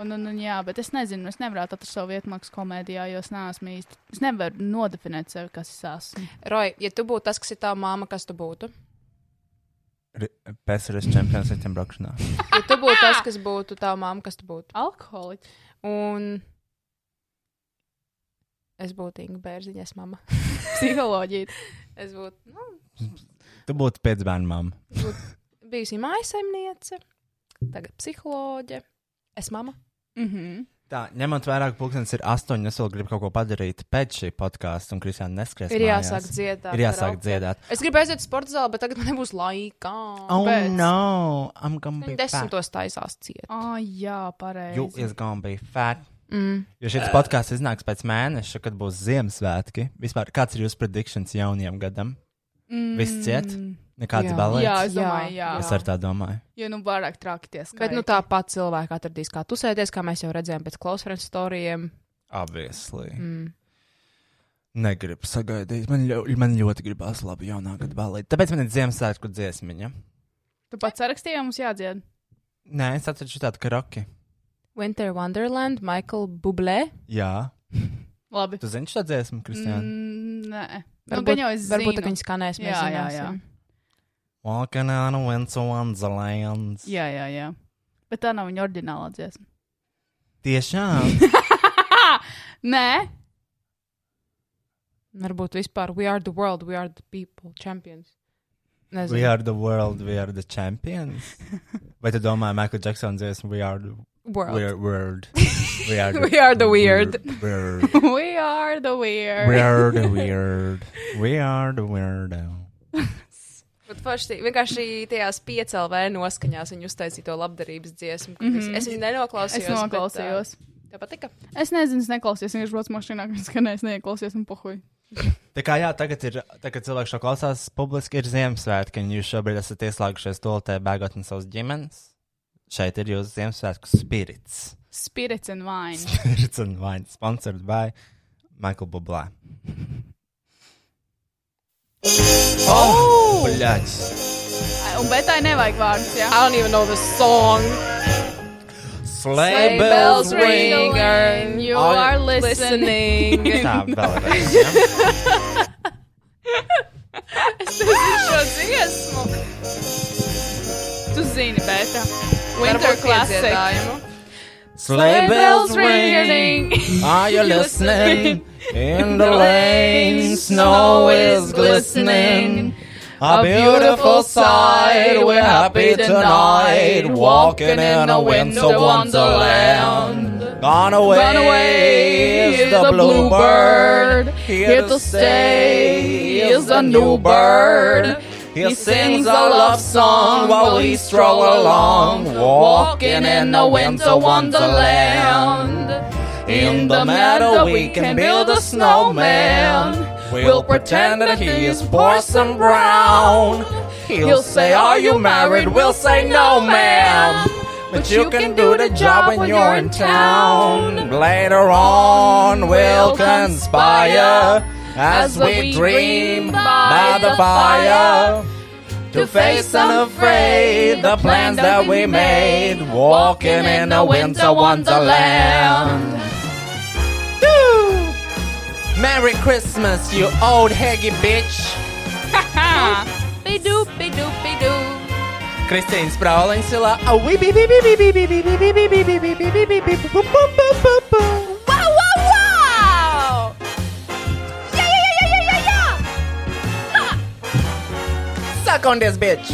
Speaker 3: un, un, un, jā, bet es nezinu, es nevaru atrast savu vietu mākslas komēdijā, jo es neesmu īsti. Es nevaru nodefinēt sevi, kas es esmu.
Speaker 4: Roj, ja tu būtu tas, kas ir tā māma, kas tu būtu?
Speaker 2: Pēcteris čempions ar tiem braukšanā.
Speaker 4: Ja tu būtu tas, kas būtu tā māma, kas tu būtu?
Speaker 3: Alkoholiķis.
Speaker 4: Un es būtu Inga Bērziņas mama.
Speaker 3: psiholoģija.
Speaker 4: Es būtu, nu,
Speaker 2: Tu būtu pēc bērnu mamma.
Speaker 4: būtu bijusi mājasemniece, tagad psiholoģe. Es mama.
Speaker 3: Mm -hmm.
Speaker 2: Tā, ņemot vērā, ka pulkstenis ir astoņi, es vēl gribu kaut ko padarīt pēc šī podkāsta, un Kristiāna neskries.
Speaker 4: Ir
Speaker 2: mājās.
Speaker 4: jāsāk dziedāt.
Speaker 2: Ir jāsāk dziedāt.
Speaker 4: Es gribēju aiziet uz sporta zāli, bet tagad man nebūs laika.
Speaker 2: Oh,
Speaker 3: Kāpēc?
Speaker 2: no, I'm gonna be
Speaker 4: Viņa
Speaker 2: fat.
Speaker 4: desmitos taisās ciet.
Speaker 3: oh, jā, pareizi.
Speaker 2: You is gonna be fat.
Speaker 4: Mm.
Speaker 2: Jo šis podkāsts iznāks pēc mēneša, kad būs Ziemassvētki. Vispār, kāds ir jūsu predikšanas jaunajam gadam? Mm. Viss ciet? Nekāds
Speaker 4: Jā.
Speaker 2: balets?
Speaker 3: jā, es domāju, jā.
Speaker 2: Es
Speaker 3: jā.
Speaker 2: ar tā domāju.
Speaker 3: Jo nu vairāk traki tie skaitļi.
Speaker 4: Bet nu, tāpat cilvēki atradīs, kā tusēties, kā mēs jau redzējām pēc klausfrēnu storijiem.
Speaker 2: Obviously.
Speaker 4: Mm.
Speaker 2: Negribu sagaidīt. Man, ļo, man ļoti gribās labi jaunā gada balēt. Tāpēc man ir Ziemassvētku dziesmiņa.
Speaker 3: Tu pats sarakstīji, vai mums jādzied.
Speaker 2: Nē, es atceros tādu karoki.
Speaker 4: Winter Wonderland, Michael Bublé.
Speaker 2: Jā.
Speaker 3: Labi.
Speaker 2: Tu zini šo dziesmu, Kristiāna? Mm.
Speaker 3: Mm, nē. Nu,
Speaker 4: Varbūt,
Speaker 3: gan jau es
Speaker 4: varbūt
Speaker 3: zinu.
Speaker 4: tā, ka viņi skanēs. Mēs
Speaker 3: Jā, jā,
Speaker 4: zināsim.
Speaker 2: Walking on a winter wonderlands.
Speaker 3: Jā, jā, jā. Bet tā nav viņa oriģinālā dziesma.
Speaker 2: Tiešām.
Speaker 3: Nē,
Speaker 4: Varbūt vispār we are the world, we are the people, champions. Nezinu.
Speaker 2: we are the world, we are the champions. Vai tu domā, Michael Jackson dziesmu, we are the
Speaker 4: world.
Speaker 2: we are world. We are
Speaker 4: We are the weird.
Speaker 2: Weird.
Speaker 3: we are the weird.
Speaker 2: We are the weird. We are the weirdo.
Speaker 4: Bet forši, vienkārši tajās piecēlē noskaņās viņa uztaisīja to labdarības dziesmu. Mm -hmm. Es viņu nenoklausījos.
Speaker 3: Es noklausījos.
Speaker 4: Bet, uh, tev patika?
Speaker 3: Es nezinu, es neklausījos. Viņš brauc mašīnā, kad skanēs, neklausījos un pohuj.
Speaker 2: Tā kā jā, tagad ir, tagad cilvēks šo klausās, publiski ir Ziemassvētki, un jūs šobrīd esat ieslēgušies toltē, bēgot no savas ģimenes. Šeit ir jūsu Ziemassvētku spirits.
Speaker 3: Spirits and wine.
Speaker 2: Spirits un vines, sponsored by Michael Bublé. Oh! Bļaļs!
Speaker 3: Ai, Un betai nevajag vārdus, jā.
Speaker 4: I don't even know the song.
Speaker 2: Sleigh bells
Speaker 4: bells
Speaker 2: ring!
Speaker 4: ring.
Speaker 3: Ring-a-ling, You
Speaker 2: All-
Speaker 3: are listening.
Speaker 4: Listening.
Speaker 2: Tā, vēlreiz. Ja?
Speaker 4: Šo dziesmu.
Speaker 3: Tu zini, beta. Winter
Speaker 4: Winter
Speaker 3: classic.
Speaker 4: klasiku.
Speaker 2: Sleigh bells ring!
Speaker 3: ringing.
Speaker 2: Are you listening? In the lane, snow is glistening. A beautiful sight, we're happy tonight. Walking in a winter wonderland. Gone away,
Speaker 3: Gone away
Speaker 2: is the bluebird. Here to stay is the new bird. He sings a love song while we stroll along. Walking in a winter wonderland. In the meadow we can build a snowman. We'll pretend that he is Parson Brown. He'll say, Are you married? We'll say, No, ma'am. But you can do the job when you're in town. Later on, we'll conspire as we dream by the fire. To face unafraid the plans that we made, walking in a winter wonderland. Woo! Merry Christmas, you old haggy bitch.
Speaker 4: Bidu, bidu, bidu.
Speaker 2: Kristīna Sprāliņš ir labi.
Speaker 4: Wow, wow, wow! Jā, jā, jā, jā, jā, jā!
Speaker 2: Sakondies, bitch!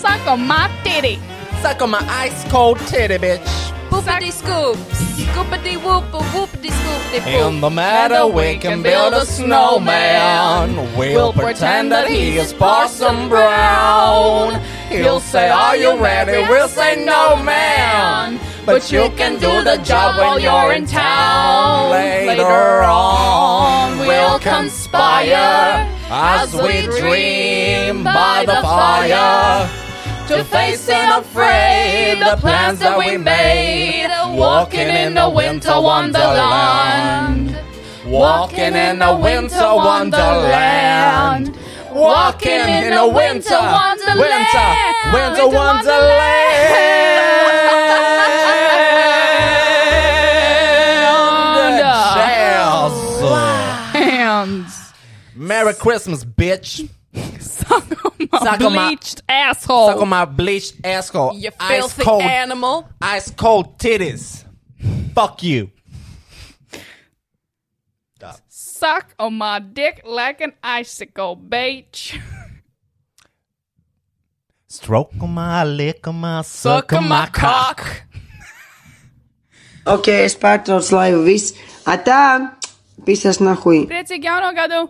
Speaker 8: Sako matiri!
Speaker 2: Sakoma ice cold titty, bitch!
Speaker 4: Boopity scoop, scoopity whoop, whoopity scoopity
Speaker 2: In the
Speaker 4: poop.
Speaker 2: meadow, we can build a snowman. We'll pretend that he is Parson Brown. He'll say, Are you ready? We'll say, No, man. But you can do the job when you're in town. Later on, we'll conspire as we dream by the fire. To face and afraid the plans that we made. Walking in a winter wonderland. Walking in a winter wonderland. Walking in a winter wonderland. Winter, winter wonderland. Chelsea.
Speaker 8: Hands!
Speaker 2: Merry Christmas, bitch.
Speaker 8: Sako
Speaker 2: Sakoma-
Speaker 8: bleached asshole!
Speaker 2: Suck on my bleached asshole.
Speaker 4: You
Speaker 2: ice
Speaker 4: filthy
Speaker 2: cold,
Speaker 4: animal.
Speaker 2: ice cold titties. Fuck you.
Speaker 8: Suck on my dick like an icicle, bitch!
Speaker 2: Stroke on my, lick on my,
Speaker 8: Suck on my cock!
Speaker 9: Ok, es pārtraucu laivu, viss. Atā, pisas nahuī.
Speaker 8: Priecīgi jauno gadu!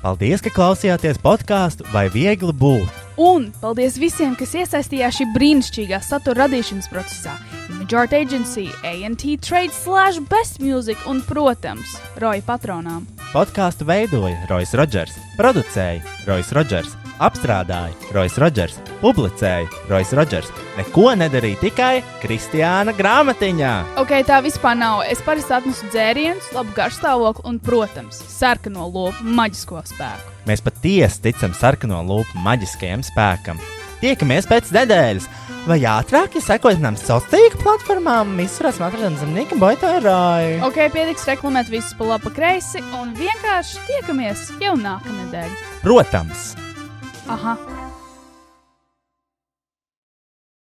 Speaker 2: Paldies, ka klausījāties podkāstu vai viegli būt.
Speaker 3: Un paldies visiem, kas iesaistījās šī brīnišķīgā satura radīšanas procesā. Majority Agency, ANT Trade, Slash, Best Music un, protams, Roja patronām.
Speaker 2: Podkāstu veidoja Rois Rodžers, producēja Rois Rodžers, apstrādāja Rois Rodžers, publicēja Rois Rodžers. Neko nedarīja tikai Kristiāna grāmatiņā.
Speaker 3: Ok, tā vispār nav. Es parasti atnesu dzērienus, labu garšstāvokli un, protams, sarkano lopu maģisko spēku.
Speaker 2: Mēs patiesi ticam sarkano lupu maģiskajam spēkam. Tiekamies pēc nedēļas, vai ātrāk, ja sekojat mums sociālajām tīkla platformām, visurās matradienas zemnieka boitārāju.
Speaker 3: Ok, pietiks reklamēt visus pa labi, pa kreisi un vienkārši tiekamies jau nākamnedēļ.
Speaker 2: Protams,
Speaker 3: Aha,